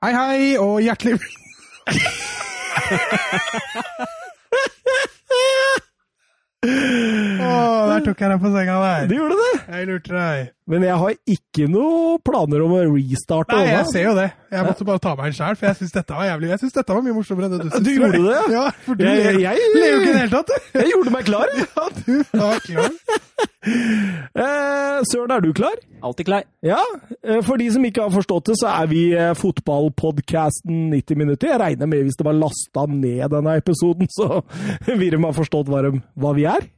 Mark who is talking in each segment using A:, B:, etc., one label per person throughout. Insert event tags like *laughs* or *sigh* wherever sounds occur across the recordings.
A: Hei, hei, og hjertelig
B: *laughs*
A: Å, der tok jeg deg på senga der.
B: Du gjorde *laughs* det!
A: Jeg lurte deg.
B: Men jeg har ikke noe planer om å restarte
A: Nei, jeg
B: Oda.
A: ser jo det. Jeg måtte bare ta meg en sjæl, for jeg syns dette var jævlig Jeg synes dette var mye morsommere enn det du syns.
B: Du gjorde det?
A: Ja, for du
B: Jeg-
A: lever
B: jeg-
A: lever jo ikke i det hele tatt, du. *laughs*
B: Jeg gjorde meg klar! jeg.
A: Ja, du var klar.
B: Eh, Søren, er du klar?
C: Alltid klar.
B: Ja. eh, For de som ikke har forstått det, så er vi eh, fotballpodcasten 90 minutter. Jeg regner med hvis det var lasta ned denne episoden, så *laughs* vil de ha forstått hva, de, hva vi er.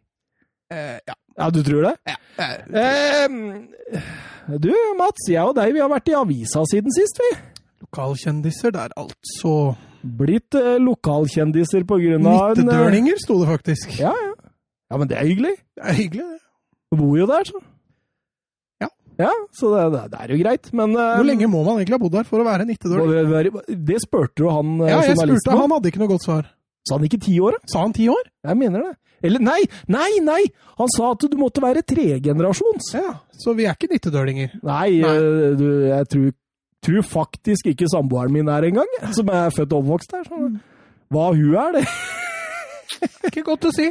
A: ja.
B: Ja, du tror det? Eh, du, Mats, jeg og deg vi har vært i avisa siden sist, vi.
A: Lokalkjendiser der, altså.
B: Blitt eh, lokalkjendiser på grunn av en, eh,
A: Nittedørninger sto det faktisk.
B: Ja, ja. ja, men det er hyggelig.
A: Det er hyggelig, det.
B: Du bor jo der, så.
A: Ja.
B: Ja, Så det, det, det er jo greit, men eh,
A: Hvor lenge må man egentlig ha bodd der for å være
B: må
A: nittedørning?
B: det være- Det spurte jo han eh,
A: Ja, jeg
B: journalisten
A: spurte,
B: om.
A: han hadde ikke noe godt svar.
B: Sa han ikke ti år, da?
A: Sa han ti år?
B: Jeg mener det. Eller nei, nei, nei! Han sa at du måtte være tregenerasjons.
A: Ja, så vi er ikke nittedølinger.
B: Nei,
A: Nei.
B: eh, du, jeg tror, tror faktisk ikke samboeren min er engang, jeg, som er født og oppvokst der. Så.
A: Mm.
B: Hva hun er, det.
A: Ikke godt å si.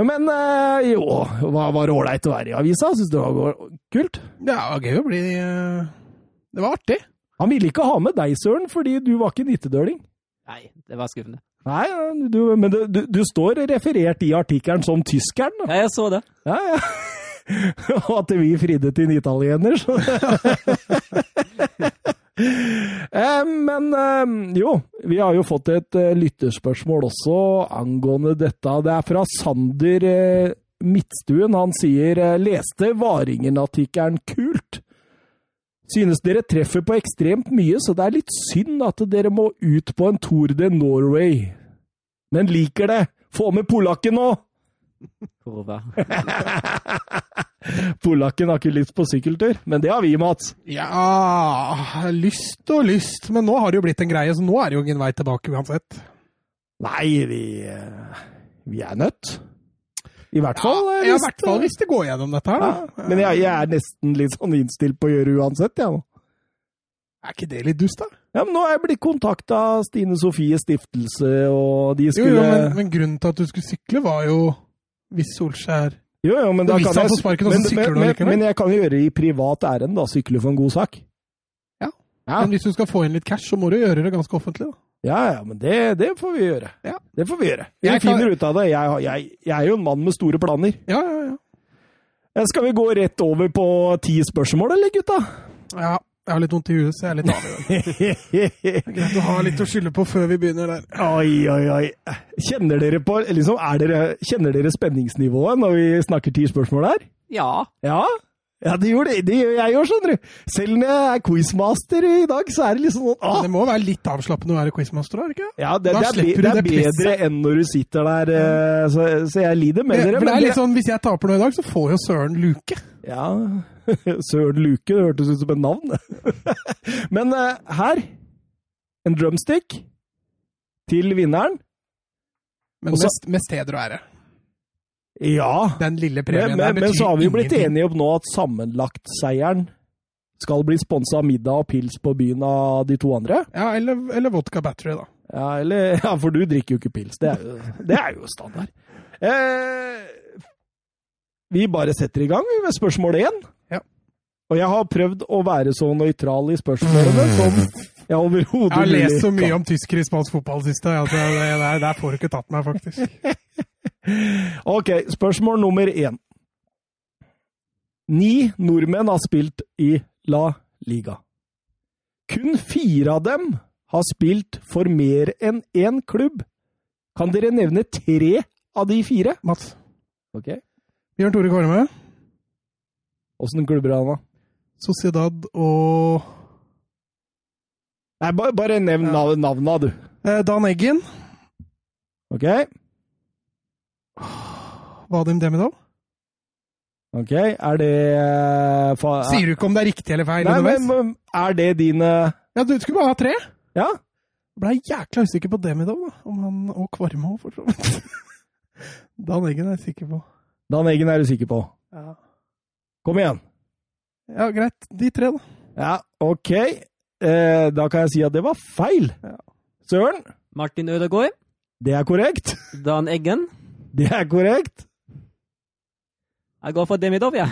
B: Men eh, jo, hva var det ålreit å være i avisa? Syns du det var kult?
A: Det var gøy å bli eh, Det var artig.
B: Han ville ikke ha med deg, Søren, fordi du var ikke nittedøling.
C: Nei, det var skuffende.
B: Nei, du, men du, du, du står referert i artikkelen som tyskeren. da.
C: Ja, jeg så det.
B: Ja, ja. *laughs* Og at vi fridde til en italiener, så *laughs* Eh, Men eh, jo, vi har jo fått et eh, lytterspørsmål også angående dette. Det er fra Sander eh, Midtstuen. Han sier eh, leste Varingen-artikkelen kult. Synes dere treffer på ekstremt mye, så det er litt synd at dere må ut på en Tour de Norway. Men liker det! Få med polakken nå!
C: Kurva.
B: Polakken har ikke lyst på sykkeltur, men det har vi, Mats.
A: Ja Lyst og lyst, men nå har det jo blitt en greie, så nå er det jo ingen vei tilbake uansett.
B: Nei, vi, eh, vi er nødt. I hvert fall. eh,
A: Ja, I
B: hvis-
A: hvert fall hvis det går gjennom dette her,
B: Ja,
A: da.
B: men jeg, jeg er nesten litt sånn innstilt på å gjøre uansett, jeg nå.
A: Er ikke det litt dust, da?
B: Ja, men nå er jeg blitt kontakta av Stine Sofie Stiftelse, og de
A: Jo,
B: skulle
A: jo, men, men grunnen til at du skulle sykle, var jo hvis Solskjær
B: jo, jo, men da
A: Hvis
B: kan
A: han
B: jeg
A: får sparken, så
B: men,
A: sykler du
B: men, men,
A: allikevel.
B: men jeg kan jo gjøre det i privat ærend, da. Sykle for en god sak.
A: Ja.
B: Ja,
A: Men hvis du skal få inn litt cash, så må du gjøre det ganske offentlig, da.
B: ja, ja men det, det får vi gjøre.
A: Ja.
B: Det får vi gjøre. Vi
A: Jeg kan-
B: finner ut av det. Jeg, har- jeg, jeg er jo en mann med store planer.
A: Ja, ja, ja.
B: Ja, Skal vi gå rett over på ti spørsmål, eller, gutta?
A: Ja, jeg har litt vondt i huet, så jeg er litt avhengig. Greit å ha litt å skylde på før vi begynner der.
B: *laughs* oi, oi, oi. Kjenner dere på liksom, er dere, Kjenner dere spenningsnivået når vi snakker ti spørsmål her?
C: Ja.
B: Ja? Ja, det gjør, det, det gjør jeg òg, skjønner du. Selv når jeg er quizmaster i dag, så er det liksom sånn ah,
A: Det må være litt avslappende å være quizmaster, er det ikke?
B: ja, det,
A: da
B: det, er, be-
A: slipper du
B: det er
A: det
B: bedre enn når du sitter der, eh, så, så jeg lider med
A: Det,
B: dere.
A: for det
B: men
A: er litt sånn, Hvis jeg taper noe i dag, så får jo søren luke.
B: Ja, *laughs* Søren Luke, det hørtes ut som et navn. *laughs* det. Men eh, her, en drumstick til vinneren.
A: Men
B: Og så-
A: med, med steder og ære.
B: Ja,
A: Den lille
B: men,
A: premien
B: men,
A: der betyr
B: men så har vi jo blitt
A: ingenting.
B: enige om nå at sammenlagtseieren skal bli sponsa av middag og pils på byen av de to andre.
A: Ja, eller, eller vodka battery, da.
B: Ja, eller, *laughs* ja for du drikker jo ikke pils. Det er jo, det er jo standard. Eh, vi bare setter i gang vi, med spørsmål én.
A: Ja.
B: Og jeg har prøvd å være så nøytral i spørsmålene som jeg
A: Jeg
B: overhodet
A: har lest så
B: kan.
A: mye om tysker i spansk fotball siste. Altså, det, der, der får du ikke tatt meg,
B: *laughs*
A: faktisk.
B: Ok, spørsmål nummer én. Ni nordmenn har spilt i La Liga. Kun fire av dem har spilt for mer enn én klubb. Kan dere nevne tre av de fire?
A: Mats.
B: Ok.
A: Bjørn Tore Kvarme,
B: Åssen klubber er han, da?
A: Sociedad og
B: Nei, bare, bare nevn nav navna, du.
A: eh, Dan Eggen.
B: Ok?
A: Vadim Demidov.
B: Ok, er det eh, fa
A: Sier du ikke om det er riktig eller feil?
B: Nei,
A: underveis?
B: men men er det dine
A: Ja, Du skulle bare ha tre.
B: Ja?
A: Blei jækla usikker på Demidov, da. Om han og Kvarme òg, for så vidt. *laughs* Dan Eggen er jeg sikker på.
B: Dan Eggen er du sikker på.
A: Ja.
B: Kom igjen.
A: ja, greit. De tre, da.
B: Ja, ok. Eh, da kan jeg si at det var feil.
A: Ja.
B: Søren,
C: Martin Ødegaard,
B: det er korrekt. *laughs*
C: Dan Eggen.
B: Det er korrekt.
C: Jeg går for Demidov, jeg.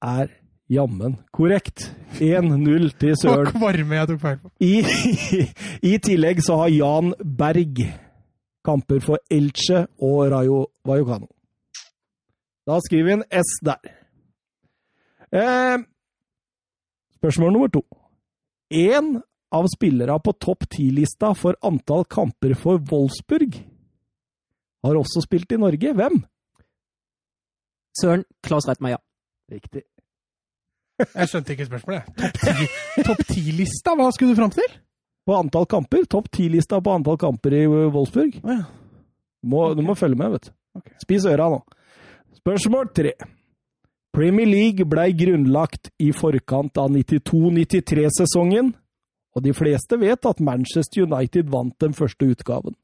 B: Er jammen korrekt. 1-0 til
A: Det var
B: Søren.
A: Kvarme jeg tok feil på.
B: I, I *laughs* tillegg så har Jan Berg kamper for Elche og Rayo Vallecano. Da skriver vi en S der. Eh, spørsmål nummer to. Én av spillerne på topp ti-lista for antall kamper for Wolfsburg har også spilt i Norge. Hvem?
C: Søren Klaus Reitmeier.
B: Riktig.
A: Jeg skjønte ikke spørsmålet. Topp 10 Topp ti-lista, hva skulle du fram til?
B: På antall kamper. Topp ti-lista på antall kamper i eh, Wolfsburg.
A: Å ja.
B: Må, Du må følge med, vet du.
A: Ok.
B: Spis øra nå. Spørsmål tre. Premier League blei grunnlagt i forkant av 92-93-sesongen, og de fleste vet at Manchester United vant den første utgaven.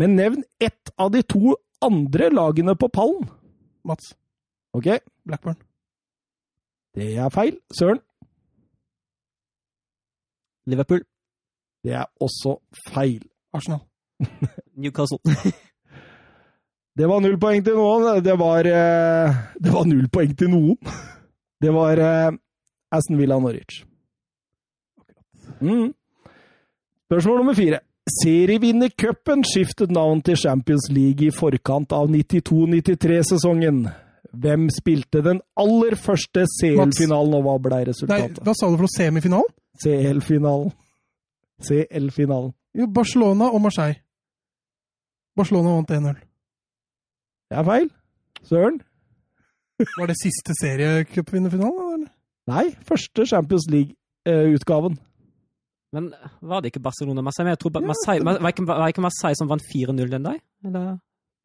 B: Men nevn ett av de to andre lagene på pallen.
A: Mats
B: Ok,
A: Blackburn.
B: det er feil. Søren,
C: Liverpool.
B: det er også feil.
A: Arsenal.
C: Newcastle.
B: Det var null poeng til noen. Det var, eh, det var null poeng til noen. Det var eh, Aston Villa Norwich. Mm. Spørsmål nummer fire. Serievinnercupen skiftet navn til Champions League i forkant av 92-93-sesongen. Hvem spilte den aller første CL-finalen, og hva ble
A: Nei,
B: resultatet?
A: hva sa du for noe? Semifinalen?
B: CL-finalen. CL-finalen.
A: Jo, Barcelona og Marseille. Barcelona vant 1-0.
B: Det er feil. Søren?
A: Var det siste seriecupvinnerfinalen? eller?
B: Nei, første Champions eh, League-utgaven.
C: Men var det ikke Barcelona Marseille? Men jeg tror bare
A: Ja,
C: Marseille, Mar- var, ikke, var ikke Marseille som vant 4-0 den dag? Eller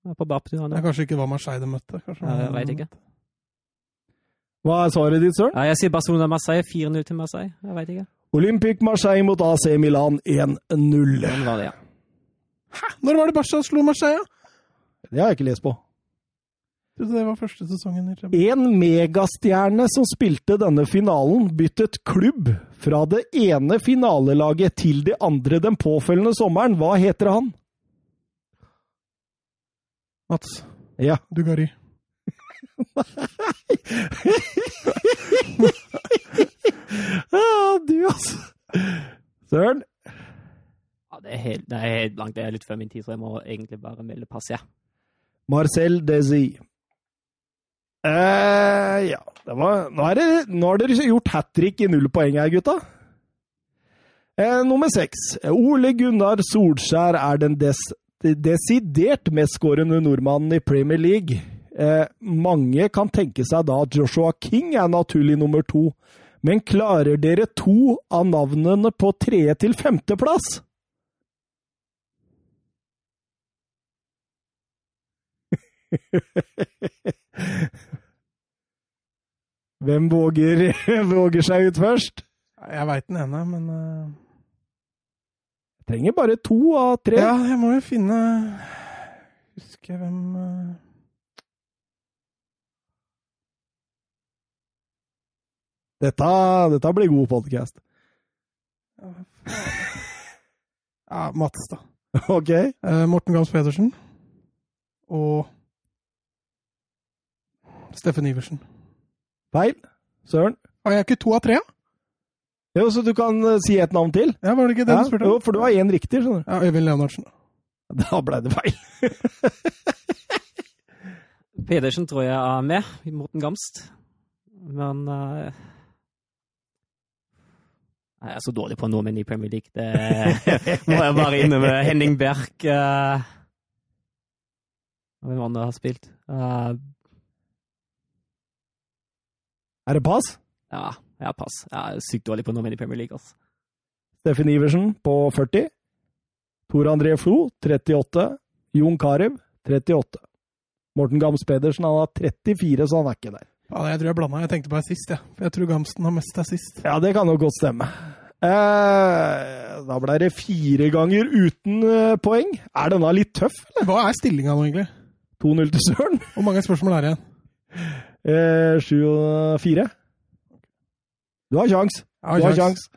C: var på baktur?
A: Nei, kanskje ikke det var Marseille de møtte. Kanskje
C: Ja, jeg vet ikke.
B: Hva er svaret ditt, Søren?
C: Ja, jeg sier Barcelona Marseille. 4-0 til Marseille. Jeg vet ikke.
B: Olympic Marseille mot AC Milan 1-0.
C: Den var det, ja.
A: Når var det Barca slo Marseille?
B: Det har jeg ikke lest på.
A: Trodde det var første sesongen i Champions
B: En megastjerne som spilte denne finalen, byttet klubb fra det ene finalelaget til det andre den påfølgende sommeren. Hva heter han?
A: Mats
B: Ja. *laughs*
A: Dugari.
B: Ah, du, altså. Søren.
C: ja det, er helt, det er helt blankt. Det er litt før min tid, så jeg må egentlig bare melde pass, jeg.
B: Marcel Desi. Eh, ja. Det var, nå, er det, nå har dere gjort hat trick i null poeng her, gutta. Eh, nummer seks. Ole Gunnar Solskjær er den des, desidert mestskårende nordmannen i Premier League. Eh, mange kan tenke seg da at Joshua King er naturlig nummer to. Men klarer dere to av navnene på tredje til femteplass? *laughs* Hvem våger, våger seg ut først?
A: Jeg veit den ene, men eh,
B: Trenger bare to av tre.
A: Ja, jeg må jo finne Husker jeg hvem eh,
B: Dette, dette blir god podkast.
A: ja, hva faen. Ja, Mats, da.
B: *laughs* Ok?
A: Eh, Morten Gams Pedersen. Og Steffen Iversen.
B: Feil. Søren.
A: Har jeg ikke to av tre? ja?
B: Jo, så du kan eh, si et navn til?
A: Ja, Var det ikke det
B: Ja,
A: du spurte
B: jo,
A: om?
B: for du har én riktig, skjønner du.
A: Ja, Øyvind Leonardsen.
B: *laughs* Da ble det feil.
C: Pedersen tror jeg er med, Morten Gamst. Men eh, Jeg er så dårlig på nordmenn i Premier
A: *laughs*
C: League. *laughs* Det må jeg bare innrømme. Henning Berg eh, og Hvem andre har spilt? Eh,
B: Er det pass?
C: ja, ja, pass. Jeg er sykt dårlig på nordmenn i Premier League. Altså.
B: Steffen Iversen på 40. Tor André Flo 38. Jon Carew 38. Morten Gams Pedersen han har 34, så han er ikke der.
A: Ja, jeg tror jeg blanda. Jeg tenkte bare sist, jeg. For jeg tror Gamsten har mest assist.
B: Ja, det kan jo godt stemme. Eh, da ble det fire ganger uten eh, poeng. Er denne litt tøff?
A: Hva er stillinga nå, egentlig?
B: 2-0 til Søren.
A: Hvor mange spørsmål er det igjen?
B: Eh, Sju og fire. Du har kjangs. Du har sjans.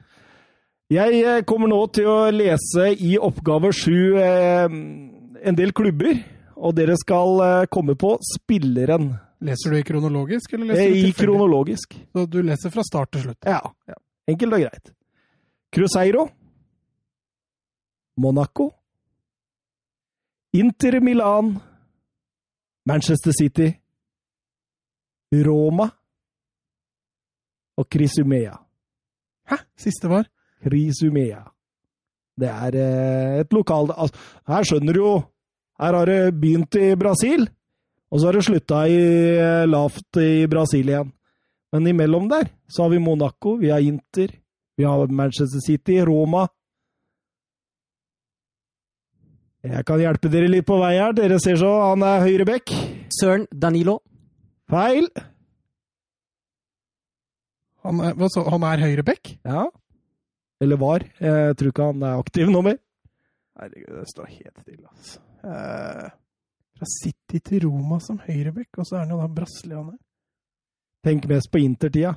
B: Jeg eh, kommer nå til å lese i oppgave sju eh, en del klubber, og dere skal eh, komme på spilleren.
A: Leser du i kronologisk, eller
B: Det
A: leser
B: er
A: du
B: i
A: tilfeldig?
B: kronologisk.
A: Så du leser fra start til slutt.
B: Ja. Enkelt og greit. Cruzeiro. Monaco. Inter Milan. Manchester City. Roma. Og Crisumea.
A: Hæ? Siste var?
B: Risumea. Det er eh, et lokal... Altså, her skjønner du jo Her har det begynt i Brasil, og så har det slutta i eh, lavt i Brasil igjen. Men imellom der så har vi Monaco, vi har Inter, vi har Manchester City, Roma Jeg kan hjelpe dere litt på vei her. Dere ser så, han er høyre bekk.
C: Søren Danilo.
B: Feil.
A: Han er, hva så, han er høyreback?
B: Ja. Eller var. Jeg tror ikke han er aktiv nå mer.
A: Herregud, det står helt stille, altså. Eh, fra City til Roma som høyreback, og så er han jo da brasilianer.
B: Tenk mest på Inter-tida.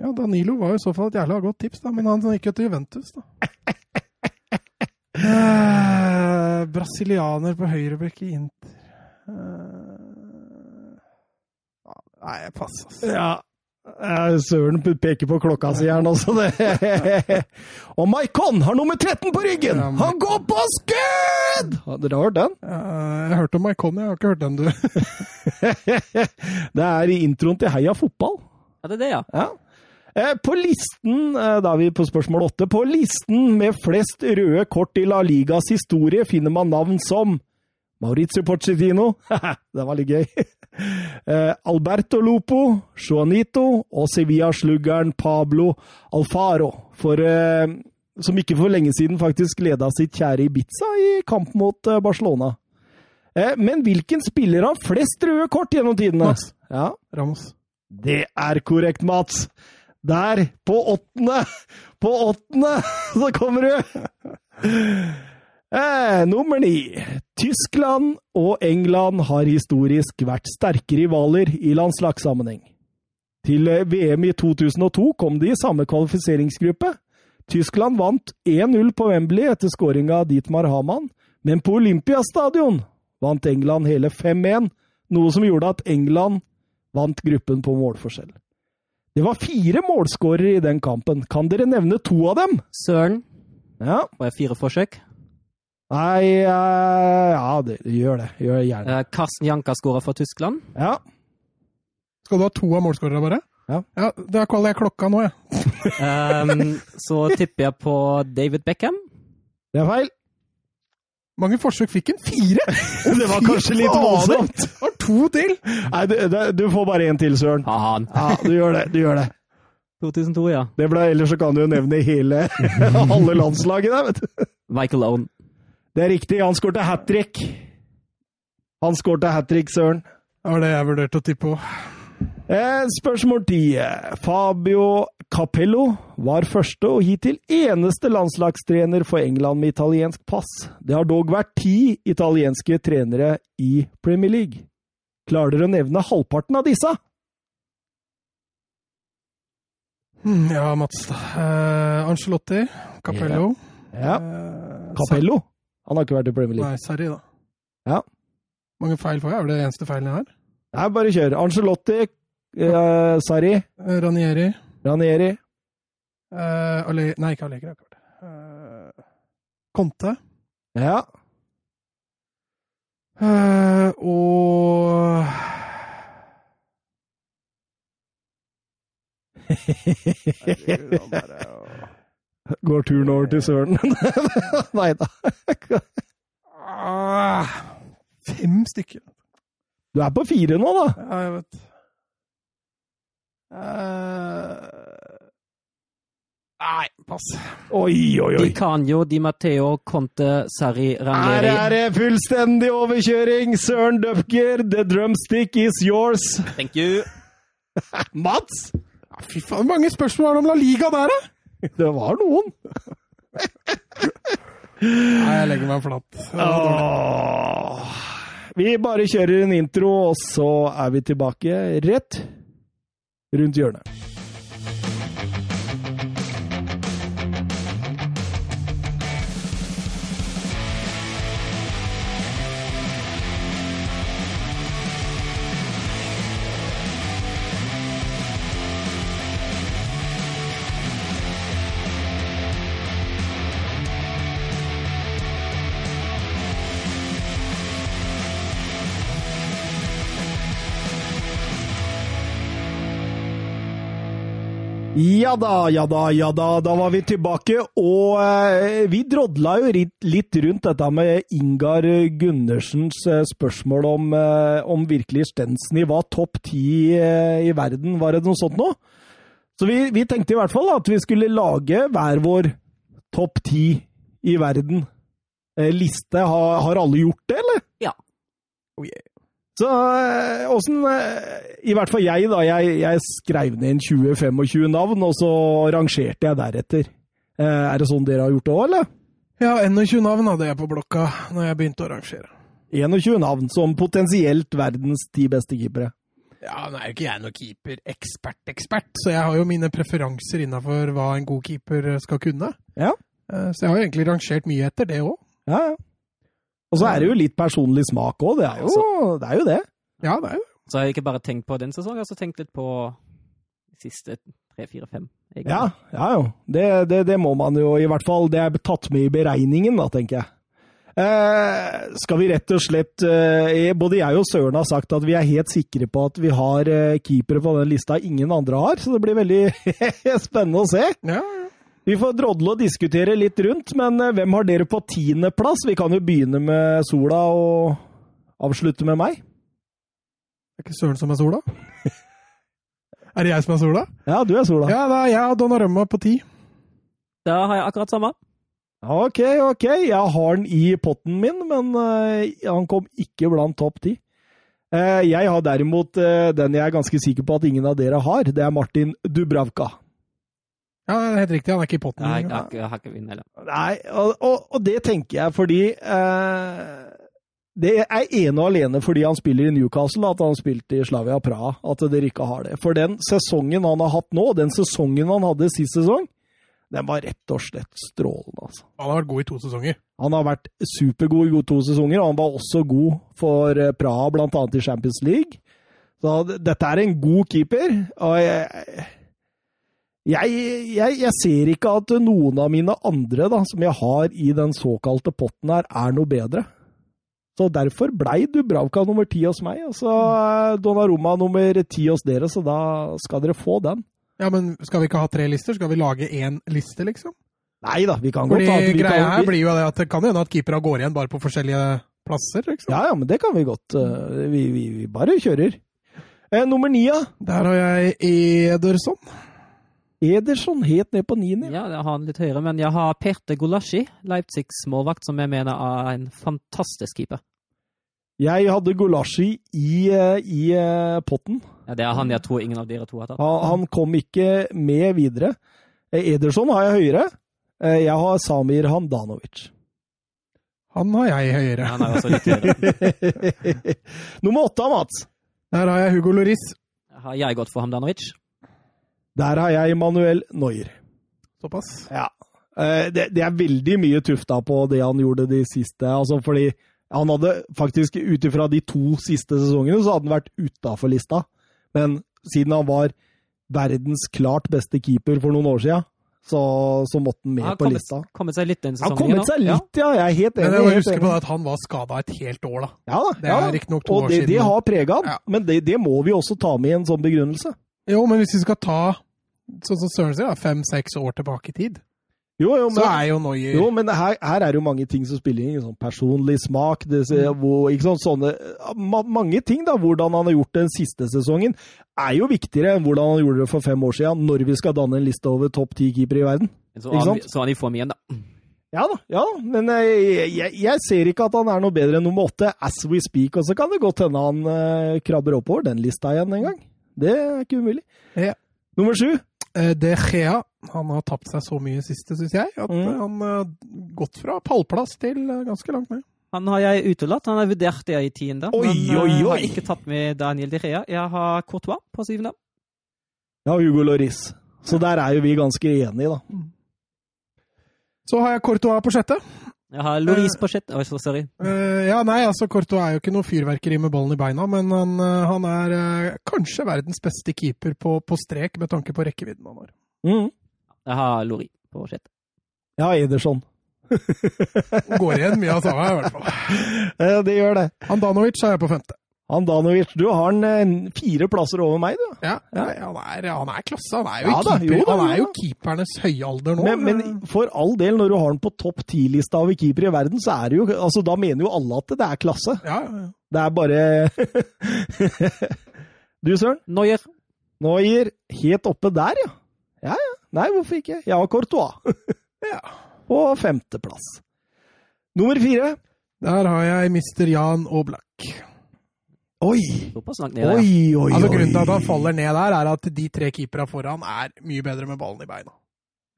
A: Ja, Danilo var jo i så fall et jævla godt tips, da, men han gikk jo til Juventus, da. Eh, brasilianer på høyreback i Inter Eh, ja, Nei, jeg passer, altså.
B: Ja. Eh, Søren peker på klokka si her nå, så det *laughs* Og Maikon har nummer 13 på ryggen!
A: Ja,
B: Han går på skudd! Har Dere har hørt den?
A: Eh, jeg hørte om Maikon, jeg har ikke hørt den, du.
B: *laughs*
A: *laughs*
B: Det er i introen til Heia fotball.
C: Ja, det er det, ja.
B: Ja. Eh, På listen, eh, da er vi på spørsmål åtte, på listen med flest røde kort i La Ligas historie finner man navn som Maurizio Pochettino, *laughs* det var litt gøy, *laughs* Eh, Alberto Lupo, Juanito og Sevilla-sluggeren Pablo Alfaro, for, eh, som ikke for lenge siden faktisk leda sitt kjære Ibiza i kamp mot eh, Barcelona. Eh, Men hvilken spiller har flest røde kort gjennom tidene?
A: Mats.
B: Ja.
A: Ramos.
B: Det er korrekt, Mats. Der, på åttende! På åttende, *laughs* så kommer du! Eh, nummer ni. Tyskland og England har historisk vært sterke rivaler i landslagssammenheng. Til VM i 2002 kom de i samme kvalifiseringsgruppe. Tyskland vant 1-0 på Wembley etter skåringa av Dietmar Hamann, men på Olympiastadion vant England hele 5-1, noe som gjorde at England vant gruppen på målforskjell. Det var fire målskårere i den kampen. Kan dere nevne to av dem?
C: Søren.
B: Ja.
C: Var det fire forsøk?
B: Nei eh, Ja, det, gjør det. Gjør det gjerne.
C: Eh, Karsten Janka skåra for Tyskland.
B: Ja.
A: Skal du ha to av målskårere, bare?
B: Ja.
A: ja. Da kaller jeg klokka nå, jeg.
C: Ehm, så tipper jeg på David Beckham.
B: Det er feil.
A: mange forsøk fikk han? Fire?!
B: *laughs*
A: *laughs*
B: Det var kanskje litt voldsomt.
A: Har to til!
B: Nei, du, det- du får bare én til, Søren.
C: Faen.
B: Ja, du gjør det. Du gjør det.
C: 2002, ja.
B: det ble, ellers så kan du jo nevne hele *laughs* halve landslaget der, vet du.
C: Michael Owen.
B: Det er riktig. Han skårte hat trick. Han skårte hat trick, Søren.
A: Det var det jeg vurderte å tippe òg.
B: Eh, Spørsmål 10. Fabio Capello var første og hittil eneste landslagstrener for England med italiensk pass. Det har dog vært ti italienske trenere i Premier League. Klarer dere å nevne halvparten av disse?
A: Hmm, ja, Mats. da. Eh, Angelotti. Capello.
B: Ja.
A: Eh,
B: Capello. Han har ikke vært i
A: Sa-
B: Premier League.
A: Nei, Sarri, da.
B: Ja.
A: Mange feil får jeg. Er det det eneste feilen jeg har?
B: Nei, bare kjør. Angelotti, eh, Sarri,
A: Eh, Ranieri.
B: Ranieri
A: Eh, Ale nei, ikke Allegri. akkurat. Eh, Conte.
B: Ja.
A: Eh, og *laughs* Herregud, han der er jo-
B: Går turen over til Søren. *laughs* Nei da.
A: Ah, Fem stykker.
B: Du er på fire nå, da.
A: Ja, jeg vet. Eh, nei, pass.
B: Oi, oi, oi.
C: Di Canio, Di Matteo, Conte, Sarri,
B: Her
C: Ranieri.
B: er det fullstendig overkjøring! Søren Døfker, the drumstick is yours!
C: Thank you.
B: Mats!
A: Ja, fy faen, mange spørsmål er det om La Liga der, da?
B: Det var noen.
A: Nei, jeg legger meg flatt.
B: Åh. Vi bare kjører en intro, og så er vi tilbake rett rundt hjørnet. Ja da, ja da, ja da. Da var vi tilbake, og eh, vi drodla jo ri- litt rundt dette med Ingar Gundersens eh, spørsmål om, eh, om virkelig Stensen var topp ti eh, i verden. Var det noe sånt nå? Så vi, vi tenkte i hvert fall at vi skulle lage hver vår topp ti i verden. Eh, liste. Har, har alle gjort det, eller?
C: Ja.
A: Oh, yeah.
B: Så eh, åssen eh, I hvert fall jeg, da. Jeg, jeg skrev ned en 20-25 navn, og så rangerte jeg deretter. Eh, Er det sånn dere har gjort det òg, eller?
A: Ja, 21 navn hadde jeg på blokka når jeg begynte å rangere.
B: 21 navn som potensielt verdens ti beste keepere.
A: Ja, nå er jo ikke jeg noen keeper-ekspert-ekspert, så jeg har jo mine preferanser innafor hva en god keeper skal kunne.
B: Ja.
A: Eh, Så jeg har jo egentlig rangert mye etter det òg.
B: Ja, ja. Og så er det jo litt personlig smak òg, det, er jo- det er jo det.
A: Ja, det er jo
C: Så har jeg ikke bare tenkt på den sesongen, jeg har også tenkt litt på de siste tre, fire, fem. egentlig.
B: Ja, ja jo. Det, det, det må man jo i hvert fall. Det er tatt med i beregningen, da, tenker jeg. Eh, skal vi rett og slett eh, Både jeg og Søren har sagt at vi er helt sikre på at vi har eh, keepere på den lista ingen andre har, så det blir veldig *laughs* spennende å se.
A: ja, ja.
B: Vi får drodle og diskutere litt rundt, men eh, hvem har dere på tiendeplass? Vi kan jo begynne med Sola og avslutte med meg.
A: Det er ikke Søren som er
B: *laughs*
A: sola? er det jeg som er sola?
B: Ja, du er Sola.
A: Ja, da, jeg og Donnarumma på ti.
C: Da har jeg akkurat samme.
B: Ok, ok. Jeg har den i potten min, men eh, han kom ikke blant topp ti. Eh, jeg har derimot eh, den jeg er ganske sikker på at ingen av dere har. Det er Martin Dubravka.
A: Ja, det er helt riktig, han er ikke i potten.
C: Jeg
A: lenger.
C: har ikke- jeg har ikke vinn, heller.
B: Nei, og, og, og det tenker jeg fordi eh, Det er ene og alene fordi han spiller i Newcastle, at han spilte i Slavia Praha, at dere ikke har det. For den sesongen han har hatt nå, den sesongen han hadde sist sesong, den var rett og slett strålende, altså.
A: Han har vært god i to sesonger.
B: Han har vært supergod i gode to sesonger, og han var også god for eh, Praha, blant annet i Champions League. Så d- dette er en god keeper, og jeg jeg, jeg jeg ser ikke at noen av mine andre da, som jeg har i den såkalte potten her, er noe bedre. Så derfor blei Dubravka nummer ti hos meg, og så eh, Donnarumma nummer ti hos dere, så da skal dere få den.
A: Ja, men skal vi ikke ha tre lister? Skal vi lage én liste, liksom?
B: Nei da, vi kan godt ta at
A: Fordi
B: vi
A: greia
B: kan,
A: her blir jo det at det kan hende at keepera går igjen bare på forskjellige plasser, liksom.
B: Ja, ja, men det kan vi godt. eh, Vi, vi, vi bare kjører. Eh, nummer ni, ja.
A: Der har jeg Ederson.
B: Ederson helt ned på niende.
C: Ja, jeg har den litt høyere, men jeg har Perte Gulaschi, Leipzigs målvakt, som jeg mener er en fantastisk keeper.
B: Jeg hadde Golashi i, eh, i eh, potten.
C: Ja, det er han jeg tror ingen av dere to har tatt.
B: Han, han kom ikke med videre. Eh, Ederson har jeg høyere. Eh, Jeg har Samir Handanovic. *laughs*
A: Han har jeg høyere.
C: Han er også litt høyere.
B: Nummer åtte, Mats.
A: Der har jeg Hugo Loris.
C: Har jeg gått for Hamdanovic?
B: Der har jeg Manuel Neuer.
A: Såpass.
B: Ja. Eh, Det, det er veldig mye tufta på det han gjorde de siste. Altså fordi han hadde faktisk, ut ifra de to siste sesongene, så hadde han vært utafor lista. Men siden han var verdens klart beste keeper for noen år siden, så, så måtte han med
C: Han har
B: på
C: kommet-
B: lista.
C: Kommet seg litt den
B: Han
C: sesongen.
B: har kommet seg
C: nå.
B: litt, ja. Jeg er helt
A: Men
B: enig.
A: jeg må
B: helt
A: huske
B: enig.
A: på det at han var skada et helt år, da.
B: Ja, da,
A: Det
B: ja,
A: er
B: da.
A: riktignok to
B: Og
A: år
B: det,
A: siden.
B: det har prega han,
A: Ja.
B: men det, det må vi også ta med i en sånn begrunnelse.
A: Jo, men hvis vi skal ta sånn som Søren sier, da, fem-seks år tilbake i tid,
B: Jo, jo, men,
A: så er jo Noyer
B: Jo, men her, her er jo mange ting som spiller inn. Sånn personlig smak, det, ser- hvor, ikke sånn, sånne ma, Mange ting, da. Hvordan han har gjort den siste sesongen, er jo viktigere enn hvordan han gjorde det for fem år siden, når vi skal danne en liste over topp ti keepere i verden.
C: Så
B: Ikke
C: han,
B: sant?
C: så han i form igjen, da.
B: Ja da, ja da, men eh, jeg, jeg, jeg ser ikke at han er noe bedre enn nummer åtte as we speak, og så kan det godt hende han eh, krabber oppover den lista igjen en gang. Det er ikke umulig.
A: Ja.
B: Nummer sju.
A: Eh, De Gea han har tapt seg så mye siste, syns jeg, at
B: Mm.
A: eh, han har gått fra pallplass til eh, ganske langt ned.
C: Han har jeg utelatt. Han har vurdert det i tiende.
B: Oi,
C: men eh,
B: oi, oi.
C: har ikke tatt med Daniel Di Rea. Jeg har Courtois på syvende.
B: Ja, Hugo Loris. Så der er jo vi ganske enige, da.
A: Så har jeg Courtois på sjette.
C: Jeg har Louise på sjette. Oi, så sorry.
A: Eh, ja, nei, altså Courtois er jo ikke noe fyrverkeri med ballen i beina, men han, eh, han er eh, kanskje verdens beste keeper på, på strek med tanke på rekkevidden han har.
B: Mm.
C: Jeg har Lori på sjette.
B: Ja, Ederson.
A: Går igjen mye av samme, i hvert
B: *laughs*
A: fall.
B: Eh, Det gjør det.
A: Andanovic er jeg på femte.
B: Handanovic, du har han eh, fire plasser over meg, du.
A: Ja, nei, han, er, han er klasse. Han er jo,
B: Ja da,
A: keeper.
B: jo da,
A: han er
B: jo
A: jo keepernes høyalder nå.
B: Men, men for all del, når du har han på topp ti-lista over keepere i verden, så er det jo altså, Da mener jo alle at det er klasse.
A: ja, ja, ja.
B: Det er bare *laughs* Du, Søren.
C: Noyer.
B: Noyer helt oppe der, ja. Ja, ja. Nei, hvorfor ikke? Jeg har Courtois.
A: *laughs* Ja.
B: På femteplass. Nummer fire.
A: Der har jeg Mr. Jan Oblak.
B: Oi!
C: Såpass langt
B: Oi,
C: ned.
B: oi,
C: ja.
B: oi.
A: Altså, grunnen til at han faller ned der, er at de tre keeperne foran er mye bedre med ballen i beina.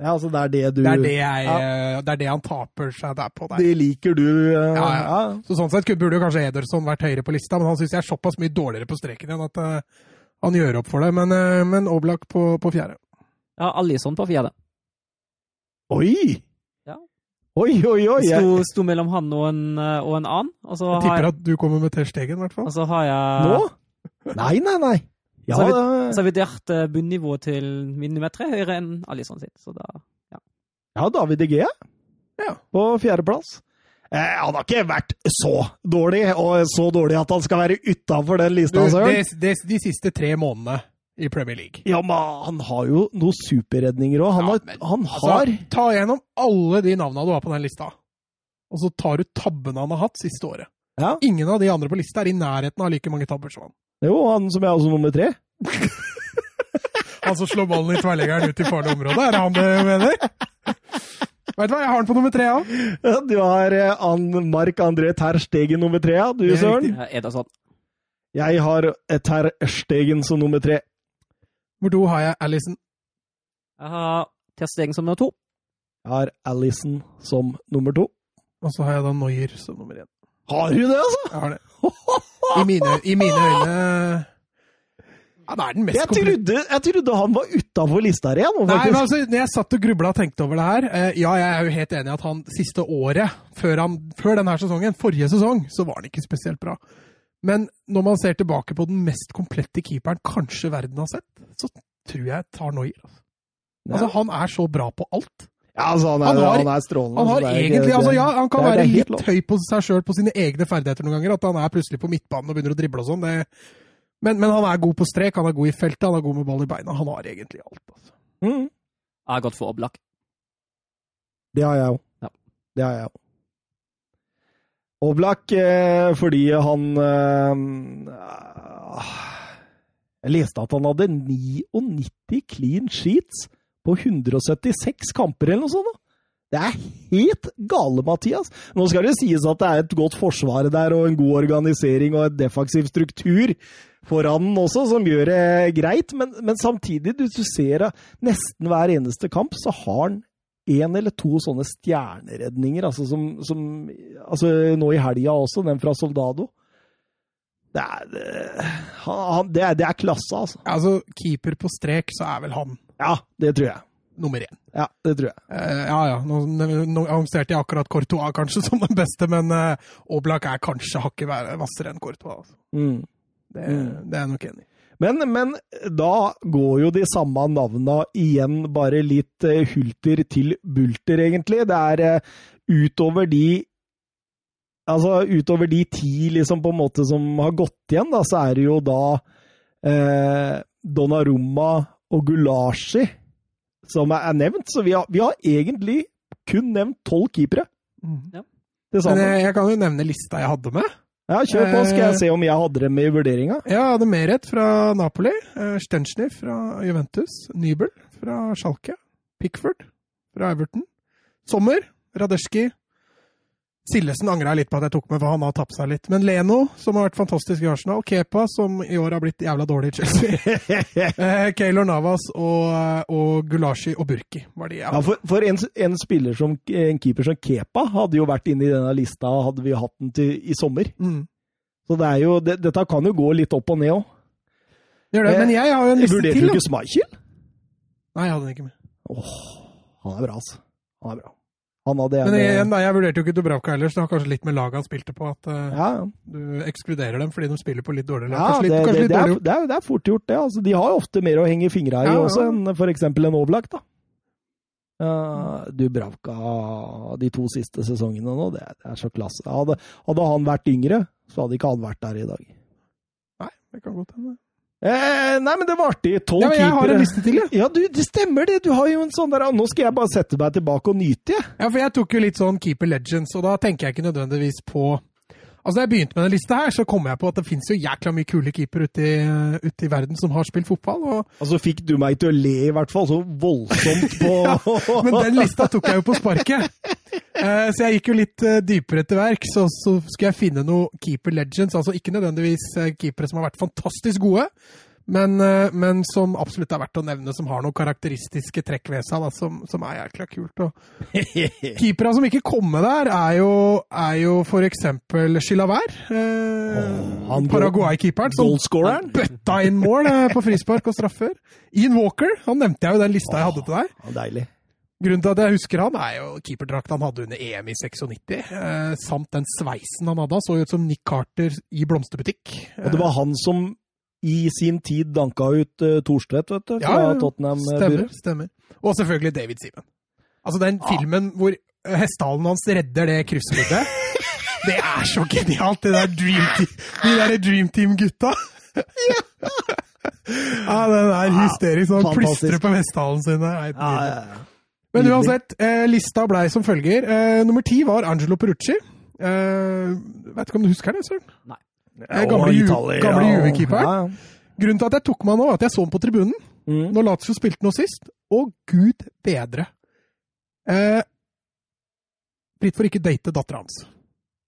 B: Ja, altså, det er det du
A: Det er det, jeg, eh, det, er det han taper seg der på der.
B: det liker du. eh,
A: Ja, ja. Så sånn sett burde jo kanskje Ederson vært høyere på lista, men han syns jeg er såpass mye dårligere på streken igjen at eh, han gjør opp for det. Men, eh, men Oblak på, på fjerde.
C: Jeg har Alison på fjerde.
B: Oi!
C: Ja.
B: Oi, oi, oi.
C: Det
B: jeg-
C: sto, sto mellom han og en, eh, og en annen. Og så
A: Jeg
C: har Altså,
A: tipper
C: jeg,
A: at du kommer med Ter Stegen, i hvert fall.
C: og så har jeg
B: Nå? Eh, Nei, nei, nei. Altså, Ja,
C: Så har
B: da-
C: Så har vi delt eh, bunnivået til min nummer tre høyere enn Alison sitt. Så da
B: ja David De Gea
A: Ja.
B: på fjerdeplass. Eh, han har ikke vært så dårlig, og så dårlig at han skal være utafor
A: Du,
B: den lista,
A: de,
B: Søren.
A: de, de siste tre månedene i Premier League.
B: Ja, men han har jo noen superredninger òg. Han,
A: Ja,
B: har-
A: men-
B: han har
A: Altså, ta gjennom alle de navnene du har på den lista, og så tar du tabbene han har hatt siste året.
B: Ja.
A: Ingen av de andre på lista er i nærheten av like mange tabber som han.
B: Jo, han som er også nummer tre.
A: Han som slår ballen i tverrleggeren ut i farlig område, er det han du mener? Vet du hva, jeg har den på nummer tre òg.
B: Du har eh, Ann- Mark André Ter Stegen nummer tre, ja. Du,
A: Det er
B: Søren.
A: riktig.
C: eh, er det sånn.
B: Jeg har eh, Ter Stegen som nummer tre.
A: Hvor do har jeg Alison?
C: Jeg har Ter Stegen som nummer to.
B: Jeg har Alison som nummer to.
A: Og så har jeg da Noyer som nummer én.
B: Har du det, altså?
A: Jeg har det. I mine, i mine øyne Han er den mest
B: Jeg trodde, jeg trodde han var utafor lista her igjen. nå,
A: Nei, men
B: faktisk.
A: altså, når jeg satt og grubla og tenkte over det her eh, Ja, jeg er jo helt enig i at han siste året, før, han, før denne sesongen, forrige sesong, så var han ikke spesielt bra. Men når man ser tilbake på den mest komplette keeperen kanskje verden har sett, så tror jeg jeg tar Noyer. Altså. altså, han er så bra på alt.
B: ja, altså, han, er,
A: han
B: han,
A: har-
B: er strålende.
A: Han
B: så
A: har
B: det er ikke-
A: egentlig Altså, ja, han kan
B: det er- det
A: være
B: er
A: litt
B: helt lov.
A: høy på seg sjøl på sine egne ferdigheter noen ganger, at han er plutselig på midtbanen og begynner å drible og sånn. det- Men, men han er god på strek, han er god i feltet, han er god med ball i beina. Han har egentlig alt. Altså.
B: Mm,
C: Jeg har gått for Oblak.
B: det har jeg òg.
C: Ja.
B: Det har jeg òg. Oblak, eh, fordi han eh, Jeg leste at han hadde 99 clean sheets på 176 kamper eller noe sånt. da. Det er helt gale, Mathias. Nå skal det sies at det er et godt forsvar der, og en god organisering og en defensiv struktur foran den også, som gjør det greit. Men, men samtidig, du, du ser at nesten hver eneste kamp så har han én eller to sånne stjerneredninger, altså som, som altså Nå i helga også, den fra Soldado. Det er, det, han, han- det er, det er klasse, altså.
A: Altså, keeper på strek, så er vel han
B: Ja, det tror jeg.
A: nummer én.
B: Ja, det tror jeg.
A: Eh, ja, ja. Nå, nå annonserte jeg akkurat Courtois kanskje *laughs* som den beste, men eh, Oblak er kanskje hakket være- hvassere enn Courtois. Altså.
B: Mm.
A: Det,
B: Mm.
A: det er jeg nok enig i.
B: Men, men da går jo de samme navna igjen bare litt eh, hulter til bulter, egentlig. Det er eh, utover de Altså utover de ti liksom på en måte som har gått igjen, da, så er det jo da eh, Donnarumma og Gulashi som er, er nevnt. Så vi har, vi har egentlig kun nevnt tolv keepere til
A: Men
B: sammen.
A: jeg, jeg kan jo nevne lista jeg hadde med.
B: Ja, kjør på, skal
A: eh,
B: jeg se om jeg hadde dem i
A: *laughs*
B: vurderinga.
A: Jeg hadde Meret fra Napoli, eh, Stenschner fra Juventus, Nybel fra Schalke, Pickford fra Everton, Sommer, Radeski Sillesen angra jeg litt på at jeg tok med, for han har tapt seg litt. Men Leno, som har vært fantastisk i Arsenal, Kepa, som i år har blitt jævla dårlig i Chelsea. *laughs* Eh, Keylor Navas og, eh, og Gulashi og Burki var de. Ja.
B: Ja, for, for en, en spiller som en keeper som Kepa hadde jo vært inne i denne lista, hadde vi hatt den til i sommer.
A: Mm.
B: Så det er jo, det, dette kan jo gå litt opp og ned òg.
A: Gjør det, men Eh, jeg har jo en liste
B: Vurderte
A: til.
B: du
A: da.
B: ikke Schmeichel?
A: Nei, jeg hadde den ikke med.
B: Åh, han er bra, altså. Han er bra. Han hadde en
A: Men igjen, da, jeg vurderte jo ikke Dubravka heller, så det har kanskje litt med laget han spilte på, at eh,
B: ja, ja.
A: du ekskluderer dem fordi de spiller på litt dårligere lag.
B: Ja,
A: Kanskje
B: det,
A: litt, kanskje
B: det,
A: litt
B: det, er,
A: dårlig gjort.
B: det, er, det er fort gjort, det. Altså, de har jo ofte mer å henge fingra i
A: Ja, ja.
B: også enn f.eks. en Oblak, da. Eh, du Bravka de to siste sesongene nå, det, det er så klasse. Hadde, hadde han vært yngre, så hadde ikke han vært der i dag.
A: Nei, det kan godt hende.
B: Eh, nei, men det var artig. Tolv
A: Ja, men jeg har en
B: keepere.
A: liste til, jeg.
B: Ja, du, det stemmer det. Du har jo en sånn der Nå skal jeg bare sette meg tilbake og nyte, jeg.
A: Ja, for jeg tok jo litt sånn Keeper Legends, og da tenker jeg ikke nødvendigvis på Altså, Da jeg begynte med denne lista, her, så kom jeg på at det finnes jo jækla mye kule keepere ute i, eh, ute i verden som har spilt fotball. Og,
B: Altså fikk du meg til å le, i hvert fall. Så voldsomt på *laughs*
A: men den lista tok jeg jo på sparket! Eh, så jeg gikk jo litt eh, dypere til verk. Så, så skulle jeg finne noe Keeper Legends. Altså ikke nødvendigvis eh, keepere som har vært fantastisk gode, men, eh, men som absolutt er verdt å nevne, som har noen karakteristiske trekk ved seg da, som, som er jækla kult. Og, *laughs* Keepere som ikke kom med der, er jo, er jo for eksempel Chilavert.
B: Åh,
A: Eh,
B: han
A: Paraguay-keeperen som
B: Goalscoreren?
A: bøtta inn mål eh, på frispark og straffer. Ian Walker, han nevnte jeg jo i den lista jeg hadde til deg.
B: Ja, deilig.
A: Grunnen til at jeg husker han, er jo keeperdrakta han hadde under EM i 96, eh, samt den sveisen han hadde. Han så jo ut som Nick Carter i blomsterbutikk. Eh,
B: Og det var han som i sin tid danka ut uh, Thorstvedt, vet du, fra
A: Ja, ja, ja. Stemmer.
B: eh, Tottenham-buret.
A: stemmer. Og selvfølgelig David Simen. Altså den
B: Ah.
A: filmen hvor eh, hestehalen hans redder det kryssbruddet.
B: *laughs*
A: det er så genialt, det der Dream Team, de der Dream Team-gutta. *laughs* ja, Ah, den er hysterisk. Han
B: fantastisk.
A: plystrer på hestehalen sin. der. Nei,
B: Ja,
A: nydelig.
B: ja, ja.
A: Men
B: Nydelig.
A: uansett, eh, lista blei som følger. Eh, nummer ti var Angelo Perucci. Eh, vet ikke om du husker det, Søren?
C: Nei.
A: Eh, gamle
B: Og
A: Ju-
B: Italia,
A: gamle
B: og-
A: Juve-keeperen.
B: Ja, ja.
A: Grunnen til at jeg tok meg nå, er at jeg så han på tribunen
B: Mm.
A: når Lazio spilte noe sist. Å, gud bedre! Eh, Fritt for ikke date dattera hans.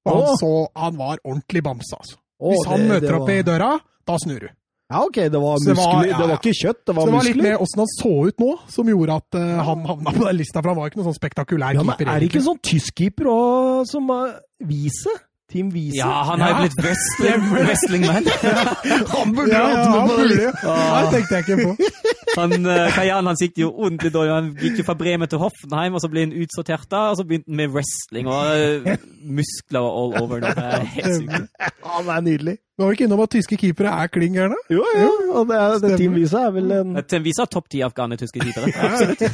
A: Og Han,
B: Åh.
A: så, han var ordentlig bamse, altså.
B: Å,
A: Hvis han
B: det-
A: møter
B: det
A: opp
B: var-
A: i døra, da snur du.
B: Ja, OK, det var
A: Så det
B: muskler.
A: var- ja, ja.
B: Det var ikke kjøtt,
A: Så
B: det var
A: det var litt
B: muskler.
A: med åssen han så ut nå, som gjorde at eh, han havna på den lista. For han var ikke noen sånn spektakulær
B: Ja, men
A: keeper.
B: er det ikke
A: egentlig.
B: sånn tyskkeeper også, som uh, Wiese? Team Wiese?
C: Ja, han har jo
A: Ja.
C: blitt wrestling- wrestlingmann.
B: han
A: ja, ja,
B: hatt noe
A: han
B: på
A: burde
B: det.
A: jo. Nei, det tenkte jeg ikke på.
C: Han, eh, Kajan han sikter jo ordentlig dårlig. Han gikk jo fra Bremen til Hoffenheim, og så ble han utsortert da, og så begynte han med wrestling og eh, muskler og all over. nå. Det er helt sykt.
B: Han er nydelig.
A: Du var vi ikke innom at tyske keepere er kling gærne?
B: Jo, jo. Og det, er, det
A: Stemmer.
B: Team Wiese er vel en
C: Til en viser topp ti afghaner tyske keepere.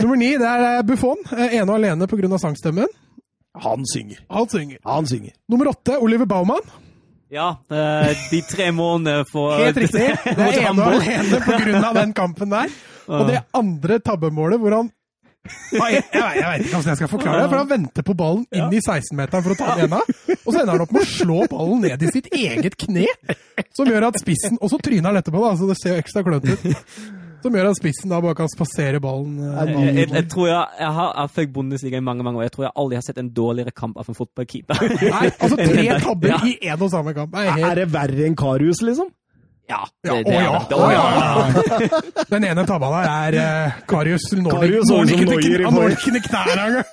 A: Nummer ni, det er eh, Buffon. eh, Ene og alene pga. sangstemmen.
B: Han synger.
A: Han synger.
B: Han synger.
A: Nummer åtte, Oliver Baumann.
C: Ja, eh, de tre månedene for
A: Helt riktig. Det
C: mot
A: er ene og
C: Hamburg.
A: alene på grunn av den kampen der. Og det andre tabbemålet hvor han Nei, Jeg vet, jeg vet ikke hvordan jeg skal forklare det, for han venter på ballen inn i 16-meteren for å ta den ene, og så ender han opp med å slå ballen ned i sitt eget kne, som gjør at spissen Og så tryner han etterpå, da, så det ser jo ekstra klønete ut. Som gjør at spissen da bare kan spasere ballen. eh,
B: Ja,
C: *laughs* Jeg, jeg,
A: ballen.
C: jeg tror jeg, jeg har jeg har fulgt Bundesliga i mange mange år. Jeg tror jeg aldri har sett en dårligere kamp av en fotballkeeper. *laughs*
A: Nei, altså tre
C: Ja.
A: tabber i én og samme kamp. Det er helt
B: Er det verre enn Karius, liksom?
C: Ja.
A: Ja, å
C: det- det er
A: ja.
C: det. Å
A: Å
C: ja.
A: ja. *laughs* Den ene tabba der er eh, Karius. Nå når
B: Karius
A: han
B: og
A: ikke til
B: som Neuer i
A: kn- han når
B: forrige.
A: ikke til knærne engang!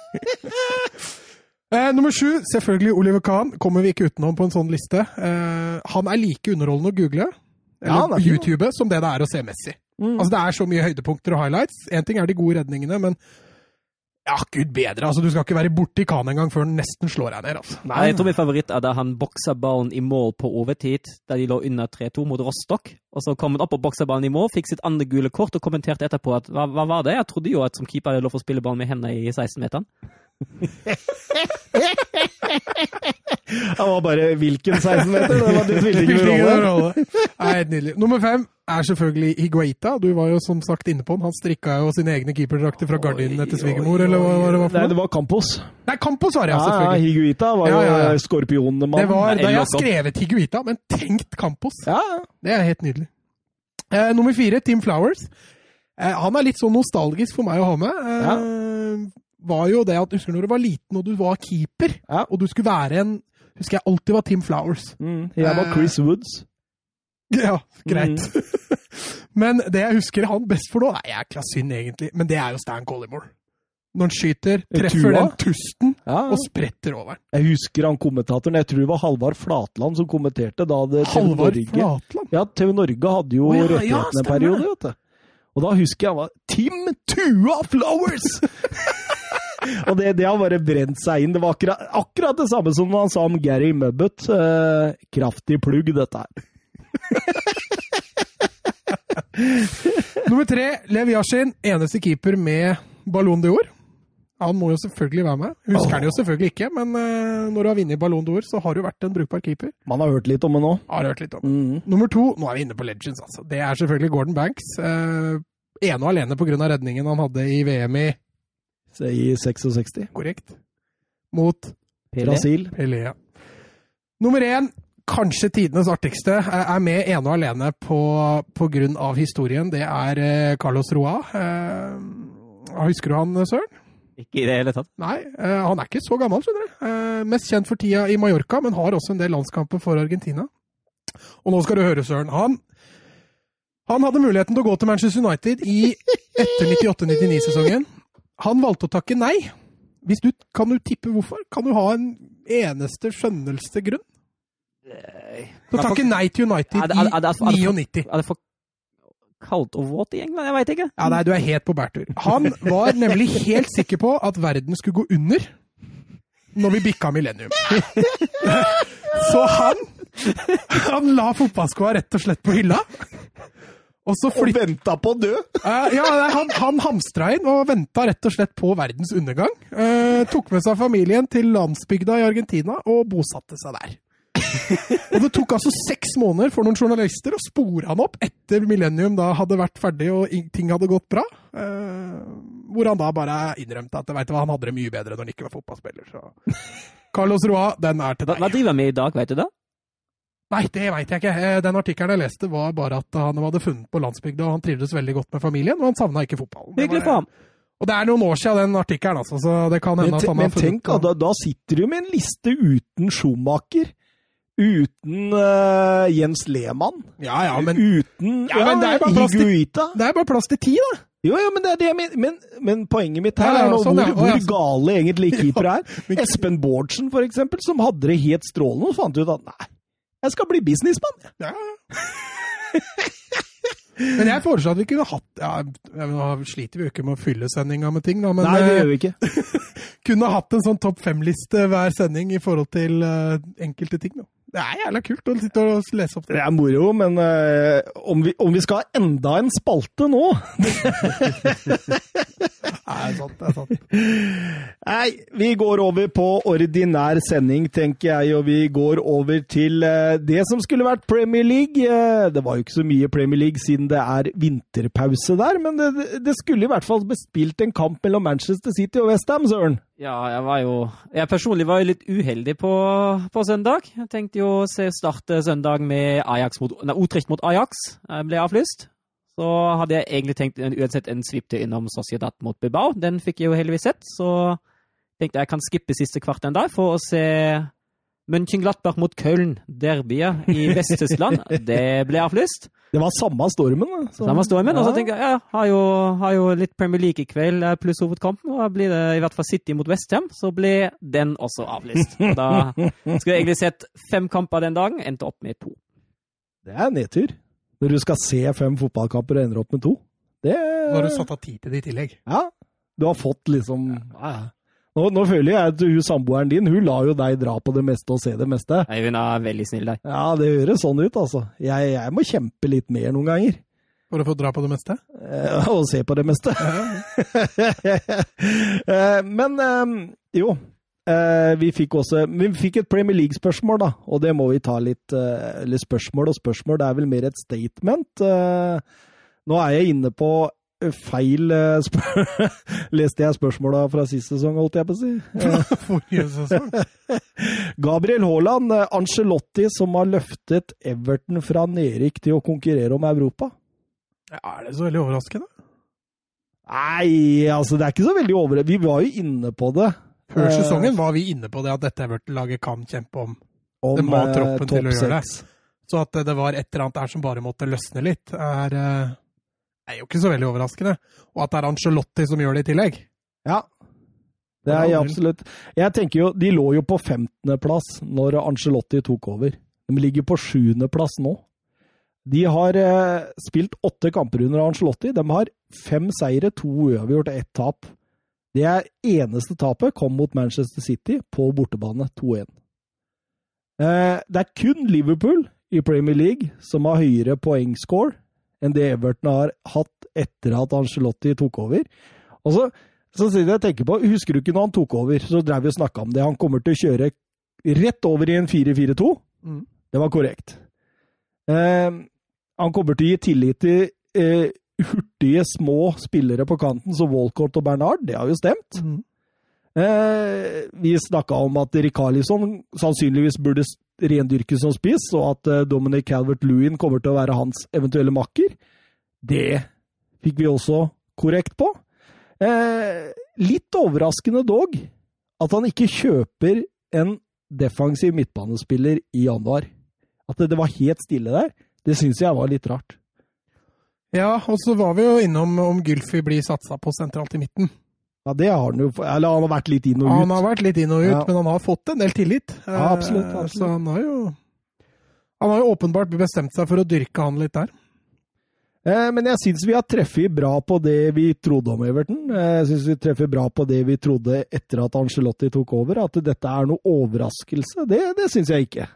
A: *laughs* Eh, nummer sju, selvfølgelig Oliver Kahn. Kommer vi ikke utenom på en sånn liste. Eh, han er like underholdende å google
B: Ja, Mm.
A: eller
B: det er fint.
A: YouTube som det det er å se Messi. Altså Det er så mye høydepunkter og highlights. Én ting er de gode redningene, men ja, gud bedre. altså Du skal ikke være borti Kahn engang før han nesten slår deg ned. altså.
C: Nei, jeg tror min favoritt er da han boksa ballen i mål på overtid, da de lå under 3-2 mot Rostock. Og så kom han opp og boksa ballen i mål, fikk sitt andre gule kort og kommenterte etterpå at hva, hva var det? Jeg trodde jo at som keeper er det lov å spille ballen med hendene i 16-meteren.
B: Det var bare hvilken 16-meter? Det var det spilte
A: Det
B: ikke
A: spiller
B: noen
A: ingen
B: rolle.
A: rolle. Nei, Helt nydelig. Nummer fem er selvfølgelig Higuaita. Du var jo som sagt inne på han. Han strikka jo sine egne keeperdrakter fra gardinene til svigermor, eller hva var det var
B: Nei,
A: for noe?
B: det var Campos.
A: Nei, Campos var det, ja,
B: Ja, ja,
A: selvfølgelig.
B: Higuita var jo
A: Ja, ja, ja.
B: skorpionmann.
A: Det var,
C: Nei,
A: nei, jeg har
C: Jakob.
A: skrevet Higuita, men tenkt Campos.
B: ja.
A: Det er helt nydelig. Eh, nummer fire, Tim Flowers. Eh, han er litt sånn nostalgisk for meg å ha med. Eh, Var jo det at, Husker du når du var liten og du var keeper,
B: Ja.
A: og du skulle være en Husker jeg alltid var Tim Flowers.
B: Mm, jeg var Chris Woods.
A: *laughs* Ja, greit.
B: Mm.
A: *laughs* men det jeg husker han best for nå, nei, jeg er klassyn egentlig, men det er jo Stan Collymore. når han skyter,
B: Jeg
A: treffer
B: tror
A: den
B: det.
A: tusten
B: Ja,
A: og spretter over den.
B: jeg husker han kommentatoren, jeg tror det var Halvard Flatland som kommenterte da det TV
A: Halvard
B: Norge
A: Flatland.
B: Ja, TV Norge hadde jo
A: Å, ja, ja,
B: rettighetene en
A: stemmer det.
B: periode, vet du. Og da husker jeg han var Tim Tua
A: *laughs*
B: Flowers! og det, det har bare brent seg inn. Det var akkurat, akkurat det samme som han sa om Gary Mubbett. Eh, kraftig plugg, dette her.
A: Nummer tre, Lev Yashin, eneste keeper med Ballon d'Or. Han må jo selvfølgelig være med. Husker han jo selvfølgelig ikke, men eh, når du har vunnet Ballon d'Or, så har du vært en brukbar keeper.
B: Man har hørt litt om det nå.
A: Har hørt litt om. Nummer to, nå er vi inne på Legends, altså. Det er selvfølgelig Gordon Banks. Eh, ene og alene pga. redningen han hadde i VM i
B: Se, I 66.
A: korrekt, mot
C: Pelé.
B: Brasil.
A: Pelé. ja. Nummer én, kanskje tidenes artigste, eh, er med ene og alene på, på grunn av historien. Det er eh, Carlos Roa. Eh, husker du han, Søren?
C: Ikke i det hele tatt.
A: Nei, eh, han er ikke så gammel, skjønner du. Eh, mest kjent for tida i Mallorca, men har også en del landskamper for Argentina. Og nå skal du høre, Søren. Han, han hadde muligheten til å gå til Manchester United i etter 98-99-sesongen. Han valgte å takke nei. Hvis du, kan du tippe hvorfor? Kan du ha en eneste skjønneste grunn? Til å takke nei til United
C: Er det- er det- er det- er det-
A: i 99.
C: Er det for kaldt og våt i England? Jeg veit ikke.
A: Ja, nei, du er helt på bærtur. Han var nemlig helt sikker på at verden skulle gå under når vi bikka millennium. Så han, han la fotballskoa rett og slett på hylla. Og så flytta
B: venta på å dø!
A: Eh, ja, nei, han, han hamstra inn og venta rett og slett på verdens undergang. Eh, tok med seg familien til landsbygda i Argentina og bosatte seg der. og Det tok altså seks måneder for noen journalister å spore han opp etter Millennium da hadde vært ferdig og ing- ting hadde gått bra. Eh, hvor han da bare innrømte at vet du hva, han hadde det mye bedre når han ikke var fotballspiller. Så. Carlos Roa, den er til
C: Hva, hva
A: deg.
C: driver han med i dag, veit du det?
A: Nei, det veit jeg ikke. Eh, Den artikkelen jeg leste, var bare at han hadde funnet på landsbygda, og han trivdes veldig godt med familien, og han savna ikke fotballen. Det var-
C: Hyggelig for ham.
A: og det er noen år siden den artikkelen, altså, så det kan hende
B: Men,
A: at
B: te-
A: han
B: men
A: har funnet
B: tenk, altså, da, da- da sitter du med en liste uten Schumacher. Uten eh, Jens Lehmann.
A: Ja, ja, men
B: uten
A: Ja, men det er bare plass til-
B: Higuita.
A: det er bare plass til ti, da!
B: Jo, jo, men det er det jeg mener. Men, men poenget mitt her
A: Ja, ja,
B: er nå
A: sånn, ja.
B: hvor,
A: Å, ja,
B: hvor gale egentlig *laughs* keepere
A: men-
B: er. Espen Bårdsen, for eksempel, som hadde det helt strålende, og fant ut at nei, jeg skal bli businessmann.
A: Ja. Men jeg foreslår at vi kunne hatt ja, ja, Nå sliter vi jo ikke med å fylle sendinga med ting, da, men
B: nei, det
A: eh,
B: gjør vi ikke.
A: kunne hatt en sånn topp fem-liste hver sending i forhold til eh, enkelte ting. Da. Det er jævla kult å sitte og lese opp
B: Det
A: det.
B: er moro, men eh, om, vi, om vi skal ha enda en spalte nå
A: Nei, det er sant, det er sant.
B: Nei, vi går over på ordinær sending, tenker jeg, og vi går over til eh, det som skulle vært Premier League. Eh, Det var jo ikke så mye Premier League siden det er vinterpause der, men det, det skulle i hvert fall bespilt en kamp mellom Manchester City og Westham, søren.
C: Ja, jeg var jo Jeg personlig var jo litt uheldig på, på søndag. Jeg tenkte jo å se starte søndag med Ajax mot, nei, Utrecht mot Ajax. Jeg ble avlyst. Så hadde jeg egentlig tenkt en, uansett en svipte innom Sociedad mot Bilbao. Den fikk jeg jo heldigvis sett, så tenkte jeg jeg kan skippe siste kvart en dag for å se München-Glattberg mot Köln, derbyet i Vest-Tyskland. Det ble avlyst.
B: Det var samme stormen. da. Så-
C: Samme stormen. Og så
B: Ja.
C: tenker jeg ja, har jo, har jo litt Premier League i kveld eh, pluss hovedkampen. Og da blir det i hvert fall City mot Westham, så ble den også
B: *laughs*
C: avlyst. Og da skulle jeg egentlig sett fem kamper den dagen, endte opp med to.
B: Det er nedtur. Når du skal se fem fotballkamper og ender opp med to. Det
A: Nå har du satt av tid til det i tillegg.
B: Ja. Du har fått liksom Nå, nå føler jeg at hun samboeren din hun lar jo deg dra på det meste og se det meste.
C: Eivind er veldig snill der.
B: Ja, det høres sånn ut, altså. Jeg, jeg må kjempe litt mer noen ganger.
A: For å få dra på det
B: *laughs*
A: meste.
B: eh, Og se på det meste. *laughs* Eh, Men eh, jo. eh, Vi fikk også Vi fikk et Premier League-spørsmål, da. Og det må vi ta litt eh, Eller spørsmål og spørsmål, det er vel mer et statement. Eh, Nå er jeg inne på eh, feil eh, spør *laughs* Leste jeg spørsmåla fra sist sesong, holdt jeg på å si?
A: Forrige sesong.
B: Gabriel Haaland, eh, Ancelotti som har løftet Everton fra nedrykk til å konkurrere om Europa.
A: Ja, er det så veldig overraskende?
B: Nei, altså det er ikke så veldig over... Vi var jo inne på det.
A: Før
B: Eh,
A: sesongen var vi inne på det at dette Everton-laget kan kjempe om
B: om,
A: Det må ha
B: eh,
A: troppen til
B: topp
A: å gjøre
B: seks.
A: Så at det var et eller annet der som bare måtte løsne litt, er, eh, er jo ikke så veldig overraskende. Og at det er Angelotti som gjør det i tillegg.
B: Ja, Det er
A: Ja, vel.
B: absolutt. Jeg tenker jo, De lå jo på 15.-plass når Angelotti tok over. De ligger på 7.-plass nå. De har eh, spilt åtte kamper under Angelotti. De har fem seire, to uavgjort og ett tap. Det er eneste tapet kom mot Manchester City på bortebane 2-1. Eh, det er kun Liverpool i Premier League som har høyere poengscore enn det Everton har hatt etter at Angelotti tok over. Altså, Og så, så sitter jeg og tenker på, Husker du ikke når han tok over? Så drev vi og snakka om det. Han kommer til å kjøre rett over i en 4-4-2.
A: Mm.
B: Det var korrekt. Eh, han kommer til å gi tillit til eh, hurtige, små spillere på kanten som Walcott og Bernard. Det har jo stemt.
A: Mm.
B: Eh, vi snakka om at Rikarlison sannsynligvis burde s- rendyrkes som spiss, og at eh, Dominic Calvert-Lewin kommer til å være hans eventuelle makker. Det fikk vi også korrekt på. Eh, litt overraskende dog at han ikke kjøper en defensiv midtbanespiller i januar. At det, det var helt stille der, det syns jeg var litt rart.
A: Ja, og så var vi jo innom om Gylfi blir satsa på sentralt i midten.
B: Ja, det har han jo, eller han har vært litt inn og ut.
A: Han har vært litt inn og ut,
B: Ja.
A: men han har fått en del tillit.
B: Ja, absolutt,
A: Eh,
B: absolutt.
A: Så han har jo Han har jo åpenbart bestemt seg for å dyrke han litt der.
B: Eh, Men jeg syns vi har treffet bra på det vi trodde om Everton. Eh, Jeg syns vi treffer bra på det vi trodde etter at Angelotti tok over. At dette er noe overraskelse, det, det syns jeg ikke.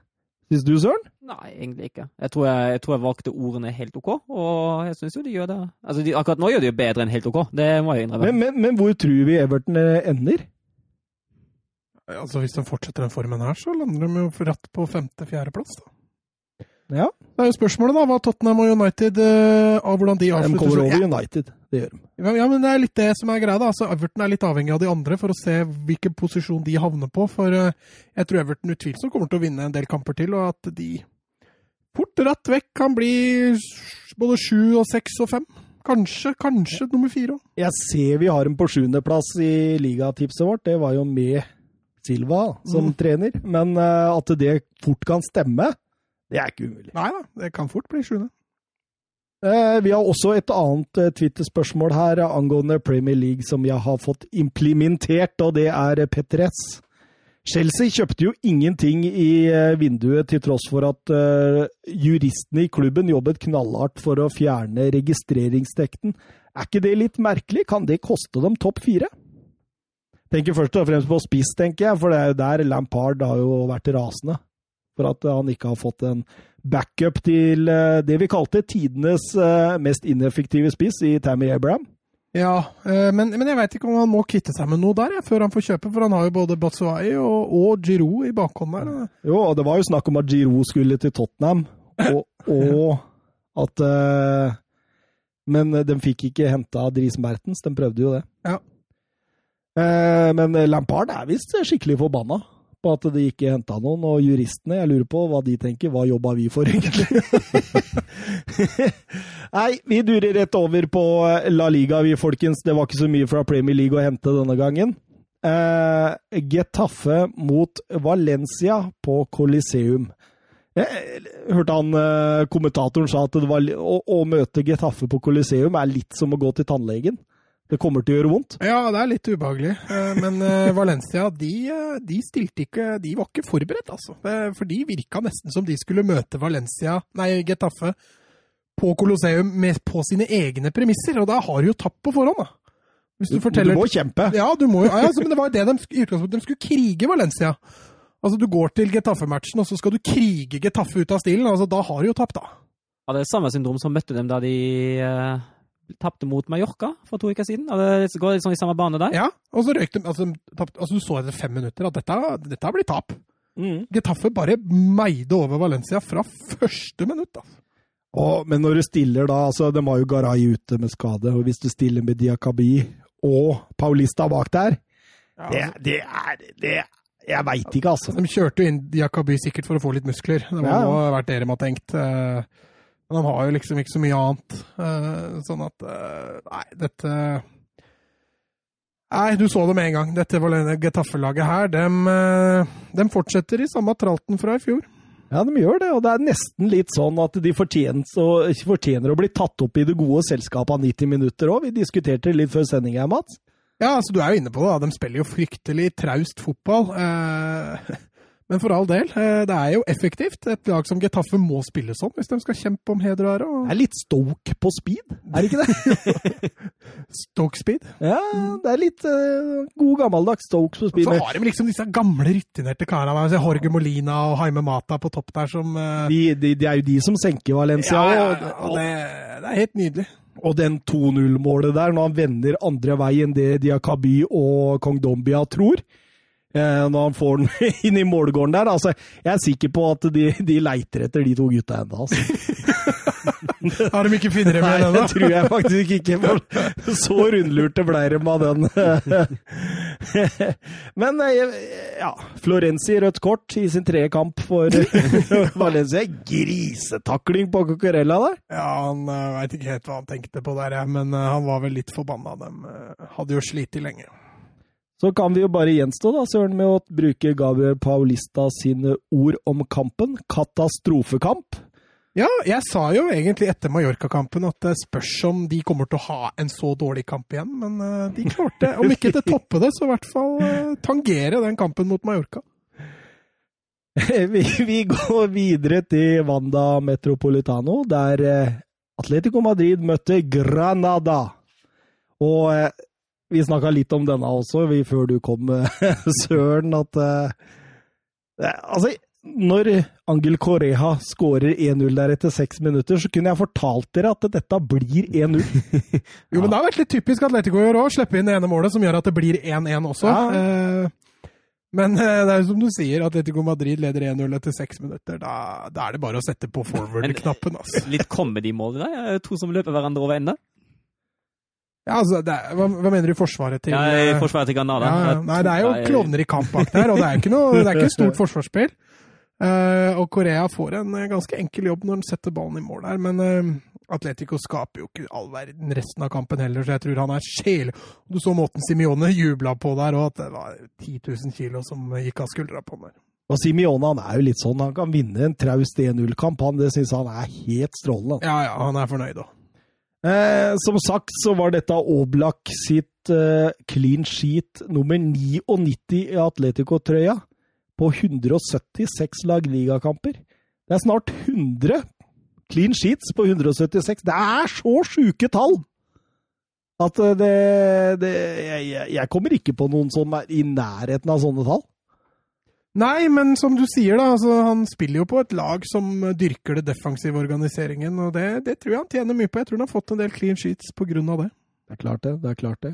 B: Syns du, Søren?
C: Nei, egentlig ikke. Jeg tror jeg, jeg tror jeg valgte ordene helt OK, og jeg syns jo de gjør det. Altså, de, akkurat nå gjør de jo bedre enn helt OK, det må jeg jo innrømme.
B: Men, men, men hvor tror vi Everton eh, ender?
A: Altså, Hvis de fortsetter den formen her, så lander de jo rett på femte-fjerdeplass.
B: Ja,
A: Det er jo spørsmålet, da, hva Tottenham og United eh, av hvordan de
B: De
A: avslutter.
B: kommer
A: så-
B: over United, det gjør de.
A: Ja, ja, men det er litt det som er greia. da. Altså, Everton er litt avhengig av de andre for å se hvilken posisjon de havner på. For eh, jeg tror Everton utvilsomt kommer til å vinne en del kamper til, og at de fort rett vekk kan bli s- både sju og seks og fem. Kanskje, kanskje nummer fire òg.
B: Jeg ser vi har dem på sjuendeplass i ligatipset vårt. Det var jo med Silva som
A: Mm.
B: trener. Men eh, at det fort kan stemme, det er ikke umulig.
A: Nei da, det kan fort bli sjuende.
B: Eh, Vi har også et annet eh, Twitter-spørsmål her eh, angående Premier League som jeg har fått implementert, og det er eh, Petter S. Chelsea kjøpte jo ingenting i eh, vinduet til tross for at eh, juristene i klubben jobbet knallhardt for å fjerne registreringstekten. Er ikke det litt merkelig? Kan det koste dem topp fire? Tenker først og fremst på spiss, tenker jeg, for det er jo der Lampard har jo vært rasende. For at eh, han ikke har fått en backup til eh, det vi kalte tidenes eh, mest ineffektive spiss i Tammy Abraham.
A: Ja, eh, men, men jeg veit ikke om han må kvitte seg med noe der jeg, før han får kjøpe, for han har jo både Batsuai og, og Giroud i bakhånd der.
B: Jo, og det var jo snakk om at Giroud skulle til Tottenham, og, og at eh, Men de fikk ikke henta Dries Mertens, de prøvde jo det.
A: Ja.
B: Eh, men Lampard er visst skikkelig forbanna på at de ikke henta noen, og juristene, jeg lurer på hva de tenker. Hva jobba vi for, egentlig? *laughs* Nei, vi durer rett over på eh, La Liga, vi, folkens. Det var ikke så mye fra Premier League å hente denne gangen. Eh, Getafe mot Valencia på Coliseum. Jeg hørte han eh, kommentatoren sa at det var, li- å, å møte Getafe på Coliseum er litt som å gå til tannlegen. Det kommer til å gjøre vondt.
A: Ja, det er litt ubehagelig. Eh, Men eh, Valencia de, eh, de stilte ikke De var ikke forberedt, altså. Eh, For de virka nesten som de skulle møte Valencia, nei, Getafe på Colosseum med, på sine egne premisser. Og da har du jo tapt på forhånd, da. Hvis du forteller
B: må kjempe.
A: ja, du må jo, ja, altså, men det var jo det de, sk- i utgangspunktet de skulle krige Valencia. Altså, Du går til Getafe-matchen, og så skal du krige Getafe ut av stilen. altså Da har du jo tapt, da.
C: Ja, det er samme syndrom som møtte dem da de uh, tapte mot Mallorca for to uker siden. Ja, Det går litt sånn i samme bane der.
A: Ja, Og så røyk de altså, de tapte- altså, Du så etter fem minutter at dette, dette blir tap.
B: Mm.
A: Getafe bare meide over Valencia fra første minutt. Altså.
B: Og, men når du stiller da, altså de har jo Garay ute med skade, og hvis du stiller med Diakabi og Paulista bak der, det,
A: Ja, altså.
B: det er det, Jeg veit ikke, altså.
A: De kjørte jo inn Diakaby sikkert for å få litt muskler. Det må
B: Ja, ja.
A: ha vært det de har tenkt. eh, Men han har jo liksom ikke så mye annet. eh, Sånn at eh, Nei, dette Nei, du så det med en gang. Dette Valen- Getafe-laget her, dem, eh, dem fortsetter i samme tralten fra i fjor.
B: Ja, de gjør det, og det er nesten litt sånn at de fortjener, å- fortjener å bli tatt opp i det gode selskapet av 90 minutter òg. Vi diskuterte det litt før sendinga, Mats.
A: Ja, altså du er jo inne på det. da. De spiller jo fryktelig traust fotball. Eh, *laughs* Men for all del, eh, det er jo effektivt. Et lag som Getafe må spille sånn hvis de skal kjempe om heder og ære.
B: Det
A: og
B: er litt Stoke på speed, er det ikke det?
A: *laughs* Stoke Speed.
B: Ja, det er litt eh, god gammeldags Stoke på speed.
A: Så har de liksom disse gamle, rutinerte karene. der, altså Jorge Molina og Haime Mata på topp der som eh,
B: De, de, de er jo de som senker Valencia.
A: Ja, ja, ja.
B: og-
A: Og det, det er helt nydelig.
B: Og den 2-0-målet der, når han vender andre vei enn det Diakaby og Kong Dombia tror. eh, Når han får den *laughs* inn i målgården der. altså, Jeg er sikker på at de, de leiter etter de to gutta ennå. Altså.
A: Har de ikke funnet dem
B: *laughs* Nei,
A: igjen
B: det
A: ennå?
B: tror jeg faktisk ikke. for Så rundlurte ble de av den. Men eh, ja, Florenzi rødt kort i sin tredje kamp *laughs* for Valencia. Grisetakling på Cocorella der.
A: Ja, han veit ikke helt hva han tenkte på der, jeg, men eh, han var vel litt forbanna. De eh, hadde jo slitt lenge.
B: Så kan vi jo bare gjenstå, da, Søren, med å bruke Gabriel Paulista sine ord om kampen. Katastrofekamp.
A: Ja, jeg sa jo egentlig etter Mallorca-kampen at det spørs om de kommer til å ha en så dårlig kamp igjen, men eh, de klarte, om ikke til å toppe det, så i hvert fall eh, tangere den kampen mot Mallorca.
B: *laughs* Vi, vi går videre til Wanda Metropolitano, der eh, Atletico Madrid møtte Granada. Og eh, vi snakka litt om denne også vi, før du kom, *laughs* eh, Søren, at eh, det- Altså, når Angel Correja skårer 1-0 der etter seks minutter, så kunne jeg fortalt dere at dette blir 1-0.
A: Jo, men det har vært litt typisk Atletico i år òg, slippe inn det ene målet som gjør at det blir 1-1 også.
B: Ja.
A: Eh, Men eh, det er jo som du sier, Atletico Madrid leder 1-0 etter seks minutter. Da, da er det bare å sette på forward-knappen, altså.
C: Litt comedy-mål der. eh, To som løper hverandre over ende.
A: Ja, altså, det er, hva, hva mener du forsvaret til
C: Ja, i
A: eh,
C: forsvaret til Granada.
A: Ja, ja.
C: Jeg
A: Nei, det er jo
C: tror-
A: klovner i kamp bak der, og det er ikke noe, det er ikke et stort forsvarsspill. Eh, og Korea får en eh, ganske enkel jobb når de setter ballen i mål der, men eh, Atletico skaper jo ikke all verden resten av kampen heller, så jeg tror han er sjel... Du så måten Simione jubla på der, og at det var 10 000 kilo som gikk av skuldra på han der.
B: Og Simione han er jo litt sånn, han kan vinne en traust 1-0-kamp. Han, det syns han er helt strålende.
A: Ja, ja, han er fornøyd òg.
B: Eh, som sagt så var dette Oblak sitt eh, clean sheet nummer 99 i Atletico-trøya på 176 lag ligakamper. Det er snart 100 clean sheets på 176. Det er så sjuke tall! At eh, det, det jeg, jeg- jeg kommer ikke på noen som er i nærheten av sånne tall.
A: Nei, men som du sier, da, altså, han spiller jo på et lag som dyrker det defensive organiseringen, og det, det tror jeg han tjener mye på. Jeg tror han har fått en del clean sheets på grunn av det.
B: Det er klart det, det er klart det.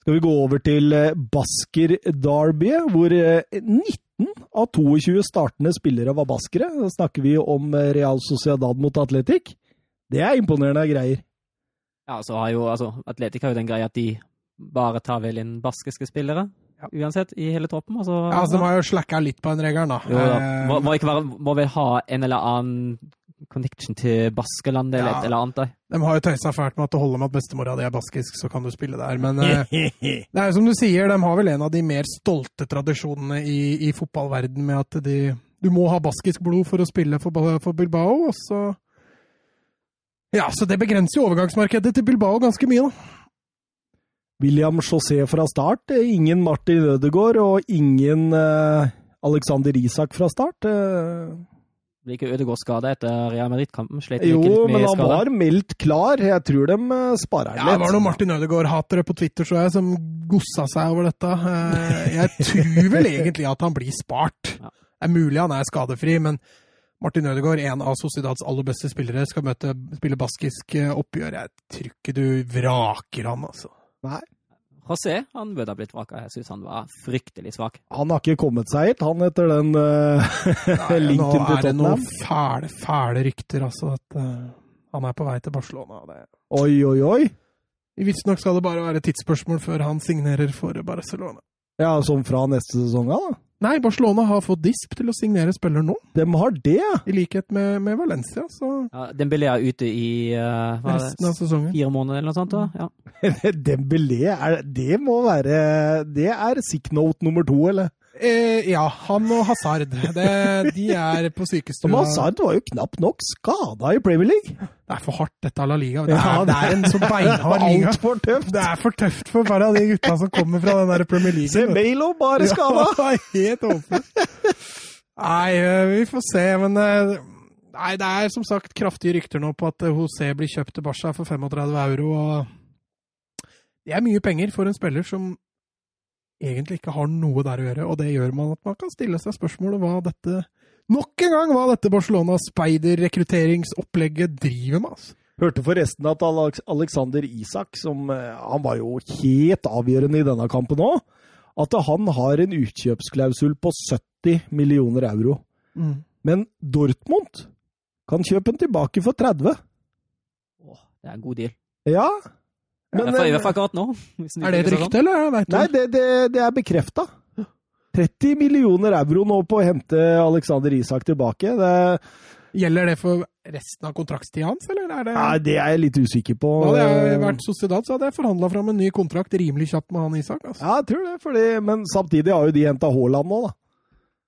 B: Skal vi gå over til eh, Basker Derby, hvor eh, 19 av 22 startende spillere var baskere. Da snakker vi om eh, Real Sociedad mot Atletic. Det er imponerende greier.
C: Ja, så har jo, altså, Atletic har jo den greia at de bare tar vel inn baskiske spillere,
A: Ja.
C: uansett, i hele troppen. Altså,
A: Ja, altså, De har jo slacka litt på den regelen, da.
C: Jo, da.
A: Eh,
C: Må, må, ikke være, må vel ha en eller annen connection til Baskelandet eller
A: Ja.
C: et eller annet? da.
A: De har jo tøysa fælt med at det holder med at bestemora di er baskisk, så kan du spille der. Men
C: *laughs*
A: eh, det er jo som du sier, de har vel en av de mer stolte tradisjonene i, i fotballverden med at de, du må ha baskisk blod for å spille for, Ba- for Bilbao. Og så Ja, så det begrenser jo overgangsmarkedet til Bilbao ganske mye, da.
B: William José fra start, eh, ingen Martin Ødegaard og ingen eh, Alexander Isak fra start. eh.
C: Blir ikke Ødegaard skada etter Real Madrid-kampen? Slet han
B: Jo,
C: ikke litt
B: men
C: med
B: han
C: skade?
B: var meldt klar. Jeg tror de eh, sparer
A: Ja,
B: han
A: det var
B: litt.
A: noen Martin Ødegaard-hatere på Twitter, så jeg, som gossa seg over dette. Eh, Jeg tror vel egentlig at han blir spart.
C: Ja.
A: Det er mulig han er skadefri, men Martin Ødegaard, en av Sociedads aller beste spillere, skal møte, spille baskisk eh, oppgjør. Jeg tror ikke du vraker han, altså.
B: Nei.
C: José han burde ha blitt vraka. Jeg syns han var fryktelig svak.
B: Han har ikke kommet seg hit, han etter den eh, *laughs*
A: nå
B: *laughs* linken til
A: er det noen
B: Tottenham.
A: fæle, fæle rykter, altså, at eh, han er på vei til Barcelona. Det.
B: Oi, oi, oi.
A: Visstnok skal det bare være tidsspørsmål før han signerer for Barcelona.
B: Ja, som fra neste sesong, ja, da.
A: Nei, Barcelona har fått Disp til å signere spiller nå.
B: De har det, ja. *laughs*
A: I likhet med, med Valencia, så
C: Ja, Dembélé er ute i eh, hva er det,
A: resten av sesongen. Mm.
C: fire måneder eller noe sånt. da? Ja.
B: Dembélé, er, det må være Det er sick note nummer to, eller?
A: Eh, ja, han og Hazard. Det, de er på sykestua. *laughs*
B: Som Hazard var jo knapt nok skada i Premier League.
A: Det er for hardt, dette av La Liga. Det er,
B: Ja,
A: det er en så
B: *laughs*
A: *laughs* beinhard liga.
B: Altfor tøft!
A: Det er for tøft for bare de gutta som kommer fra den der Premier League.
B: Se, Melo bare
A: *laughs*
B: skada!
A: Ja, helt åpent. Nei, eh, vi får se, men eh, Nei, det er som sagt kraftige rykter nå på at eh, José blir kjøpt til Barca for 35 euro, og det er mye penger for en spiller som egentlig ikke har noe der å gjøre, og det gjør man at man kan stille seg spørsmålet hva dette Nok en gang hva dette Barcelona-speiderrekrutteringsopplegget driver med, altså.
B: *laughs* Hørte forresten at Alex- Alexander Isak, som eh, han var jo helt avgjørende i denne kampen òg, at han har en utkjøpsklausul på 70 millioner euro. Men Dortmund kan kjøpe den tilbake for 30.
C: Åh, det er en god deal.
B: Ja. Men,
C: Men, I
B: eh,
C: hvert fall akkurat nå. hvis den
A: Er det et
C: utvikler seg sånn.
A: rykte, eller veit du?
B: Nei, det, det, det er bekrefta. 30 millioner euro nå på å hente Alexander Isak tilbake. Det,
A: Gjelder det for resten av kontraktstida hans, eller er det
B: nei, det er jeg litt usikker på.
A: Da hadde
B: eh,
A: jeg vært Sociedad, så hadde jeg forhandla fram en ny kontrakt rimelig kjapt med han Isak. Altså.
B: Ja, jeg tror det, fordi, men samtidig har jo de henta Haaland nå, da.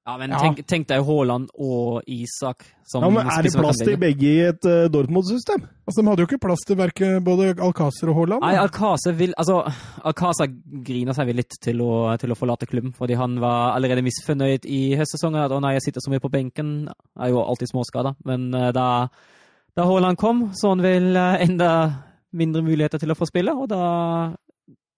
C: Ja, men
A: Ja.
C: Tenk, tenk deg Haaland og Isak som
B: Ja, men Er det
C: spiser
B: plass til
C: hverandre.
B: begge i et eh, Dortmund-system?
A: Altså, de hadde jo ikke plass til verken både Alcácer og Haaland.
C: Nei, Alcázar vil Altså, Alcázar griner seg vel litt til å, til å forlate klubben, fordi han var allerede misfornøyd i høstsesongen. At 'Å nei, jeg sitter så mye på benken'. Det er jo alltid småskader. Men eh, da, da Haaland kom, så han vel eh, enda mindre muligheter til å få spille, og da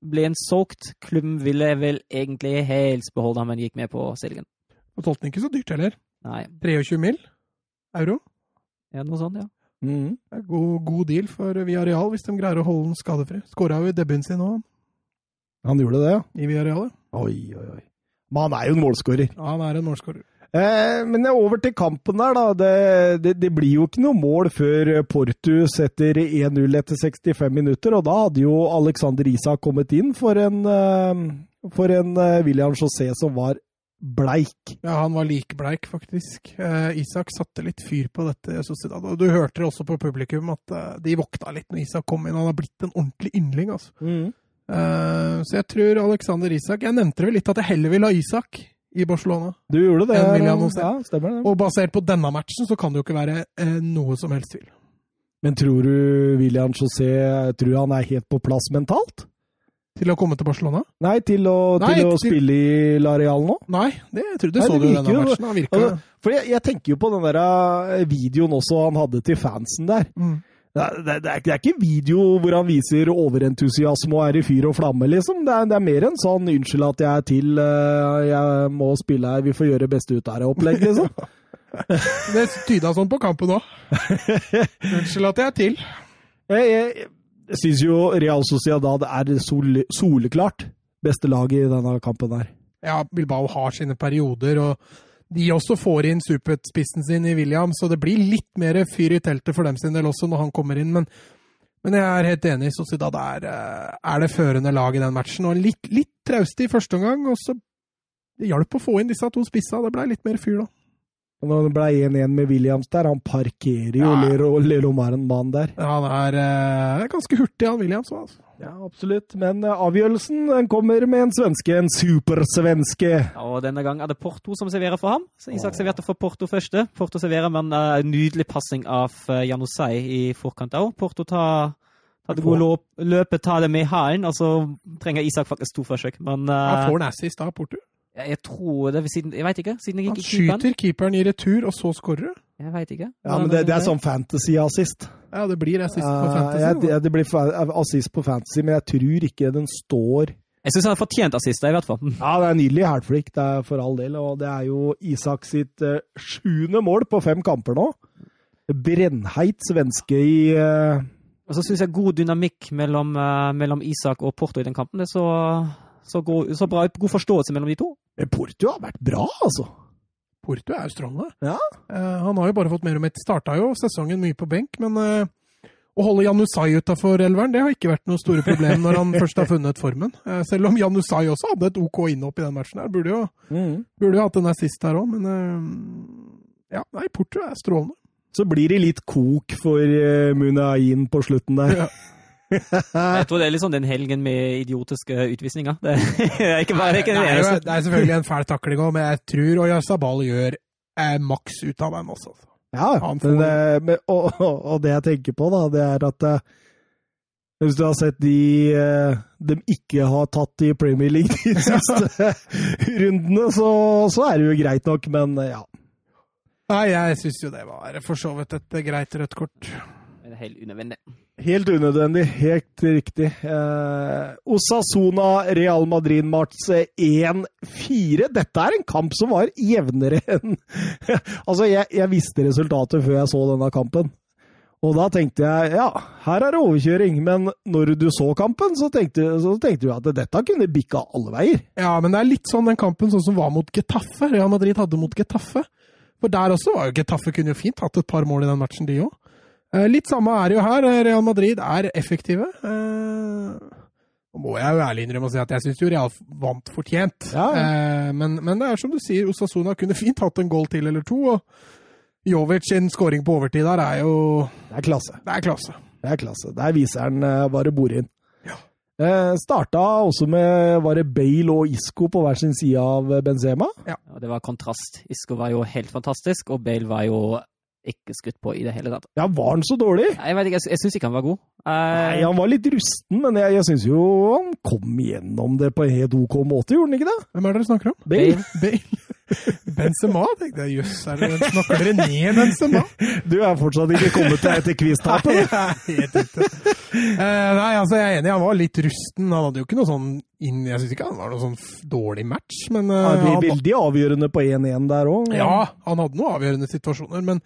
C: ble han solgt. Klubben ville vel egentlig helst beholde ham, men gikk med på selgen.
A: Og solgte den ikke så dyrt heller.
C: Nei,
A: 23 mill. euro.
C: ja, noe sånt, ja.
B: Mm.
A: Det er god, god deal for eh, Villarreal hvis de greier å holde den skadefri. Skåra jo i debuten sin nå, han,
B: Han gjorde det, ja.
A: i Villarreal. ja.
B: Oi, oi, oi. Men han er jo en målskårer.
A: Ja, han er en målskårer.
B: Eh, men over til kampen der, da. Det, det, det blir jo ikke noe mål før Portu setter 1-0 etter 65 minutter, og da hadde jo Alexander Isak kommet inn for en, eh, for en eh, William José som var bleik.
A: Ja, han var likbleik, faktisk. Eh, Isak satte litt fyr på dette Sociedad. Og du hørte det også på publikum at eh, de våkna litt når Isak kom inn. Han har blitt en ordentlig yndling, altså.
B: Mm.
A: Eh, så jeg tror Alexander Isak Jeg nevnte vel litt at jeg heller vil ha Isak i Barcelona.
B: Du gjorde det? eh,
A: En William José.
B: Ja, stemmer det.
A: Og basert på denne matchen så kan det jo ikke være eh, noe som helst tvil.
B: Men tror du William José tror du han er helt på plass mentalt?
A: Til å komme til Barcelona?
B: Nei, til å,
A: Nei,
B: til å
A: til-
B: spille i Lareal nå?
A: Nei, det tror jeg det
B: Nei,
A: så
B: det
A: du i
B: virker
A: denne
B: jo-
A: matchen. Han virka
B: Altså, For jeg, jeg tenker jo på den der eh, videoen også han hadde til fansen der.
A: mm.
B: Det er, det, er, det er ikke video hvor han viser overentusiasme og er i fyr og flamme, liksom. Det er, det er mer en sånn 'unnskyld at jeg er til, eh, jeg må spille her, vi får gjøre det beste ut av det'-opplegg, *laughs* liksom.
A: Det tyda sånn på kampen
B: *laughs*
A: òg. Unnskyld at jeg er til.
B: Jeg, jeg, jeg syns jo Real Sociedad er sol, soleklart beste laget i denne kampen her.
A: Ja, Bilbao har sine perioder, og de også får inn superspissen sin i William, så det blir litt mer fyr i teltet for dem sin del også når han kommer inn. Men, men jeg er helt enig, Sociedad er, eh, er det førende lag i den matchen. Og litt, litt trauste i første omgang, og så det hjalp å få inn disse to spissa. Det blei litt mer fyr da.
B: Og Når det ble 1-1 med Williams der, han parkerer jo
A: Ja.
B: Lero Leromaren-mannen der.
A: Ja, Han er eh, ganske hurtig, han Williams. Altså.
B: Ja, absolutt. Men eh, avgjørelsen den kommer med en svenske, en supersvenske.
C: Ja, Og denne gang er det Porto som serverer for ham. Så Isak serverte for Porto første. Porto serverer med en eh, nydelig passing av eh, Janusei i forkant òg. Porto tar, tar det gode løp, løpet, tar det med i hælen, og så trenger Isak faktisk to forsøk. Men eh,
A: Han får den assist da, Portu.
C: jeg, jeg tror det vil siden Jeg veit ikke. Siden jeg
A: Han
C: ikke keeperen.
A: skyter keeperen i retur, og så skårer du.
C: Jeg vet ikke.
B: Ja, men det, det er sånn fantasy-assist.
A: Ja, det blir assist på
B: Eh, jeg,
A: fantasy. da.
B: det, det blir fa assist på fantasy, men jeg tror ikke den står
C: eh, Jeg syns han har fortjent assist, i hvert fall. Mm.
B: Ja, det er nydelig halvflikk, det er for all del. Og det er jo Isak sitt eh, sjuende mål på fem kamper nå. Brennheit svenske i eh,
C: Og så syns jeg god dynamikk mellom, eh, mellom Isak og Porto i den kampen. Det er så, så, god, så bra, god forståelse mellom de to.
B: men Porto har vært bra, altså.
A: Portu er jo strålende.
B: Ja.
A: Eh, han har jo bare fått mer og mer. Starta jo sesongen mye på benk, men eh, å holde Janusai utafor elveren det har ikke vært noe store problem når *laughs* han først har funnet formen. Eh, selv om Janusai også hadde et OK innhopp i den matchen. her, Burde jo, burde jo hatt en assist her òg, men eh, ja, nei, Portu er strålende. *laughs*
B: Så blir det litt kok for eh, Munain på slutten der.
C: Jeg tror det er liksom den helgen med idiotiske utvisninger. Det er ikke bare ikke
A: det,
C: det
A: er jo,
C: eneste.
A: det er selvfølgelig en fæl takling òg, men jeg tror Oyasabal gjør eh, maks ut av den også. altså.
B: Ja,
A: Han får-
B: men, eh, men, *laughs* og, og, og det jeg tenker på, da, det er at eh, hvis du har sett de eh, de ikke har tatt i Premier League de *laughs* siste rundene, så, så er det jo greit nok, men eh, ja.
A: Nei, jeg syns jo det var for så vidt et eh, greit rødt kort.
C: Det er Helt unødvendig.
B: Helt unødvendig. Helt riktig. Eh, Osasuna Real Madrid-match 1-4. Dette er en kamp som var jevnere *laughs* enn Altså, jeg, jeg visste resultatet før jeg så denne kampen. Og da tenkte jeg ja, her er det overkjøring. Men når du så kampen, så tenkte, så tenkte du at dette kunne bikka alle veier.
A: Ja, men det er litt sånn den kampen sånn som var mot Getafe. Real Madrid hadde mot Getafe. For der også var jo Getafe kunne jo fint hatt et par mål i den matchen, de òg. Litt samme er det jo her. eh, Real Madrid er effektive. Eh, Nå må jeg jo ærlig innrømme å si at jeg syns jo Real vant fortjent.
B: Ja.
A: Eh, Men, men det er som du sier, Osasuna kunne fint hatt en goal til eller to. og Jovic sin scoring på overtid der er jo
B: Det er klasse.
A: Det er klasse.
B: Det er klasse. Der viser han eh, hva det bor inn. Eh, starta også med var det Bale og Isco på hver sin side av Benzema.
C: Og det var kontrast. Isco var jo helt fantastisk, og Bale var jo ikke skutt på i det hele tatt.
B: Ja, var han så dårlig?
C: Jeg vet ikke, jeg, sy- jeg syns ikke han var god.
B: Nei,
C: Eh,
B: han var litt rusten, men jeg, jeg syns jo han kom gjennom det på en helt OK måte, gjorde han ikke det?
A: Hvem er det dere snakker om?
C: Bale.
A: *laughs* Bale? Benzema, tenkte jeg. Jøss, er det- snakker dere ned Benzema?
B: Du er fortsatt ikke kommet deg etter
A: *laughs*
B: quiz-tapet.
A: Nei, jeg er helt ute. Eh, nei, altså jeg er enig, han var litt rusten. Han hadde jo ikke noe sånn inn, Jeg syns ikke han var noe sånn f- dårlig match, men eh,
B: Han blir
A: han,
B: veldig avgjørende på 1-1 der òg.
A: ja, han hadde noen avgjørende situasjoner. Men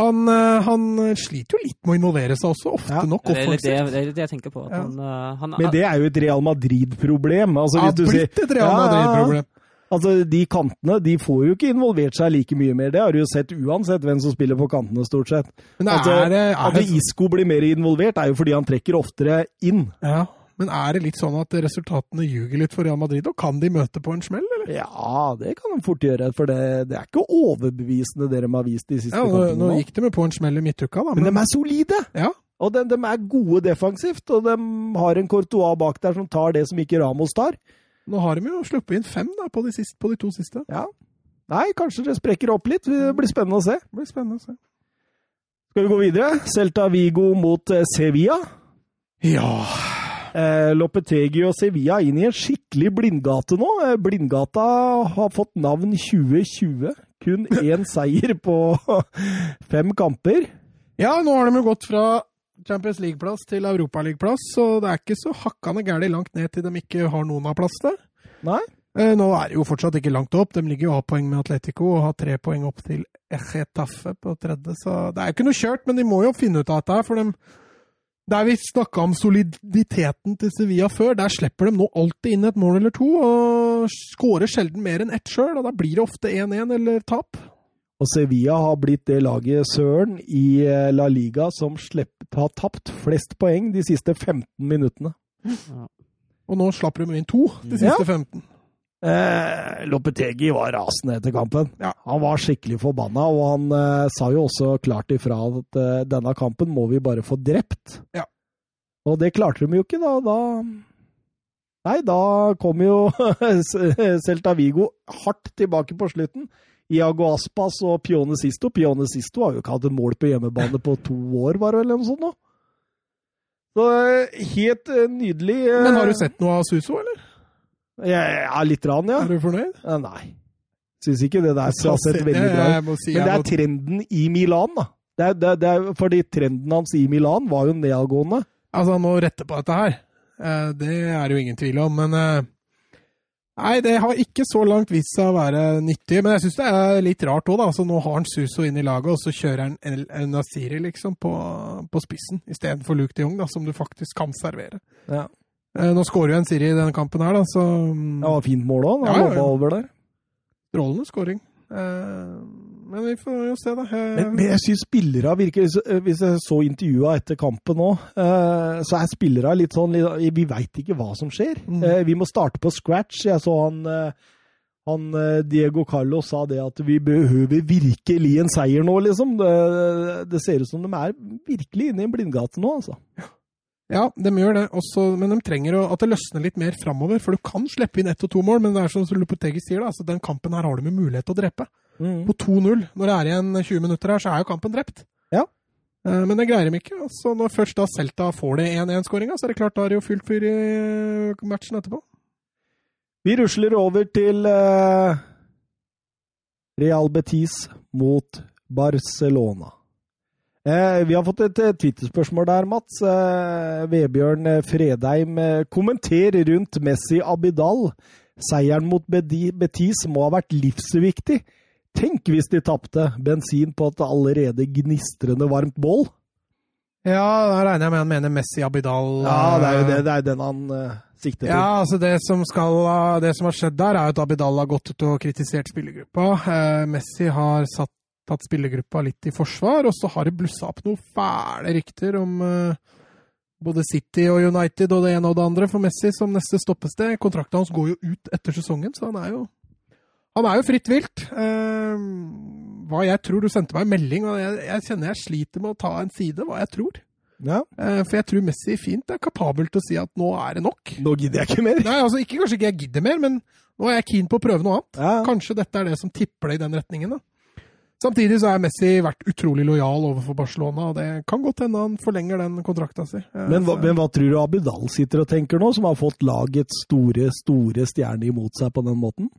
A: han, eh, han sliter jo litt med å involvere seg også, ofte
B: Ja.
A: nok
C: Det er litt det,
A: offensivt.
C: det, er litt det jeg tenker på. At
A: Ja.
C: han, eh, han,
B: Men det er jo et Real Madrid-problem. Altså,
A: Ja,
B: hvis du sier
A: blitt et Real
B: Ja, ja, ja.
A: Madrid-problem.
B: altså, De kantene de får jo ikke involvert seg like mye mer. Det har du jo sett uansett hvem som spiller på kantene, stort sett.
A: Men
B: At,
A: er det,
B: at
A: er det,
B: Isco blir mer involvert, er jo fordi han trekker oftere inn.
A: ja, men er det litt sånn at resultatene ljuger litt for Real Madrid, og kan de møte på en smell? Eller?
B: Ja, det kan de fort gjøre, for det, det er ikke overbevisende det de har vist de siste
A: Ja, nå,
B: kampene.
A: nå
B: nå.
A: gikk de jo på en smell i midtuka, da.
B: Men de er solide,
A: ja,
B: og de, de er gode defensivt. Og de har en Courtois bak der som tar det som ikke Ramos tar.
A: nå har de jo sluppet inn fem da, på, de siste, på de to siste.
B: Ja. Nei, kanskje det sprekker opp litt. Det blir spennende å se.
A: Det blir spennende å se.
B: Skal vi gå videre? Celta Vigo mot eh, Sevilla.
A: Ja,
B: Eh, Lopetegi og Sevilla inn i en skikkelig blindgate nå. Eh, blindgata har fått navn 2020. Kun én seier på *laughs* fem kamper.
A: Ja, nå har de jo gått fra Champions League-plass til Europaliga-plass, så det er ikke så hakkande gærent langt ned til de ikke har noen av plassene.
B: Nei.
A: Eh, Nå er det jo fortsatt ikke langt opp. De ligger jo av poeng med Atletico og har tre poeng opp til Echetaffe på tredje, så det er jo ikke noe kjørt, men de må jo finne ut av dette her, for dem der vi snakka om soliditeten til Sevilla før, der slipper de nå alltid inn et mål eller to, og skårer sjelden mer enn ett sjøl, og da blir det ofte 1-1 eller tap.
B: Og Sevilla har blitt det laget søren i eh, La Liga som slipper, har tapt flest poeng de siste 15 minuttene.
A: Og nå slapp de inn to de siste
B: Ja.
A: 15.
B: Eh, Lopetegi var rasende etter kampen.
A: Ja.
B: Han var skikkelig forbanna, og han eh, sa jo også klart ifra at eh, denne kampen må vi bare få drept.
A: Ja.
B: Og det klarte de jo ikke, da. da Nei, da kom jo *laughs* Celta Vigo hardt tilbake på slutten. Iago Aspas og Pione Sisto. Pione Sisto har jo ikke hatt et mål på hjemmebane på to år, var det vel, eller noe sånt? nå? Så eh, helt eh, nydelig. eh,
A: Men har du sett noe av Suso, eller?
B: Ja, ja, litt rann, ja.
A: Er du fornøyd?
B: Eh, Nei. Syns ikke det der skal sett veldig bra ut.
A: Jeg må si,
B: Men det
A: jeg
B: er trenden i Milan, da. Det er, det, er- det er, fordi trenden hans i Milan var jo nedadgående.
A: må, altså, han må rette på dette her. Eh, Det er det jo ingen tvil om, men eh, Nei, det har ikke så langt vist seg å være nyttig, men jeg syns det er litt rart òg, da. Altså, nå har han Suso inn i laget, og så kjører han El- El Naziri, liksom, på, på spissen istedenfor Luke de Jong, da, som du faktisk kan servere.
B: Ja.
A: Eh, Nå skårer jo en Siri i denne kampen her, da, så mm,
B: Det var fint mål òg,
A: Ja,
B: han
A: ja, ja.
B: lobba over der.
A: strålende skåring. Eh, Men vi får jo se, da. Eh,
B: Men, men jeg syns spillere virker Hvis jeg så intervjua etter kampen nå, eh, så er spillere litt sånn litt- Vi veit ikke hva som skjer.
A: Mm.
B: Eh, Vi må starte på scratch. Jeg så han eh, han eh, Diego Carlo sa det at vi behøver virkelig en seier nå, liksom. Det, det ser ut som de er virkelig inne i en blindgate nå, altså.
A: Ja, de gjør det, også, men de trenger å, at det løsner litt mer framover. For du kan slippe inn ett og to mål, men det er som Lopetegi sier, da, altså, den kampen her har de jo mulighet til å drepe.
B: Mm.
A: På 2-0, når det er igjen 20 minutter her, så er jo kampen drept.
B: Ja.
A: Eh, Men det greier de ikke. Altså, når først da Celta får det 1-1-skåringa, så er det klart da er det jo fylt fyr i eh, matchen etterpå.
B: Vi rusler over til eh, Real Betis mot Barcelona. Eh, vi har fått et eh, Twitter-spørsmål der, Mats. Eh, Vebjørn eh, Fredheim, eh, kommenter rundt Messi Abidal. Seieren mot Bedi- Betis må ha vært livsviktig. Tenk hvis de tapte bensin på et allerede gnistrende varmt bål.
A: Ja, da regner jeg med han mener Messi Abidal.
B: Ja, det er jo det, det er den han eh, sikter til.
A: Ja, altså det som, skal, det som har skjedd der, er jo at Abidal har gått ut og kritisert spillergruppa. Eh, Messi har satt, tatt spillergruppa litt i forsvar, og så har det blussa opp noen fæle rykter om eh, både City og United og det ene og det andre for Messi som neste stoppested. Kontrakten hans går jo ut etter sesongen, så han er jo, han er jo fritt vilt. Eh, hva jeg tror Du sendte meg en melding, og jeg, jeg kjenner jeg sliter med å ta en side, hva jeg tror.
B: Ja.
A: Eh, for jeg tror Messi fint er kapabel til å si at nå er det nok.
B: Nå gidder jeg ikke mer.
A: Nei, altså ikke, Kanskje ikke jeg gidder mer, men nå er jeg keen på å prøve noe annet.
B: Ja.
A: Kanskje dette er det som tipper det i den retningen. da. Samtidig så har Messi vært utrolig lojal overfor Barcelona, og det kan godt hende han forlenger den kontrakta si. Eh,
B: Men hva,
A: så-
B: men hva tror du Abidal sitter og tenker nå, som har fått lagets store, store stjerne imot seg på den måten?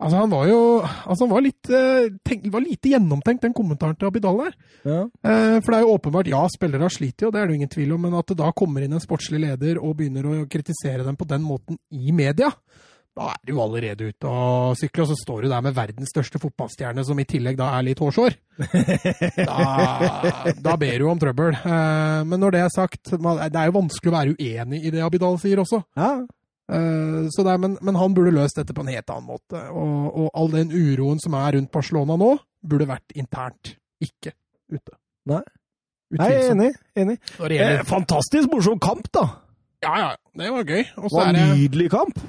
A: Altså, Han var jo altså, han var litt, eh, tenk, det var lite gjennomtenkt, den kommentaren til Abidal der.
B: Ja.
A: Eh, For det er jo åpenbart, ja, spillere sliter jo, det er det jo ingen tvil om, men at det da kommer inn en sportslig leder og begynner å kritisere dem på den måten i media, da er du allerede ute og sykler, og så står du der med verdens største fotballstjerne, som i tillegg da er litt hårsår. Da, da ber du om trøbbel. Eh, Men når det er sagt, man- det er jo vanskelig å være uenig i det Abidal sier også.
B: ja.
A: Eh, Så det er, men, men han burde løst dette på en helt annen måte, og, og all den uroen som er rundt Barcelona nå, burde vært internt, ikke ute.
B: Nei. Nei, jeg er
A: Utvilsomt.
B: enig. enig.
A: Når det
B: Eh,
A: gjelder
B: fantastisk morsom kamp, da!
A: Ja, ja, det var gøy. Og så
B: Var
A: er det
B: nydelig kamp!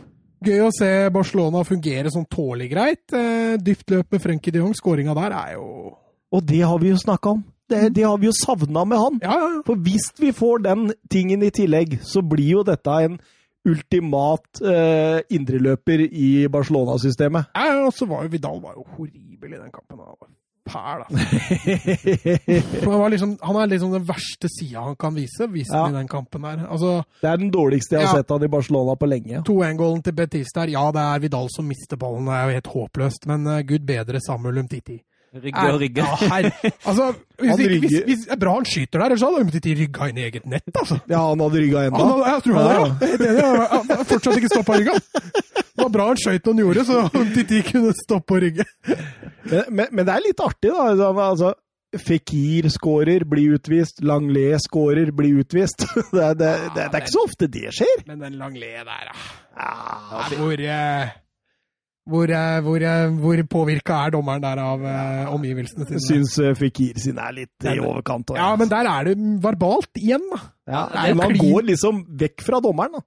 A: gøy å se Barcelona fungere sånn tålelig greit. Eh, Dypt løp med Frenkie de Jong. Skåringa der er jo
B: Og det har vi jo snakka om. Det, det har vi jo savna med han.
A: Ja, ja, ja.
B: For hvis vi får den tingen i tillegg, så blir jo dette en ultimat eh, indreløper i Barcelona-systemet.
A: ja, ja, Og så var jo Vidal var jo horribel i den kampen. Han var Pæl, altså.
B: *laughs* det
A: For Han, var liksom, han er liksom den verste sida han kan vise, viste han i den kampen der. Altså,
B: er den dårligste jeg har
A: Ja.
B: sett han i Barcelona på lenge.
A: 2-1-gålen til Betis der, ja, det er Vidal som mister ballen, det er jo helt håpløst, men eh, gud bedre Samuel Umtiti.
C: Rygge og rygge.
A: Ja, herre. Altså, hvis,
B: Han
A: ikke- hvis,
B: rygger.
A: hvis, det er bra han skyter der, ellers hadde Umtiti rygga inn i eget nett, altså.
B: Ja, han hadde rygga
A: Ja,
B: ennå.
A: jeg tror han er, ja. Helt enig, ja. Han har fortsatt ikke stoppa rygga. Det var bra han skøyt noen gjorde, så om de de kunne stoppe å rygge.
B: Men, men, men det er litt artig, da. Altså, altså, Fikir skårer, blir utvist. Langlais skårer, blir utvist. *laughs* Det, er- det, det, det er ikke så ofte det skjer.
A: Men den Langlais der, da.
B: Ja,
A: Hvor, eh, hvor, eh, hvor, eh, hvor påvirka er dommeren der av eh, omgivelsene
B: jeg
A: sine?
B: syns eh, Fikir sin er litt i overkant. også.
A: Ja, men der er det verbalt igjen, da.
B: Ja,
A: det er
B: nei,
A: jo
B: men han
A: klin-
B: går liksom vekk fra dommeren, da.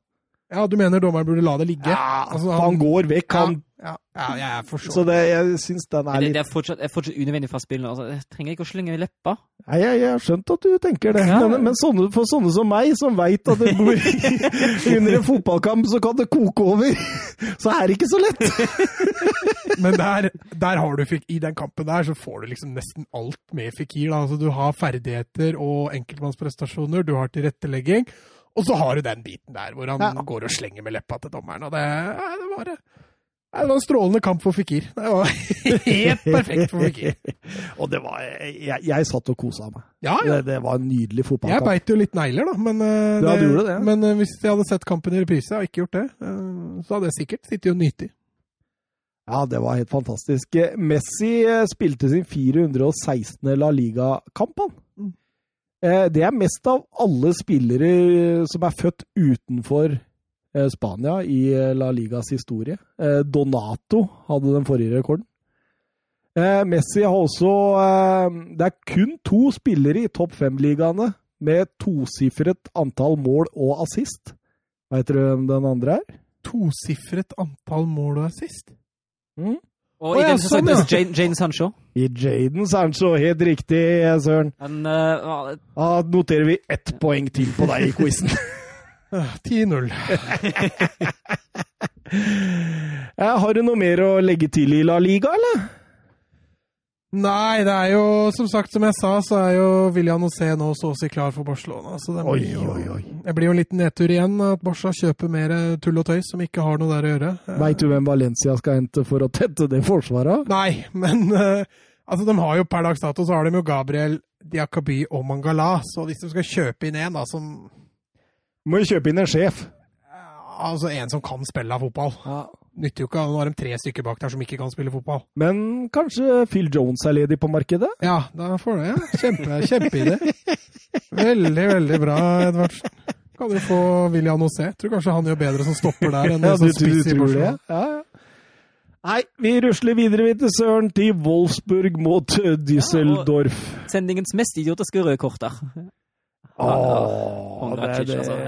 A: Ja, du mener dommeren burde la det ligge?
B: Ja,
A: altså,
B: han,
A: han-
B: går vekk, han.
A: Ja, ja, ja jeg forstår.
B: Så det, jeg syns den er
C: Det,
B: litt
C: det er fortsatt, det er fortsatt unødvendig fra spillene. Altså, jeg trenger ikke å slynge i leppa.
B: Nei, jeg, jeg har skjønt at du tenker det,
C: Ja.
B: men, men sånne, for sånne som meg, som veit at det bor
A: *laughs*
B: under en fotballkamp, så kan det koke over. *laughs* Så er det ikke så lett.
A: Men der, der har du, Fik- i den kampen der, så får du liksom nesten alt med Fikir. Da. Altså, du har ferdigheter og enkeltmannsprestasjoner, du har tilrettelegging, og så har du den biten der hvor han
B: Ja.
A: går og slenger med leppa til dommeren. Og det, ja, det, var, ja, det var en strålende kamp for Fikir. Det var *laughs* helt perfekt for Fikir.
B: *laughs* Og det var Jeg, jeg satt og kosa meg.
A: Ja, ja.
B: Det, det var en nydelig
A: Jeg
B: fotballkamp.
A: beit jo litt negler, da, men, eh,
B: Ja, du gjorde det, ja.
A: men eh, hvis jeg hadde sett kampen i reprise og ikke gjort det, eh, så hadde jeg sikkert sittet og nytt i.
B: Ja, det var helt fantastisk. Messi eh, spilte sin 416. La Liga-kamp, han.
A: Mm.
B: Eh, Det er mest av alle spillere eh, som er født utenfor eh, Spania i eh, La Ligas historie. Eh, Donato hadde den forrige rekorden. Eh, Messi har også eh, Det er kun to spillere i topp fem-ligaene med tosifret antall mål og assist. Veit dere hvem den andre er?
A: Tosifret antall mål og assist.
B: Mm.
C: Og
A: Å,
C: i
A: ja,
C: den så
A: sånn,
C: sagt
A: ja.
C: Jane, Jane Sancho.
B: I Jaden Sancho, helt riktig, Søren.
C: Han, eh, var-
B: Da noterer vi ett poeng til på deg i quizen. *laughs*
A: Eh, 10-0.
B: har du noe mer å legge til i La Liga, eller?
A: Nei, det er jo som sagt, som jeg sa, så er jo William José nå så å si klar for Barcelona. Så det blir
B: Oi,
A: jo,
B: oi, oi.
A: Det blir jo en liten nedtur igjen at Barca kjøper mer eh, tull og tøy som ikke har noe der å gjøre. Eh,
B: Veit du hvem Valencia skal hente for å tette det forsvaret?
A: Nei, *laughs* men eh, altså, de har jo per dags dato så har de jo Gabriel, Diakoby og Mangala. Så hvis de skal kjøpe inn en, da, som
B: Må jo kjøpe inn en sjef.
A: Altså en som kan spille fotball. Nytter jo ikke. Nå har de tre stykker bak der som ikke kan spille fotball.
B: Men kanskje Phil Jones er ledig på markedet?
A: Ja, da får du det. Ja. Kjempe, kjempeidé. Veldig, veldig bra, Edvardsen. Kan du få William José? Tror kanskje han gjør bedre som stopper der enn som spiss i Barcelona.
B: Ja, ja. Nei, vi rusler videre vi til Søren, til Wolfsburg mot eh, Düsseldorf.
C: sendingens mest idiotiske røde kort der.
B: Åh, det er
C: Kondracic,
B: det.
C: altså.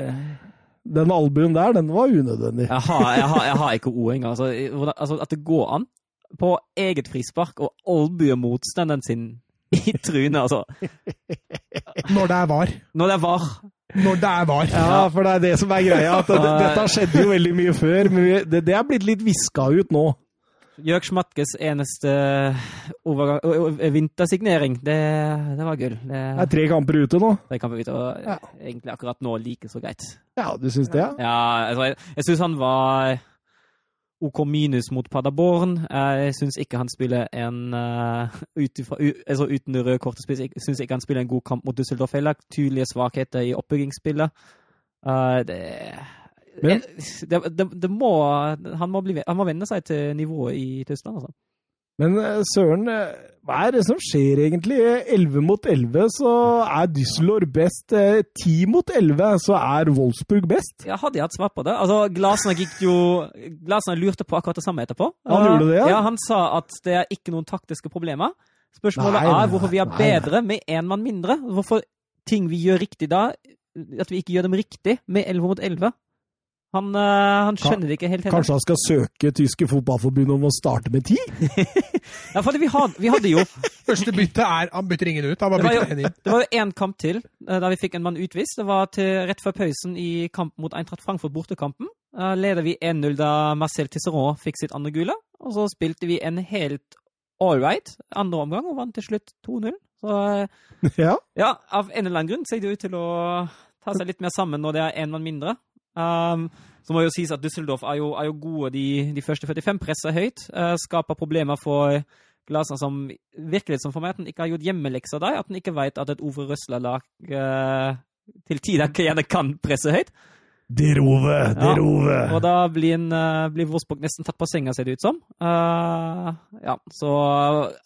B: Den albuen der, den var unødvendig.
C: Jeg har, jeg har, jeg har ikke ord engang. Altså, i- hvordan- altså, at det går an på eget frispark og albue motstanderen sin i trynet, altså.
A: Når det er var.
C: Når det var
A: Når det er var.
B: Ja, for det er det som er greia. At det, dette skjedde jo veldig mye før, men vi, det, det er blitt litt viska ut nå.
C: Jørg Schmatkes eneste overgang, ø- ø- vintersignering, det, det var gull.
B: Det er
C: Det,
B: tre kamper ute nå.
C: det kan vi vite. Og egentlig akkurat nå like så greit.
B: Ja, du syns det? Ja.
C: Ja, altså, jeg, jeg syns han var OK minus mot Paderborn. Eh, Jeg syns ikke han spiller en eh, ut, ifra- u, altså, Uten det røde kortet spiller jeg syns ikke han spiller en god kamp mot Düsseldorf heller. Tydelige svakheter i oppbyggingsspillet. Eh, det,
B: Men-
C: det, det, det må Han må, bli, han må venne seg til nivået i Tyskland, altså.
B: Men eh, søren, eh, hva er det som skjer egentlig? 11 mot 11 så er Düsseldorf best. eh, 10 mot 11 så er Wolfsburg best.
C: Ja, hadde jeg hatt svar på det. Altså, Glasner gikk jo Glasner lurte på akkurat det samme etterpå. Eh,
B: Han gjorde det, ja.
C: ja? Han sa at det er ikke noen taktiske problemer. Spørsmålet
B: Nei, nei,
C: er hvorfor vi er
B: nei, nei.
C: bedre med én mann mindre. Hvorfor ting vi gjør riktig da, at vi ikke gjør dem riktig med 11 mot 11. Han, eh, han skjønner det ikke helt. helt.
B: Kanskje han skal søke tyske fotballforbund om å starte med 10?
C: Ja, fordi vi, had, vi hadde jo
A: Første bytte er Han bytter ingen ut. Han
C: Det
A: bare
C: var jo-
A: bytter en inn.
C: Det var jo én kamp til eh, da vi fikk en mann utvist. Det var til rett før pausen i kamp mot Eintracht Frankfurt bortekampen. Da leder vi 1-0 da Marcel Tisserand fikk sitt andre gule. Og så spilte vi en helt ålreit andre omgang og vant til slutt 2-0. Så eh,
B: Ja.
C: ja, av en eller annen grunn ser det ut til å ta seg litt mer sammen når det er én mann mindre. Um, så må jo sies at Düsseldorf er jo, er jo gode de, de første 45, presser høyt, eh, skaper problemer for Glasner som virkelig som for meg at han ikke har gjort hjemmelekser der, at han ikke vet at et Ove Røsler-lag eh, til tider *laughs* gjerne kan presse høyt.
B: Derove, derove.
C: Og da blir, en, eh, blir Wolfsburg nesten tatt på senga, ser det ut som. Eh, ja, så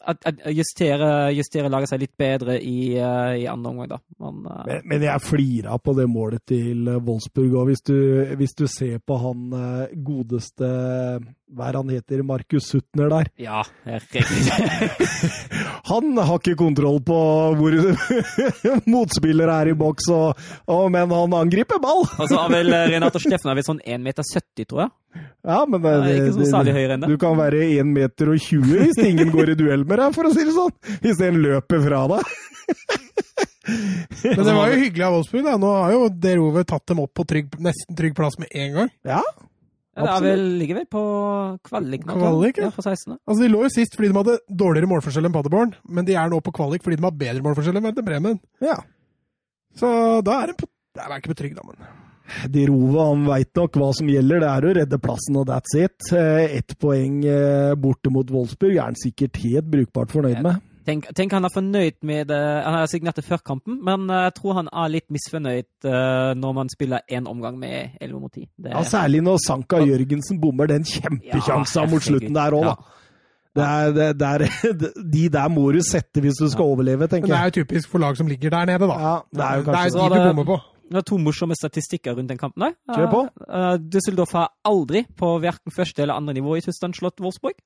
C: at, at justere, justere laget seg litt bedre i, eh, i andre omgang, da. Men, eh,
B: Men, men jeg flira på det målet til eh, Wolfsburg. Og hvis du, hvis du ser på han eh, godeste Hva er han heter? Markus Suttner der.
C: ja, herregud.
B: Han har ikke kontroll på hvor *laughs* motspiller er i boks, og, og, men han angriper ball!
C: *laughs* Og så har vel eh, Renato Steffen er vel sånn 1,70 meter, tror jeg.
B: Ja, men det,
C: Han er ikke så særlig høyere enn det.
B: du kan være 1,20 meter hvis ingen går i duell med deg, for å si det sånn. Hvis en løper fra deg.
A: Men det var jo hyggelig av Wolfsburg. Da. Nå har jo Derove tatt dem opp på trygg, nesten trygg plass med en gang.
B: Ja,
C: Ja, det er vel, ligger vel på kvalik nå. tror jeg.
A: Kvalik, ja.
C: ja. På 16.
A: Altså, De lå jo sist fordi de hadde dårligere målforskjell enn Paderborn, men de er nå på kvalik fordi de har bedre målforskjell enn Werder Bremen.
B: ja.
A: Så da er de på Nei, de er ikke på trygg, da, men
B: De Rove han veit nok hva som gjelder. Det er å redde plassen, og that's it. Eh, Ett poeng eh, borte mot Wolfsburg er han sikkert helt brukbart fornøyd med.
C: Tenk, tenk han er fornøyd med det. Han har signert det før kampen, men eh, jeg tror han er litt misfornøyd eh, når man spiller én omgang med 11 mot 10. Det,
B: Ja, Særlig når Sanka Jørgensen bommer den kjempekjansa mot slutten der òg, da. Det er, det, det er, *laughs* de der må du sette hvis du skal overleve,
A: Men det
B: tenker jeg.
A: er jo typisk for lag som ligger der nede, da.
B: Ja, det er jo kanskje
A: det
C: sånn.
A: er de du bommer på.
C: Det var to morsomme statistikker rundt den kampen. der.
B: Kjør på.
C: Eh, eh, Düsseldorf har aldri, på hverken første eller andre nivå i Tyskland, slått Wolfsburg.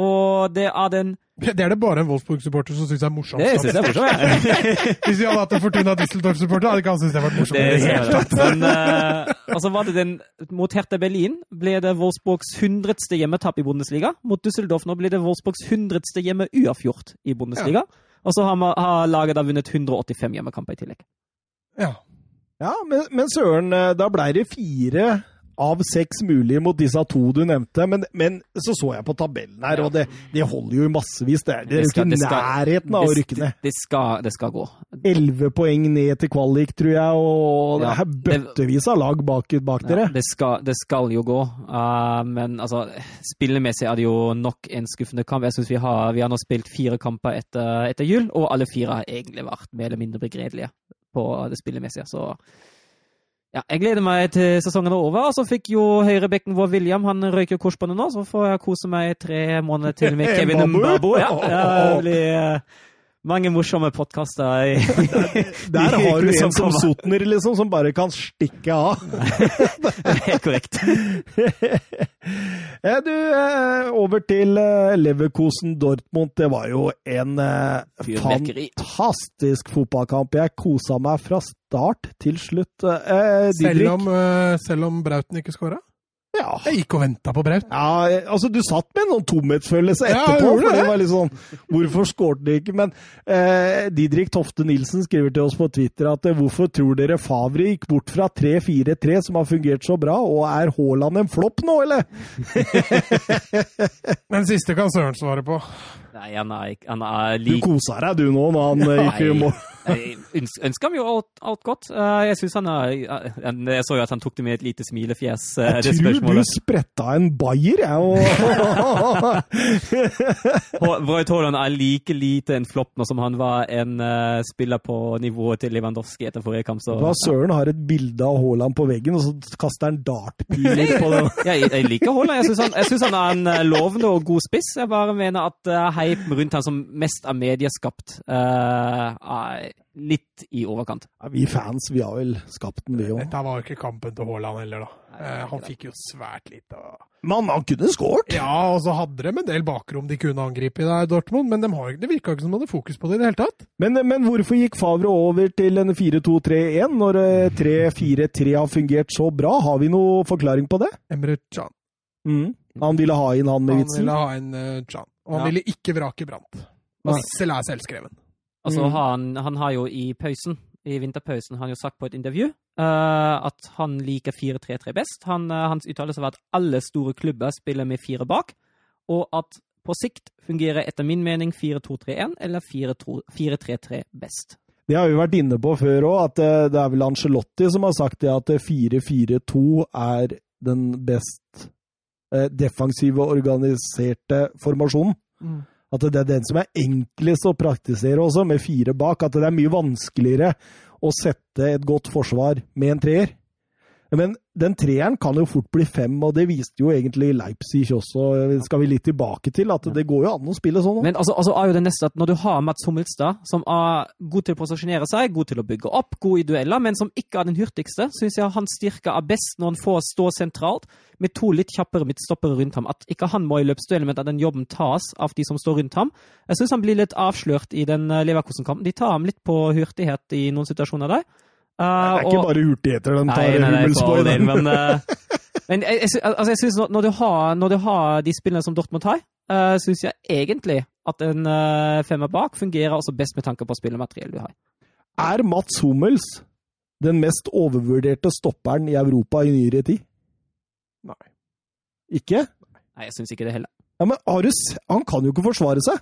C: Og det er den
A: Det er det bare en Wolfsburg-supporter som syns er morsomt.
C: Det syns jeg er
B: *laughs*
C: morsomt. jeg.
A: Hvis vi hadde hatt en Fortuna Düsseldorf-supporter, hadde ikke han syntes det vært morsomt.
C: Det er kjempegodt. Men, eh, og så var det den mot Hertha Berlin. Ble det Wolfsburgs hundredste hjemmetap i Bundesliga. Mot Düsseldorf nå blir det Wolfsburgs hundredste hjemme uavgjort i Bundesliga. Og så har, ma- har laget da vunnet 185 hjemmekamper i tillegg.
A: ja.
B: Ja, men, men søren, eh, da ble det fire av seks mulige mot disse to du nevnte. Men, men så så jeg på tabellen her, og det, det holder jo i massevis. Det, er- det er jo
C: Det skal-
B: ikke
C: det
B: i
C: skal-
B: nærheten av å rykke ned.
C: Det skal, det skal gå.
B: Elleve poeng ned til kvalik, tror jeg, og det
C: Ja,
B: er bøttevis av lag bak, bak
C: Ja,
B: dere.
C: det, skal, det skal jo gå. Eh, men altså, spillemessig er det jo nok en skuffende kamp. Jeg synes vi, har- vi har nå spilt fire kamper etter, etter jul, og alle fire har egentlig vært mer eller mindre begredelige på det spillemessige. Så ja, jeg gleder meg til sesongen er over. Og så fikk jo høyrebekken vår William han røyker korsbåndet nå, så får jeg kose meg i tre måneder til med Kevin
B: Mbabu.
C: Mbabo. Ja, ja, det blir eh, mange morsomme podkaster i *laughs*
B: Der har
C: i
B: du
C: uken
B: en som
C: kommer.
B: Sotner, liksom, som bare kan stikke av.
C: Helt korrekt.
B: Eh, Du, eh, over til eh, Leverkusen Dortmund. Det var jo en eh,
C: Fyrverkeri.
B: fantastisk fotballkamp. Jeg kosa meg fra start til slutt. Eh, Didrik,
A: Selv om, eh, selv om Brauten ikke skåra?
B: ja.
A: Jeg gikk og venta på Braut.
B: ja, eh, altså Du satt med en sånn tomhetsfølelse
A: Ja, jeg
B: etterpå.
A: gjorde
B: for
A: det.
B: det var litt sånn, Hvorfor skårte de ikke? Men eh, Didrik Tofte Nilsen skriver til oss på Twitter at eh, hvorfor tror dere Favre gikk bort fra 3-4-3, som har fungert så bra, og er Haaland en flopp nå, eller?
A: Den siste kan Søren svare på.
C: Nei, han er, ikke- han er
B: Du
C: like
B: kosa deg du nå når han eh, gikk i mål.
C: Jeg øns- ønsker ham jo alt, alt godt. Eh, Jeg synes han er han- Jeg så jo at han tok det med et lite smilefjes, eh, det
B: Jeg tror du
C: spørsmålet.
B: spretta en bayer, jeg. Og... *laughs*
C: Hå- Braut Haaland er like lite en flopp nå som han var en eh, spiller på nivået til Lewandowski etter forrige kamp, så
B: Hva søren har et bilde av Haaland på veggen, og så kaster han dartpiler på
C: *laughs*
B: den.
C: jeg, jeg liker Haaland. Jeg syns han, jeg synes han er en eh, lovende og god spiss. Jeg bare mener at eh, hypen rundt han som mest er medieskapt, eh, er litt i overkant.
B: Ja, vi fans, vi har vel skapt den, vi òg.
A: Dette var jo ikke kampen til Haaland heller, da.
C: Nei, det er
A: Eh,
C: ikke
A: han
C: det.
A: fikk jo svært lite av
B: Men han kunne skåret!
A: Ja, og så hadde de en del bakrom de kunne angripe i der, Dortmund, men de har, det virka ikke som de hadde fokus på det i det hele tatt.
B: Men, men hvorfor gikk Favre over til en 4-2-3-1 når eh, 3-4-3 har fungert så bra? Har vi noe forklaring på det?
A: Emre Can.
B: Han ville ha inn han med
A: Han
B: vitsen.
A: ville ha en eh, Can. Og han
C: Ja.
A: ville ikke vrake Brant.
C: Nei.
A: Wessel er selvskreven.
C: Altså,
B: Mm.
C: han, han har jo i pausen, i vinterpausen, han har jo sagt på et intervju eh, at han liker 4-3-3 best. Han, eh, hans uttalelse var at alle store klubber spiller med fire bak, og at på sikt fungerer etter min mening 4-2-3-1 eller 4-3-3 best.
B: Det har vi vært inne på før òg, at eh, det er vel Angelotti som har sagt det at eh, 4-4-2 er den best eh, defensive, organiserte formasjonen.
A: Mm.
B: At det er den som er enklest å praktisere også, med fire bak. At det er mye vanskeligere å sette et godt forsvar med en treer. Men den treeren kan jo fort bli fem, og det viste jo egentlig Leipzig også, eh, skal vi litt tilbake til, at det går jo an å spille sånn. også.
C: Men altså, altså er jo det neste at når du har Mats Hummelstad, som er god til å posisjonere seg, god til å bygge opp, god i dueller, men som ikke er den hurtigste, syns jeg hans styrke er best når han får stå sentralt med to litt kjappere midtstoppere rundt ham. At ikke han må i løpsduellen, men at den jobben tas av de som står rundt ham. Jeg syns han blir litt avslørt i den eh, Leverkusen-kampen. De tar ham litt på hurtighet i noen situasjoner der. Eh,
B: Det er ikke
C: og-
B: bare hurtigheter de
C: Nei,
B: tar
C: nei, nei, for
B: Hummelsborg,
C: all
B: den.
C: del,
B: *laughs*
C: men eh, Men jeg, jeg, sy- al- altså jeg synes når, når, du har, når du har de spillene som Dortmund har, uh, syns jeg egentlig at en eh, femmer bak fungerer også best med tanke på spillemateriell du har.
B: Er Mats Hummels den mest overvurderte stopperen i Europa i nyere tid?
A: Nei.
B: Ikke?
C: Nei, jeg syns ikke det heller.
B: Ja, men Arus, han kan jo ikke forsvare seg.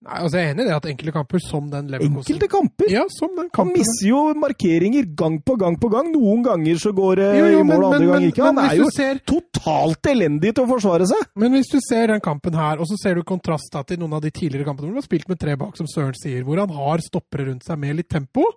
A: Nei, altså Jeg er enig i det at enkelte kamper som den Leverkosen
B: Enkelte kamper.
A: Ja, som den
B: Han
A: kampen.
B: misser jo markeringer gang på gang på gang. Noen ganger så går det
A: Jo, jo,
B: i mål,
A: men, men,
B: andre
A: men,
B: ganger ikke. Han
A: men
B: er
A: hvis
B: jo
A: du ser
B: totalt elendig til å forsvare seg.
A: Men hvis du ser den kampen her, og så ser du kontrast da til noen av de tidligere kampene hvor han har spilt med tre bak, som Søren sier, hvor han har stoppere rundt seg med litt tempo,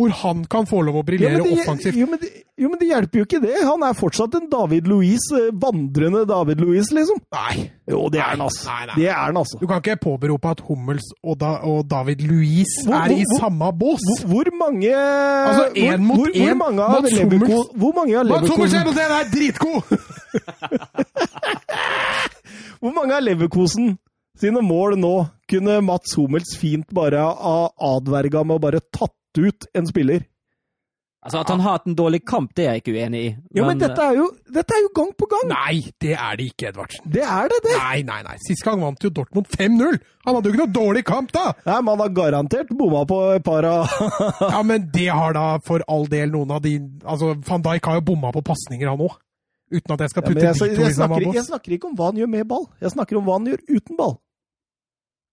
A: hvor han kan få lov å
B: Jo,
A: briljere
B: men det,
A: offensivt.
B: jo, men det, jo, men det hjelper jo ikke det. Han er fortsatt en David Louis, vandrende David Louis, liksom.
A: Nei,
B: Jo, det er han, altså.
A: Nei, nei.
B: Det er han, altså.
A: du kan ikke påberope at Hummels og, da, og David Louis
B: Hvor-
A: er i
B: hvor-
A: samme bås.
B: Hvor, hvor mange
A: Altså, en mot
B: hvor, hvor
A: en.
B: mange av
A: Mats
B: Leverkusen-
A: Hummels-
B: Hvor mange av
A: Mats Hummels
B: Leverkosen,
A: er på scenen, er dritgod!
B: hvor mange av Leverkosen sine mål nå kunne Mats Hummels fint bare ha adverga med å bare tatt ut en spiller.
C: Altså, At han har hatt en dårlig kamp, det er jeg ikke uenig i. eh,
B: Jo, men, dette, er jo, dette er jo gang på gang!
A: *laughs* Nei, det er det ikke, Edvardsen.
B: Det er det, det!
A: Nei, nei, nei. Sist gang vant jo Dortmund 5-0. Han hadde jo ikke noe dårlig kamp, da!
B: Nei, Man har garantert bomma på et par av
A: *laughs* Ja, men det har da for all del noen av de Altså, Van Dijk har jo bomma på pasninger, han òg. Uten at jeg skal
B: Ja, men
A: putte
B: jeg,
A: de
B: jeg,
A: to i
B: snakker,
A: samme bås.
B: jeg snakker ikke om hva han gjør med ball, jeg snakker om hva han gjør uten ball.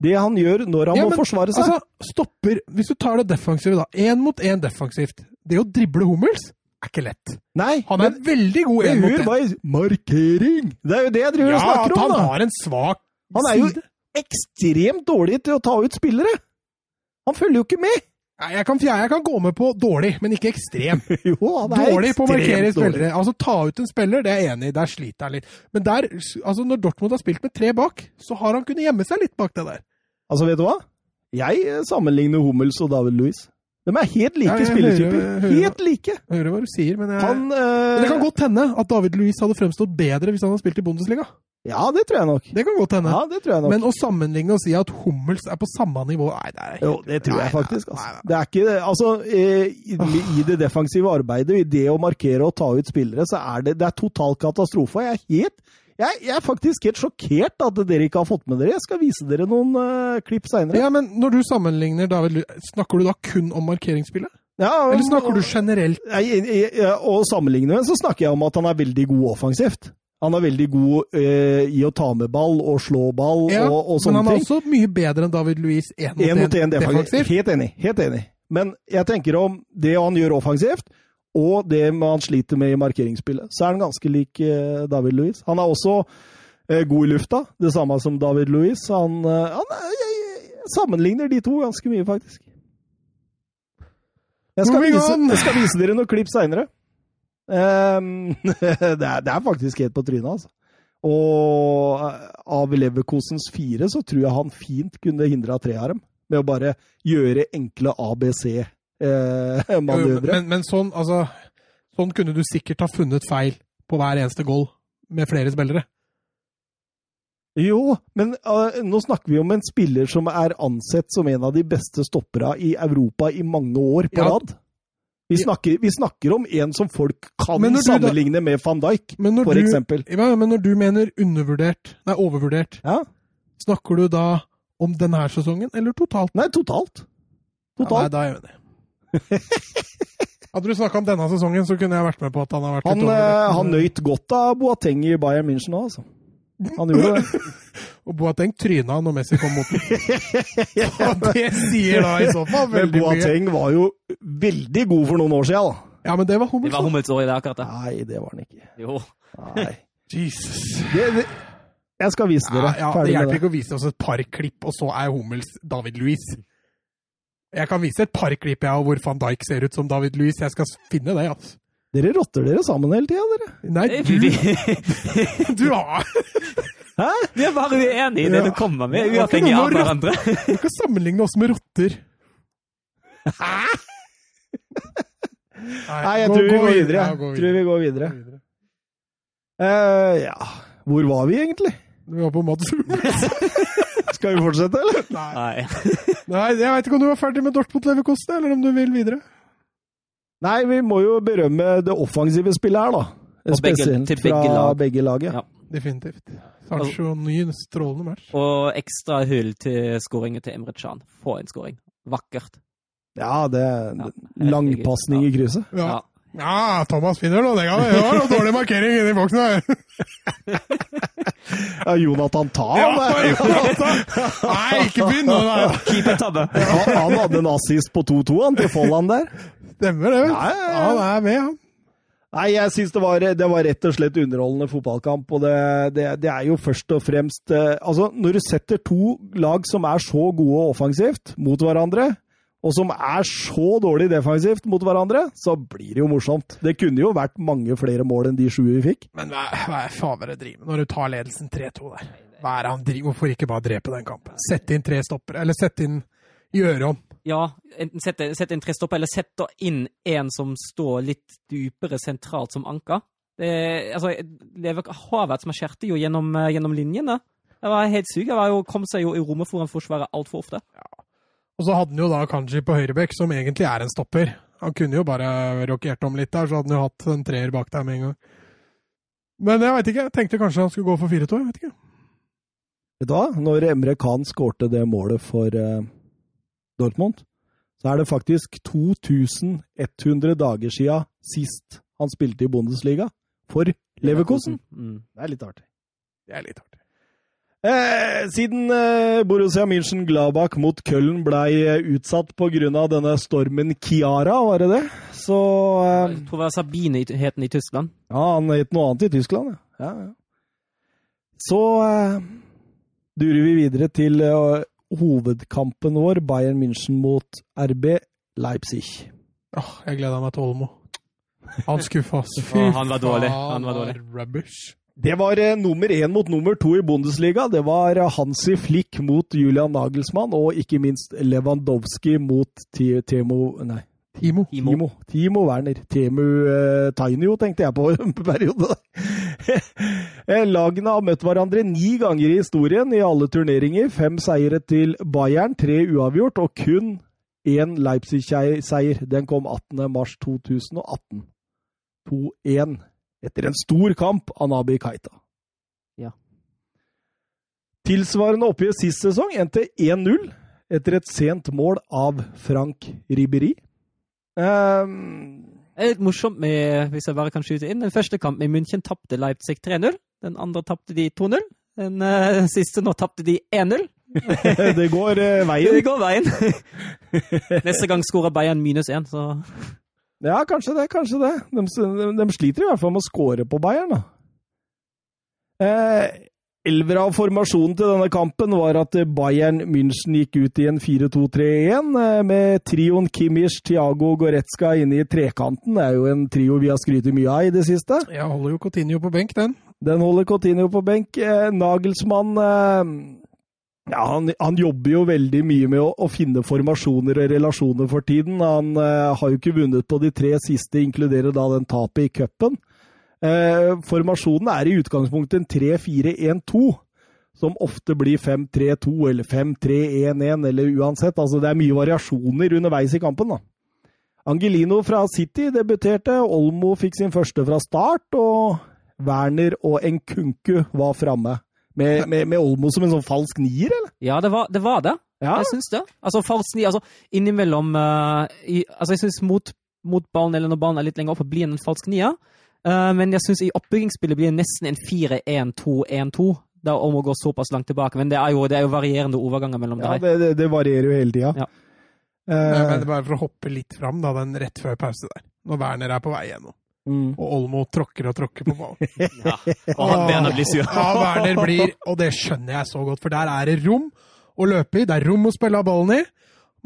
B: Det han gjør når han
A: Ja,
B: må
A: men,
B: forsvare seg.
A: Altså, stopper Hvis du tar det defensive, da. Én mot én defensivt. Det å drible Hummels er ikke lett.
B: Nei,
A: Han er
B: men-
A: veldig god
B: men
A: én mot
B: hør
A: én.
B: bare- Markering! Det er jo det jeg driver
A: Ja,
B: og
A: at
B: snakker om,
A: han
B: da!
A: har en svak
B: Han er jo
A: side.
B: ekstremt dårlig til å ta ut spillere! Han følger jo
A: *laughs*
B: ikke med!
A: Nei, jeg kan, jeg kan gå med på dårlig, men ikke ekstrem.
B: *laughs* Jo, han er
A: Dårlig på å markere
B: ekstremt dårlig.
A: spillere. Altså ta ut en spiller, det er jeg enig i. Der sliter han litt. Men der, altså når Dortmund har spilt med tre bak, så har han kunnet gjemme seg litt bak det der.
B: Altså, vet du hva? Jeg eh, sammenligner Hummels og David Louis. De er helt
A: Ja,
B: like
A: jeg
B: spilletyper.
A: hører- jeg hører-
B: Helt like!
A: Jeg hører hva du sier, men jeg
B: Han
A: Men
B: eh,
A: Det kan godt hende at David Luiz hadde fremstått bedre hvis han hadde spilt i Bundesliga.
B: Ja, det tror jeg nok.
A: Det kan godt hende.
B: Ja, det tror jeg nok.
A: Men å sammenligne og si at Hummels er på samme nivå Nei, det er helt-
B: Jo, det tror jeg
A: Nei,
B: faktisk.
A: nei,
B: Altså.
A: nei, nei.
B: Det er ikke, altså, eh, i, I det defensive arbeidet, i det å markere og ta ut spillere, så er det, det er total katastrofe. Jeg er, helt, jeg, jeg er faktisk helt sjokkert at dere ikke har fått med dere. Jeg skal vise dere noen eh, klipp seinere.
A: Ja, men når du sammenligner David Luiz, snakker du da kun om markeringsspillet? Eller snakker du generelt?
B: Og sammenligne med, så snakker jeg om at han er veldig god offensivt. Han er veldig god eh, i å ta med ball og slå ball
A: Ja,
B: og, og
A: men
B: sånne
A: han er
B: ting.
A: også mye bedre enn David Luiz én
B: Én mot
A: mot
B: én
A: én
B: defensivt.
A: defensivt.
B: Helt enig. Helt enig. Men jeg tenker om det han gjør offensivt, og det han sliter med i markeringsspillet, så er han ganske lik eh, David Louis. Han er også eh, god i lufta, det samme som David Louis. Han, eh, han er, jeg, jeg- jeg sammenligner de to ganske mye, faktisk. Jeg skal,
A: Moving
B: vise,
A: on.
B: jeg skal vise dere noen klipp seinere. *laughs* det, er- det er faktisk helt på trynet, altså. Og eh, av Leverkosens fire så tror jeg han fint kunne hindra tre av dem. Med å bare gjøre enkle eh, *laughs*
A: Jo,
B: ABC-manøvre.
A: Men, men sånn, altså, sånn kunne du sikkert ha funnet feil på hver eneste goal med flere spillere.
B: jo, men eh, nå snakker vi om en spiller som er ansett som en av de beste stoppera i Europa i mange år på
A: Ja.
B: rad. Vi snakker, vi snakker om en som folk kan
A: Men når du da-
B: sammenligne med van Dijk,
A: Men når,
B: for
A: du,
B: eksempel.
A: ja, men når du mener undervurdert, nei, overvurdert,
B: Ja.
A: snakker du da om denne sesongen, eller totalt?
B: Nei, totalt.
A: Ja, nei,
B: Totalt.
A: da er jeg enig. *laughs* Hadde du snakka om denne sesongen, så kunne jeg vært med på at han har vært
B: han,
A: litt
B: eh,
A: overvurdert.
B: han nøyt godt av Boateng i Bayern München òg, altså. Han gjorde
A: *laughs*
B: det.
A: Og eh, Boateng tryna når Messi kom *laughs* mot den. Og det sier da i så fall
B: Men
A: veldig mye.
B: Boateng var jo veldig god for noen år siden, da.
A: Ja, men det var
C: Det
A: Hummels.
C: var
A: da.
C: Hummels år i det akkurat. da.
B: Nei, det var han ikke.
C: Jo.
B: Nei.
A: Jesus.
B: Det, det, jeg skal vise
A: Ja,
B: dere.
A: ja, det
B: Ferdig med
A: hjelper
B: det.
A: ikke å vise oss et par klipp, og så er Hummels David Louis. Jeg kan vise et par klipp jeg, av hvor van Dijk ser ut som David Louis. Jeg skal finne det. altså.
B: Dere rotter dere sammen hele tida, dere.
A: Nei,
C: Vi,
A: du,
C: vi,
B: *laughs*
A: du har Du
C: *laughs* vi er bare uenige i det du kommer med,
A: Ja.
C: uavhengig av
B: *laughs*
C: hverandre.
A: kan ikke sammenligne oss med rotter. Hæ?
B: Nei, jeg tror vi går videre. Tror vi går videre. Eh, ja Hvor var vi egentlig?
A: Vi var på Mads
B: *laughs*
A: Hummels.
B: Skal vi fortsette, *laughs* eller?
A: Nei.
C: Nei.
A: Nei, jeg veit ikke om du var ferdig med Dortmund Leverkosten, eller om du vil videre.
B: Nei, vi må jo berømme det offensive spillet her, da.
C: Og begge-
B: Spesielt
C: til begge
B: fra
C: lag.
B: begge lag. Ja.
C: Ja.
A: Definitivt.
B: Altså-
A: Sancho, ny strålende match.
C: Og ekstra hyll til skåringen til Emre Can. Få en skåring. Vakkert.
B: ja, det
C: Ja, helt
B: Langpasning i
C: eget.
B: krysset.
A: Ja.
C: Ja.
A: ja, Thomas finner noe. Det kan det. Det var noe dårlig markering inni boksen
B: *laughs*
A: her.
B: Ja, Jonathan Tan!
A: Ja,
B: der.
A: Nei, ikke begynn! nå, nei.
C: Keepertabbe.
B: Han, han hadde en assist på 2-2 han, til Folland der.
A: Stemmer det. vet du.
B: Ja, ja, ja.
A: Han er med, han.
B: Nei, jeg syns det, var- det var rett og slett underholdende fotballkamp. Og det, det, det er jo først og fremst eh, Altså, når du setter to lag som er så gode offensivt mot hverandre, og som er så dårlig defensivt mot hverandre, så blir det jo morsomt. Det kunne jo vært mange flere mål enn de sju vi fikk.
A: Men hva, hva er faen hva det driver med når du tar ledelsen 3-2 der? Hva er det han driver Hvorfor ikke bare drepe den kampen? Sette inn tre stoppere, eller sette inn Gjøre om.
C: Ja, enten sett, sett inn tre stopper, eller sett da inn en som står litt dypere sentralt som anker. Det, altså, Lever har vært smaskerte jo gjennom, eh, gjennom linjene. Det var helt syk. Jeg var jo, kom seg jo i rommet foran forsvaret altfor ofte.
A: Og så hadde han jo da Kanji på høyrebekk, som egentlig er en stopper. Han kunne jo bare rokert om litt der, så hadde han jo hatt en treer bak der med en gang. Men jeg veit ikke. Jeg tenkte kanskje han skulle gå for 4-2. Jeg vet ikke.
B: Vet du hva? Når Emre Khan skårte det målet for eh, Dortmund, så er det faktisk 2100 dager siden sist han spilte i Bundesliga for Leverkosen.
C: Mm.
B: Det er litt artig.
A: Det er litt artig.
B: Eh, siden eh, Borussia München-Glabach mot Köln blei eh, utsatt pga. denne stormen Kiara, var det det? Så eh,
C: Jeg tror det var Sabine i- het den i Tyskland.
B: Ja, han het noe annet i Tyskland, ja. ja, ja. Så eh, durer vi videre til eh, hovedkampen vår, Bayern München mot RB Leipzig.
A: Åh, jeg gleda meg til Olmo. Han skuffa oss.
C: *laughs* Åh, han var dårlig. Han var dårlig.
A: Rubbish.
B: Det var eh, nummer én mot nummer to i Bundesliga. Det var eh, Hansi Flick mot Julian Nagelsmann, og ikke minst Lewandowski mot Ti Temo Nei,
A: Timo.
C: Timo.
B: Timo, Timo Werner. Temu eh, Tainio, tenkte jeg på en periode. *laughs* Eh, Lagene har møtt hverandre ni ganger i historien i alle turneringer. Fem seire til Bayern, tre uavgjort og kun én Leipzig-seier. Den kom 18. mars 2018. 2-1 etter en stor kamp av Nabi Keita.
C: Ja.
B: Tilsvarende oppgjør sist sesong endte 1-0 etter et sent mål av Frank Ribberi. Ehm, *laughs*
C: Det er Eh, litt morsomt med, hvis jeg bare kan skyte inn, den første kampen i München tapte Leipzig 3-0. Den andre tapte de 2-0. Den eh, *laughs* siste nå tapte de 1-0.
B: det går eh,
C: Det
B: veien.
C: går veien. *laughs* Neste gang skårer Bayern minus 1, så
B: Ja, kanskje det, kanskje det. De, de, de sliter i hvert fall med å score på Bayern, da. Eh, Elvera av formasjonen til denne kampen var at Bayern München gikk ut i en 4-2-3-1 eh, med trioen Kimmich, Thiago og Goretzka inne i trekanten. Det er jo en trio vi har skrytt mye av i det siste.
A: Jeg holder jo Cotinio på benk, den.
B: Den holder Coutinho på benk. Eh, Nagelsmann eh, ja, han, han jobber jo veldig mye med å, å finne formasjoner og relasjoner for tiden. Han eh, har jo ikke vunnet på de tre siste, inkluderer da den tapet i cupen. Eh, formasjonen er i utgangspunktet en 3-4-1-2, som ofte blir 5-3-2 eller 5-3-1-1, eller uansett. Altså, det er mye variasjoner underveis i kampen, da. Angelino fra City debuterte, Olmo fikk sin første fra start, og Werner og Nkunku var framme. Med, med, med Olmo som en sånn falsk nier, eller?
C: Ja, det var det. Var det.
B: Ja.
C: Jeg syns det. Altså, Farsen altså, innimellom eh, i, Altså, jeg syns mot, mot ballen, eller når ballen er litt lenger oppe, blir han en falsk nier. Eh, men jeg syns i oppbyggingsspillet blir det nesten en 4-1-2-1-2. Det er om å gå såpass langt tilbake. Men det er jo, det er jo varierende overganger mellom
B: Ja,
C: der.
B: det, det, det varierer jo hele tida. Eh,
C: Ja. Eh,
A: Nei, men bare for å hoppe litt fram, da, den rett før pause der. Når Werner er på vei gjennom,
B: mm.
A: og Olmo tråkker og tråkker på ballen.
C: *laughs* Ja. Og han Werner blir sur.
A: Ja, Werner blir Og det skjønner jeg så godt, for der er det rom å løpe i, det er rom å spille av ballen i.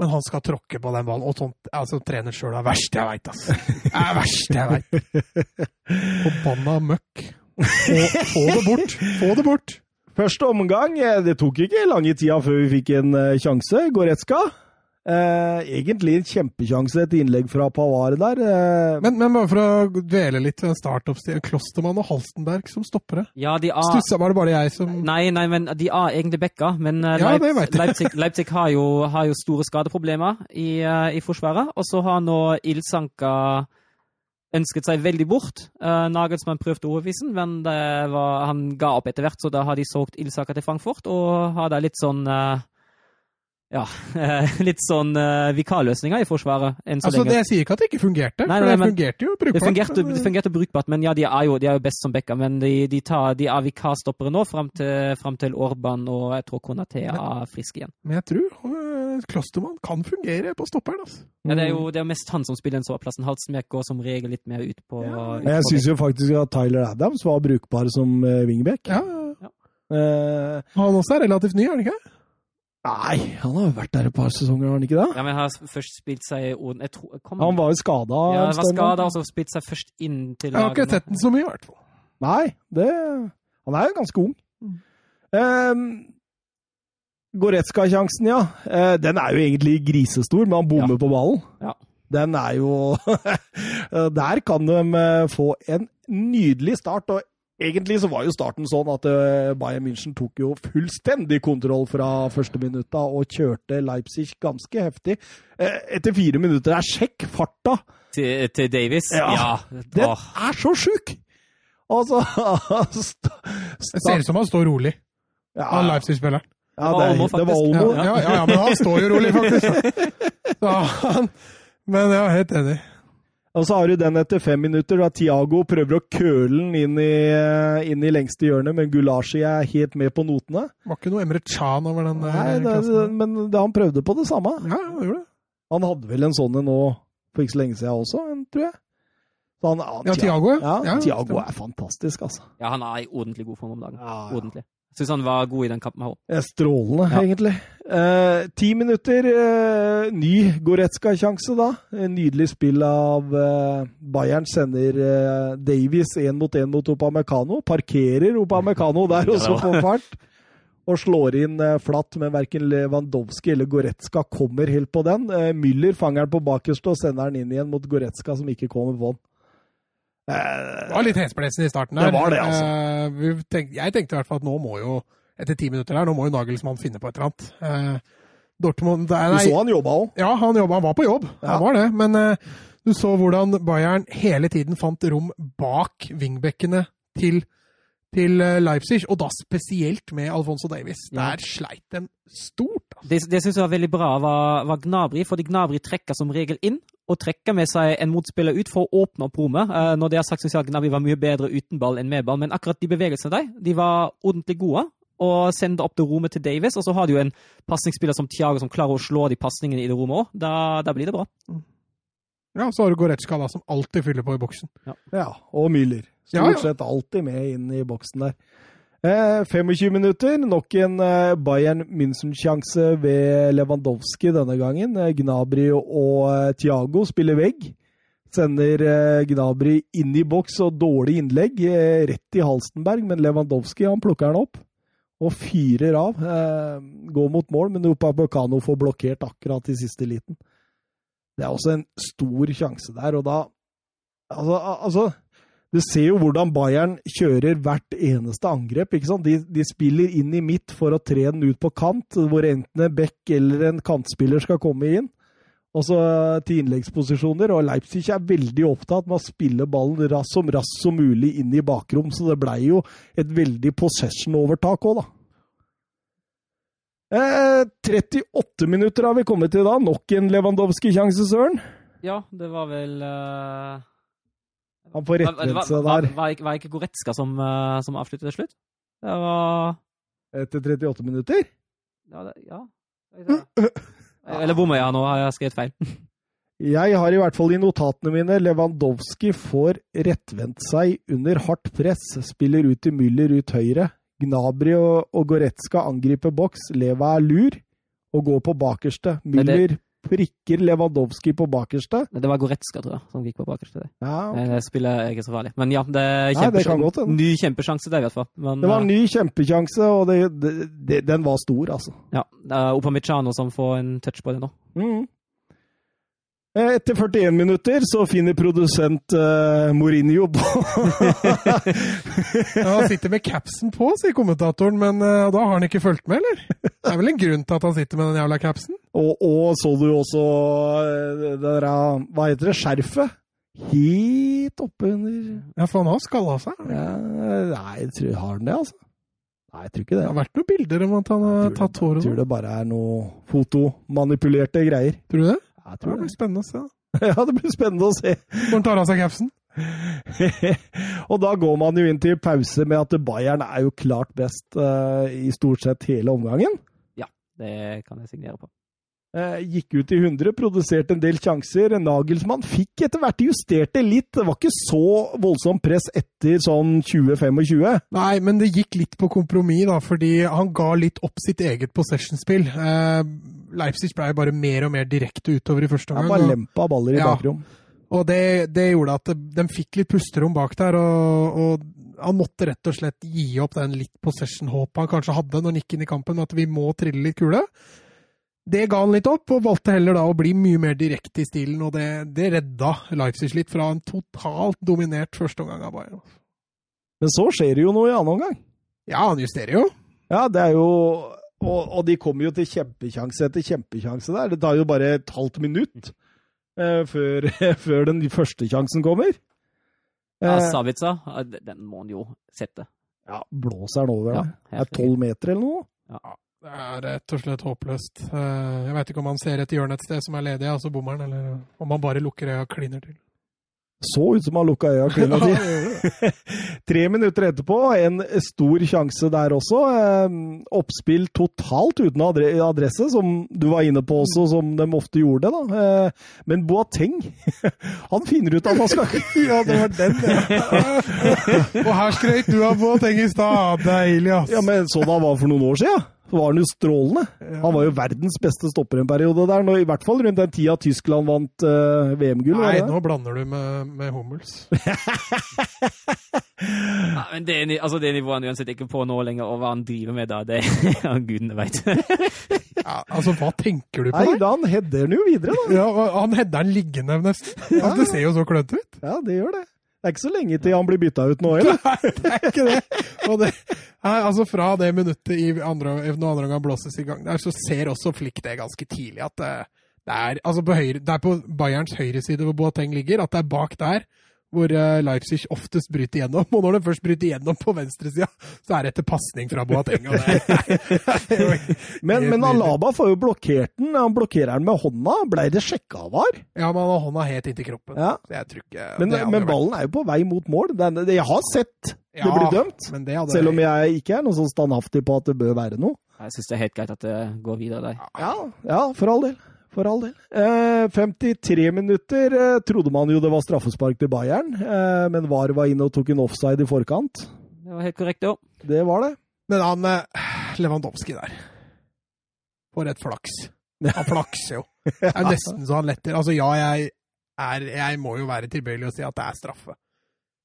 A: Men han skal tråkke på den ballen. Og sånt, altså, trener sjøl er verst jeg veit, ass. Det er verst jeg veit.
C: *laughs*
A: Forbanna møkk. Få, få det bort. Få det bort.
B: Første omgang eh, Det tok ikke lange tida før vi fikk en eh, sjanse. Goretzka. Eh, egentlig en kjempesjanse, et innlegg fra Pavard der. Eh,
A: Men, men bare for å dvele litt ved startup-stilen. Klostermann og Halstenberg som stoppere.
C: Ja, de er
A: Stussa var det bare jeg som
C: Nei, nei, men de er egentlig backa. Men eh,
A: Ja, det
C: Leip-
A: vet jeg.
C: Leipzig, Leipzig har, jo, har jo store skadeproblemer i, eh, i forsvaret. Og så har nå Ilsanka ønsket seg veldig bort. Uh, Nagelsmann prøvde å overbevise ham, men det var, han ga opp etter hvert. Så da har de solgt Ilsanka til Frankfurt, og har da litt sånn eh, ja, *laughs* litt sånn eh, vikarløsninger i Forsvaret enn så
A: Altså,
C: lenge.
A: det jeg sier ikke at det ikke fungerte,
C: Nei,
A: for
C: nei,
A: det
C: men-
A: fungerte jo
C: Det
A: brukbart.
C: fungerte,
A: men,
C: det fungerte brukbart, men ja, de er jo, de er jo best som backa. Men de, de, tar, de er vikarstoppere nå, fram til, frem til Orban og jeg tror Konaté er frisk igjen.
A: men jeg tror øh, Klostermann kan fungere på stopperen. Altså.
C: Ja, det er jo det er mest han som spiller sånn den såplassen. Halsenbjerg går som regel litt mer ut på
A: Ja,
C: ut
B: Men jeg
C: på
B: syns jo faktisk at Tyler Adams var brukbar som eh, wingback.
A: Ja,
B: Eh,
A: Han også er relativt ny, er han ikke? det?
B: nei, han har jo vært der et par sesonger, har han ikke
C: back.
B: det?
C: Ja, men han har først spilt seg i Oden jeg tror, kom,
B: Han var jo skada.
C: ja, var skada, og så spilt seg først inn til
A: Jeg har ikke
C: lagene.
A: sett den så mye, i hvert fall.
B: Nei, det Han er jo ganske ung.
C: Mm.
B: Ehm, Goretzka-sjansen, ja. Eh, den er jo egentlig grisestor, men han bommer på ballen.
C: Ja.
B: Den *laughs* er jo Der kan de eh, få en nydelig start og Egentlig så var jo starten sånn at eh, Bayern München tok jo fullstendig kontroll fra første minutta og kjørte Leipzig ganske heftig. Eh, Etter fire minutter er sjekk farta!
C: Til, til Davies?
B: Ja. Den
C: Åh.
B: er så sjuk! Altså *laughs* st
A: Det ser ut som han står rolig,
B: ja,
A: han
B: ja,
A: Leipzig-spilleren.
B: det, er- det var
A: Ja,
B: Olmo.
A: ja, ja, ja, men han står jo rolig, faktisk. Så han, men jeg er helt enig.
B: Og så har du den etter fem minutter, da Tiago prøver å køle den inn i, eh, inn i lengste hjørne, men Gulashi er helt med på notene.
A: Var ikke noe Emre Chan over den eh,
B: Nei, det,
A: klassen.
B: men det, han prøvde på det samme.
A: Ja, han gjorde det.
B: Han hadde vel en sånn en nå for ikke så lenge siden også, en, tror jeg. Så han,
A: Ja, Tiago,
B: Ja,
A: ja. ja.
B: Tiago er fantastisk, altså.
C: Ja, han er i ordentlig god form om dagen.
B: Ja, ja.
C: Ordentlig. Syns han var god i den kampen her òg.
B: Det er Strålende,
C: Ja.
B: egentlig. Eh, ti minutter, eh, ny Goretzka-sjanse da. En nydelig spill av eh, Bayern sender eh, Davies én mot én mot Opamecano. Parkerer Opamecano der
C: Ja,
B: også
C: det
B: på fart. Og slår inn eh, flatt, men verken Lewandowski eller Goretzka kommer helt på den. Eh, Müller fanger den på bakerste og sender den inn igjen mot Goretzka, som ikke kommer på den. Eh,
A: Det var litt hesblesende i starten. Der.
B: Det var det, altså.
A: Eh, vi tenk, jeg tenkte i hvert fall at nå må jo, etter ti minutter der, nå må jo Nagelsmann finne på et eller annet. Eh, Dortmund nei,
B: du
A: nei,
B: så han jobba òg.
A: Ja, han, jobba, han var på jobb,
B: Ja.
A: han var det. Men eh, du så hvordan Bayern hele tiden fant rom bak wingbackene til, til eh, Leipzig, og da spesielt med Alfonso Davies.
C: Ja.
A: Der sleit dem stort. Altså.
C: Det, det syns jeg var veldig bra, var, var Gnabry. Fordi Gnabry trekker som regel inn, og trekker med seg en motspiller ut for å åpne opp rommet. Eh, når det er sagt, syns jeg Gnabry var mye bedre uten ball enn med ball, men akkurat de bevegelsene der, de var ordentlig gode. Og sender opp det rommet til Davies, og så har du jo en pasningsspiller som Thiago som klarer å slå de pasningene i det rommet òg. Da, da blir det bra.
A: Ja, så har du Goretzka, da, som alltid fyller på i boksen.
B: Ja, og Müller. Stort
A: Ja, ja.
B: sett alltid med inn i boksen der. Eh, 25 minutter, nok en eh, Bayern München-sjanse ved Lewandowski denne gangen. Eh, Gnabry og eh, Thiago spiller vegg. Sender eh, Gnabry inn i boks og dårlig innlegg, eh, rett i Halstenberg, men Lewandowski han plukker den opp. Og fyrer av. Eh, går mot mål, men Upamecano får blokkert akkurat i siste liten. Det er også en stor sjanse der, og da Altså, al- altså du ser jo hvordan Bayern kjører hvert eneste angrep. ikke sant? De, de spiller inn i midt for å tre den ut på kant, hvor enten en back eller en kantspiller skal komme inn. Og så til innleggsposisjoner. Og Leipzig er veldig opptatt med å spille ballen ras- som raskt som mulig inn i bakrom, så det blei jo et veldig possession-overtak òg, da. Eh, 38 minutter har vi kommet til da. Nok en Lewandowski-sjanse, Søren.
C: Ja, det var vel eh,
B: Han får rettvendt seg der
C: Var, ikke Goretzka som, avsluttet til slutt? Det var
B: etter 38 minutter.
C: Ja. Eller bommer jeg nå? Har jeg skrevet feil?
B: Jeg har i hvert fall i notatene mine Lewandowski får rettvendt seg under hardt press, spiller ut til Müller ut høyre. Gnabry og, og Goretzka angriper boks, Leva er lur og går på bakerste.
C: Men det-
B: Müller prikker Lewandowski på bakerste.
C: Det var Goretzka, tror jeg, som gikk på bakerste der.
B: Ja,
C: Jeg spiller jeg er ikke så farlig. Men ja, det er
B: Nei, det kan
C: kjempesjan-
B: godt hende.
C: ny kjempesjanse der, i hvert fall. Men,
B: det var en ny kjempekjanse, og det, det, det, den var stor, altså.
C: eh, ja, det er Upamecano som får en touch på det nå.
B: Mm. Etter 41 minutter så finner produsent eh, Mourinho på
A: Ja, han sitter med capsen på, sier kommentatoren, men eh, da har han ikke fulgt med, eller? Det er vel en grunn til at han sitter med den jævla capsen?
B: Og, og så du også eh, det der, eh, Hva heter det? Skjerfet? Helt oppunder
A: Ja, for han har skalla seg.
B: ja, Nei, jeg tror, har han det, altså? Nei, jeg tror ikke
A: Det
B: det.
A: har vært noen bilder om at han
B: Jeg
A: har
B: tror
A: tatt
B: Jeg
A: håret
B: tror
A: nå.
B: det bare er noe fotomanipulerte greier.
A: Tror du det?
B: Jeg
A: Ja, Det
B: tror det. *laughs*
A: blir spennende å se. da.
B: Ja, det blir spennende å se. *laughs*
A: Når han tar av seg capsen.
B: og da går man jo inn til pause med at Bayern er jo klart best eh, i stort sett hele omgangen.
C: Det kan jeg signere på.
B: Eh, Gikk ut i 100, produserte en del sjanser. Nagelsmann fikk etter hvert justert det litt. Det var ikke så voldsomt press etter sånn 20-25.
A: Nei, men det gikk litt på kompromiss, da, fordi han ga litt opp sitt eget possession-spill. Eh, Leipzig ble jo bare mer og mer direkte utover i første
B: Han bare
A: omgang.
B: lempa baller i
A: Ja.
B: bakrom.
A: Og, og det, det gjorde at de fikk litt pusterom bak der, og, og han måtte rett og slett gi opp den litt possession-håpet han kanskje hadde når han gikk inn i kampen, med at vi må trille litt kule. Det ga han litt opp, og valgte heller da å bli mye mer direkte i stilen, og det, det redda Leipzig litt fra en totalt dominert førsteomgang av Bayern.
B: Men så skjer det jo noe i annen omgang.
A: Ja, han justerer jo.
B: Ja, det er jo Og, og de kommer jo til kjempekjanse etter kjempekjanse der. Det tar jo bare et halvt minutt eh, før, *laughs* før den første sjansen kommer.
C: Ja,
B: Eh,
C: Savica, eh, d- den må han jo sette.
B: ja, blåser den over.
C: Ja,
B: da. Det
C: helt
B: er tolv meter eller noe.
A: Det er rett og slett håpløst. Eh, Jeg veit ikke om han ser etter hjørnet et sted som er ledig, altså bommeren, eller om han bare lukker øya og kliner til.
B: Så ut som han lukka øya klina
C: *laughs*
B: *laughs* til. Tre minutter etterpå, en stor sjanse der også. Eh, Oppspill totalt uten adre adresse, som du var inne på også, som de ofte gjorde. da. Eh, Men Boateng, *laughs* han finner ut at han skal
A: *laughs* ja, det var den, og her skrøt du av Boateng i stad. Deilig, ass.
B: *laughs* Ja, men sånn han var for noen år siden, så var han jo strålende. Han var jo verdens beste stopper en periode der, nå, i hvert fall rundt den tida Tyskland vant eh, VM-gull. var
A: Nei,
B: det det?
A: nå blander du med, med Hummels.
C: Ja, men det, er ni- altså, det nivået han uansett ikke på nå lenger, og hva han driver med da, det *laughs* ja, gudene veit.
B: *laughs*
A: Ja, altså, hva tenker du på?
B: Nei,
A: der?
B: da han header den jo videre, da.
A: Ja, og han hedder den liggende, nesten. Altså, det ser jo så klønete ut.
B: Ja, det gjør det. Det er ikke så lenge til han blir bytta ut nå heller.
A: Nei, det er ikke det. Og det nei, altså Fra det minuttet i andre, når andre gang blåses i gang, der, så ser også Flick det ganske tidlig. at Det, det, er, altså på høyre, det er på Bayerns høyreside hvor Boateng ligger, at det er bak der hvor eh, Leipzig oftest bryter gjennom. Og når de først bryter gjennom på venstresida, så er det etter pasning fra Boateng. Og det, *laughs*
B: Men, men Alaba får jo blokkert den. Han blokkerer den med hånda. Blei det sjekka av VAR?
A: Ja, men han har hånda helt inntil kroppen.
B: Ja.
A: Så jeg tror ikke
B: Men,
A: det hadde
B: men
A: vært-
B: ballen er jo på vei mot mål. Den, jeg har sett det
A: Ja,
B: blir dømt.
A: Men det hadde,
B: Selv om jeg ikke er noe sånn standhaftig på at det bør være noe.
C: Jeg syns det er helt greit at det går videre der.
B: Ja, ja for all del. For all del. Eh, 53 minutter eh, trodde man jo det var straffespark til Bayern, eh, men VAR var inne og tok en offside i forkant.
C: Det var helt korrekt, jo.
B: Det var det.
A: Men han eh, Lewandowski der For et flaks. Han flakser jo. Det er nesten så han letter. Altså, ja, jeg, er, jeg må jo være tilbøyelig og si at det er straffe.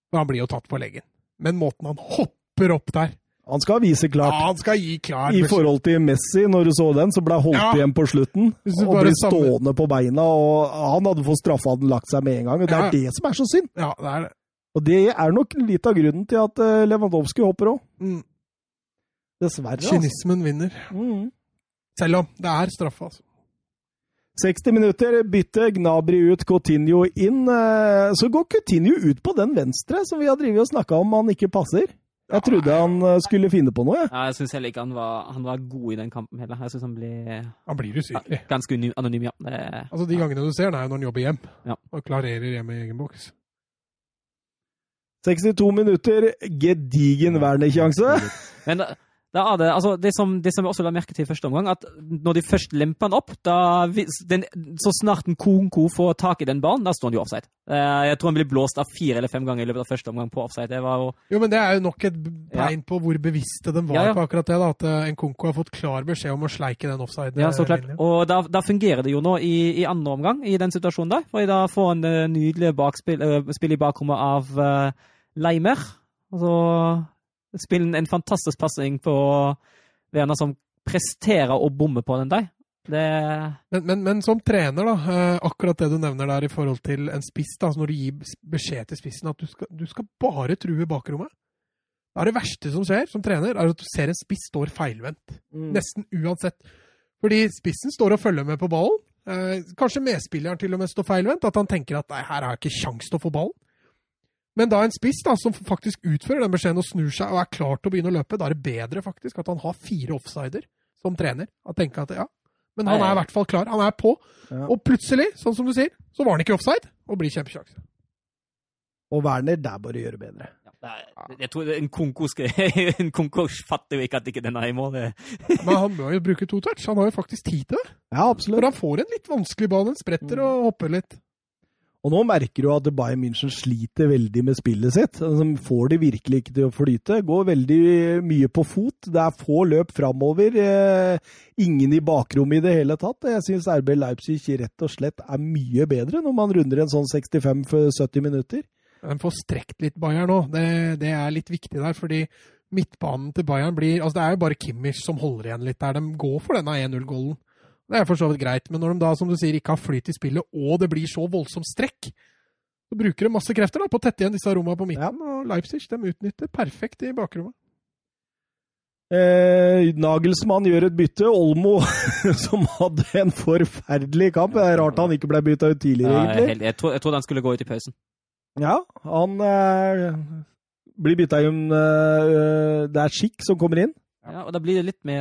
A: For han blir jo tatt på leggen. Men måten han hopper opp der
B: Han skal vise
A: ja,
B: klart.
A: Han skal gi klar
B: I forhold til Messi, når du så den, så ble han holdt
A: Ja.
B: igjen på slutten.
A: Hvis du
B: Og
A: bare
B: ble
A: sammen-
B: stående på beina. og Han hadde fått straffa, hadde lagt seg med en gang. og Det er
A: Ja.
B: det som er så synd.
A: Ja, det er det.
B: Og det er nok litt av grunnen til at eh, Lewandowski hopper òg.
A: Mm.
B: Dessverre. Altså.
A: Kynismen vinner.
B: Mm.
A: Selv om det er straffe, altså.
B: 60 minutter, bytte Gnabry ut, Coutinho inn. eh, Så går Coutinho ut på den venstre som vi har drivet og snakka om han ikke passer. Jeg trodde han eh, skulle finne på noe, jeg.
C: Ja, jeg syns heller ikke han var, han var god i den kampen heller. Jeg syns han ble
A: Han blir usynlig.
C: ganske uni- anonym, ja. Det,
A: Altså, De gangene du ser den, er jo når han jobber hjem.
C: Ja.
A: Og klarerer hjemme i egen boks.
B: 62 minutter, gedigen Werner-sjanse.
C: Men da, da er det, altså, det, som, det som jeg også la merke til i første omgang, at når de først lemper han opp, da, vis- den, så snart en Konko får tak i den ballen, da står han jo offside. Eh, Jeg tror han blir blåst av fire eller fem ganger i løpet av første omgang på offside. Det var jo
A: Jo, men det er jo nok et tegn på hvor bevisste de var
C: Ja, ja.
A: på akkurat det. da, At eh, Nkunku har fått klar beskjed om å sleike den offside.
C: Ja, så klart. Og da, da fungerer det jo nå i, i andre omgang, i den situasjonen der. For da får han eh, nydelig bakspill, eh, spill i bakrommet av eh, Leimer. Og så spiller han en fantastisk pasning på Werner, som presterer å bomme på den der. Det
A: Men, men, men som trener, da, eh, akkurat det du nevner der i forhold til en spiss, da, altså når du gir s- beskjed til spissen at du skal, du skal bare true bakrommet Det er det verste som skjer som trener, er at du ser en spiss står feilvendt. Nesten uansett. Fordi spissen står og følger med på ballen. Eh, kanskje medspilleren til og med står feilvendt, at han tenker at nei, her har jeg ikke kjangs til å få ballen. Men da en spiss da, som faktisk utfører den beskjeden og snur seg og er klar til å begynne å løpe, da er det bedre faktisk at han har fire offsider som trener. Han tenker at ja, men han er i hvert fall klar. Han er på.
B: Ja.
A: Og plutselig, sånn som du sier, så var han ikke offside og blir kjempesjanse.
B: Og Werner, der bare gjøre bedre.
C: Jeg tror en konko *laughs* En konko fatter jo ikke at ikke den er i mål.
A: Men han må jo bruke to touch. Han har jo faktisk tid til det.
B: Ja,
A: For
B: absolutt.
A: han får en litt vanskelig ball. Han
C: Mm.
A: spretter og hopper litt.
B: Og nå merker du at Bayern München sliter veldig med spillet sitt. De får det virkelig ikke til å flyte. Går veldig mye på fot. Det er få løp framover. Eh, Ingen i bakrommet i det hele tatt. Jeg syns RB Leipzig rett og slett er mye bedre når man runder en sånn 65-70 minutter.
A: De får strekt litt Bayern nå. Det, det er litt viktig der, fordi midtbanen til Bayern blir altså Det er jo bare Kimmich som holder igjen litt der. De går for denne 1-0-golden. Det er for så vidt greit, men når de da, som du sier, ikke har flyt i spillet, og det blir så voldsomt strekk, Så bruker de masse krefter da, på å tette igjen disse rommene på midten, og Leipzig de utnytter perfekt i bakrommet.
B: Eh, Nagelsmann gjør et bytte. Olmo, *laughs* som hadde en forferdelig kamp. Det er rart han ikke ble bytta ut tidligere,
C: Ja, jeg, er
B: egentlig.
C: helt- jeg, tror, jeg tror den skulle gå ut i pausen.
B: Ja, han eh, blir bytta inn eh, Det er Schick som kommer inn.
C: Ja, og da blir det litt mer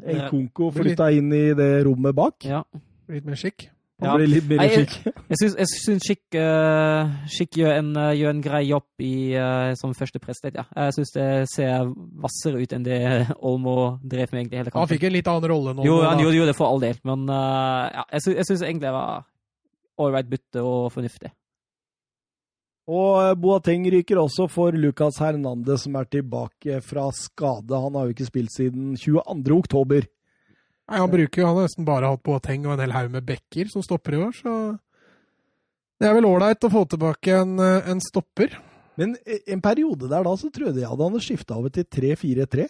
C: eh,
B: Nkunko flytta inn i det rommet bak.
C: Ja.
A: Litt mer skikk.
C: Ja.
B: Han blir litt mer
C: Nei,
B: *laughs*
C: jeg-
B: Schick.
C: Jeg syns, jeg syns Schick, eh, Schick gjør, en, eh, gjør en grei jobb i, eh, som første president, ja. Jeg syns det ser hvassere ut enn det Olmo drev med egentlig hele
A: Han
C: kampen.
A: fikk en litt annen rolle nå.
C: Jo,
A: nå,
C: han
A: da.
C: gjorde jo det for all del, men eh, ja, jeg, syns, jeg syns egentlig det var ålreit bytte og fornuftig.
B: Og eh, Boateng ryker også for Lucas Hernandez, som er tilbake fra skade. Han har jo ikke spilt siden 22. oktober.
A: Nei, han bruker jo, han har nesten bare hatt Boateng og en hel haug med bekker som stopper i år, så det er vel ålreit å få tilbake en, eh, en stopper.
B: Men en periode der da, så trodde jeg at han hadde skifta over til 3-4-3.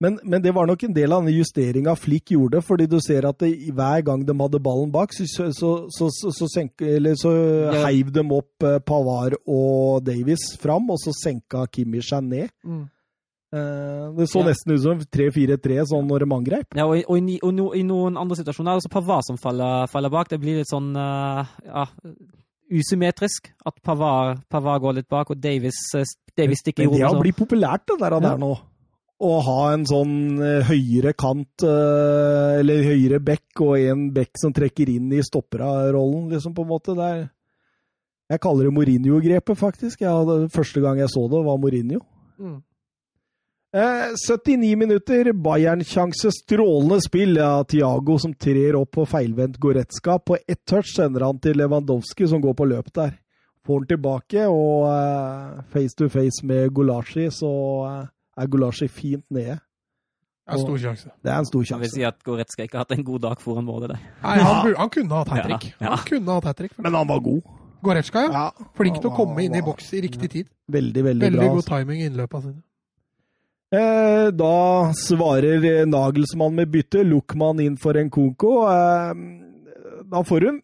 B: Men, men det var nok en del av den justeringa Flick gjorde, fordi du ser at det, hver gang de hadde ballen bak, så, så, så, så, så, senk, eller, så
C: Ja.
B: heiv de opp eh, Pavard og Davies fram, og så senka Kimmich seg ned. Eh, Det så
C: Mm. Ja.
B: nesten ut som 3-4-3 sånn når de angrep.
C: Ja, og, i- og, i, ni- og no, i noen andre situasjoner er det også Pavard som faller, faller bak. Det blir litt sånn eh, ja, usymmetrisk at Pavard, Pavard går litt bak, og Davis, eh, Davis stikker i
B: Men det
C: rommet.
B: har
C: så-
B: blitt populært, det der,
C: Ja.
B: der nå. Å ha en sånn eh, høyere kant, eh, eller høyere bekk, og en bekk som trekker inn i stoppera-rollen, liksom, på en måte. Det er Jeg kaller det Mourinho-grepet, faktisk. Jeg hadde, første gang jeg så det, var Mourinho.
A: Mm.
B: Eh, 79 minutter, Bayern-sjanse, strålende spill. Ja, Thiago som trer opp på feilvendt Goretzka. På ett touch sender han til Lewandowski, som går på løp der. Får han tilbake, og eh, face to face med Gulashi, så eh, er Gulashi fint nede.
A: Det er stor sjanse.
B: Det er en stor
C: Jeg vil
B: sjanse.
C: si at Goretzka ikke har hatt en god dag foran målet. der.
A: Nei, han, bur- han kunne hatt hat trick.
C: Ja, ja.
A: Han kunne hatt hat trick.
B: Men han var god.
A: Goretzka, ja.
B: Ja,
A: Flink
B: han
A: til å
B: var-
A: komme inn i
B: var
A: boks i riktig tid.
B: Veldig, veldig,
A: Veldig
B: bra.
A: god
B: altså.
A: timing i innløpene sine.
B: Eh, da svarer eh, Nagelsmann med bytte, Luckmann inn for en Konko. Eh, da får hun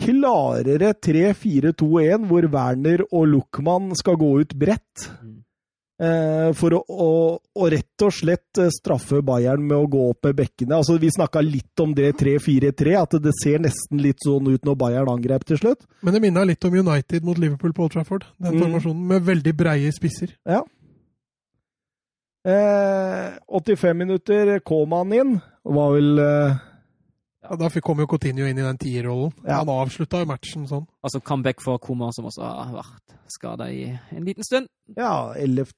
B: klarere 3-4-2-1, hvor Werner og Luckmann skal gå ut bredt.
C: Mm.
B: Eh, for å, å, å rett og slett eh, straffe Bayern med å gå opp med bekkene. Altså, vi snakka litt om det 3-4-3, at det ser nesten litt sånn ut når Bayern angrep til slutt.
A: Men det minna litt om United mot Liverpool på Old Trafford. Den
B: Mm.
A: formasjonen med veldig breie spisser.
B: Eh, 85 minutter kom han inn. Var vel eh,
A: Ja, da fikk- kom jo Coutinho inn i den tierrollen.
B: Ja.
A: Han avslutta jo matchen sånn.
C: Altså comeback for Koma, som også har vært skada i en liten stund.
B: Ja, 11.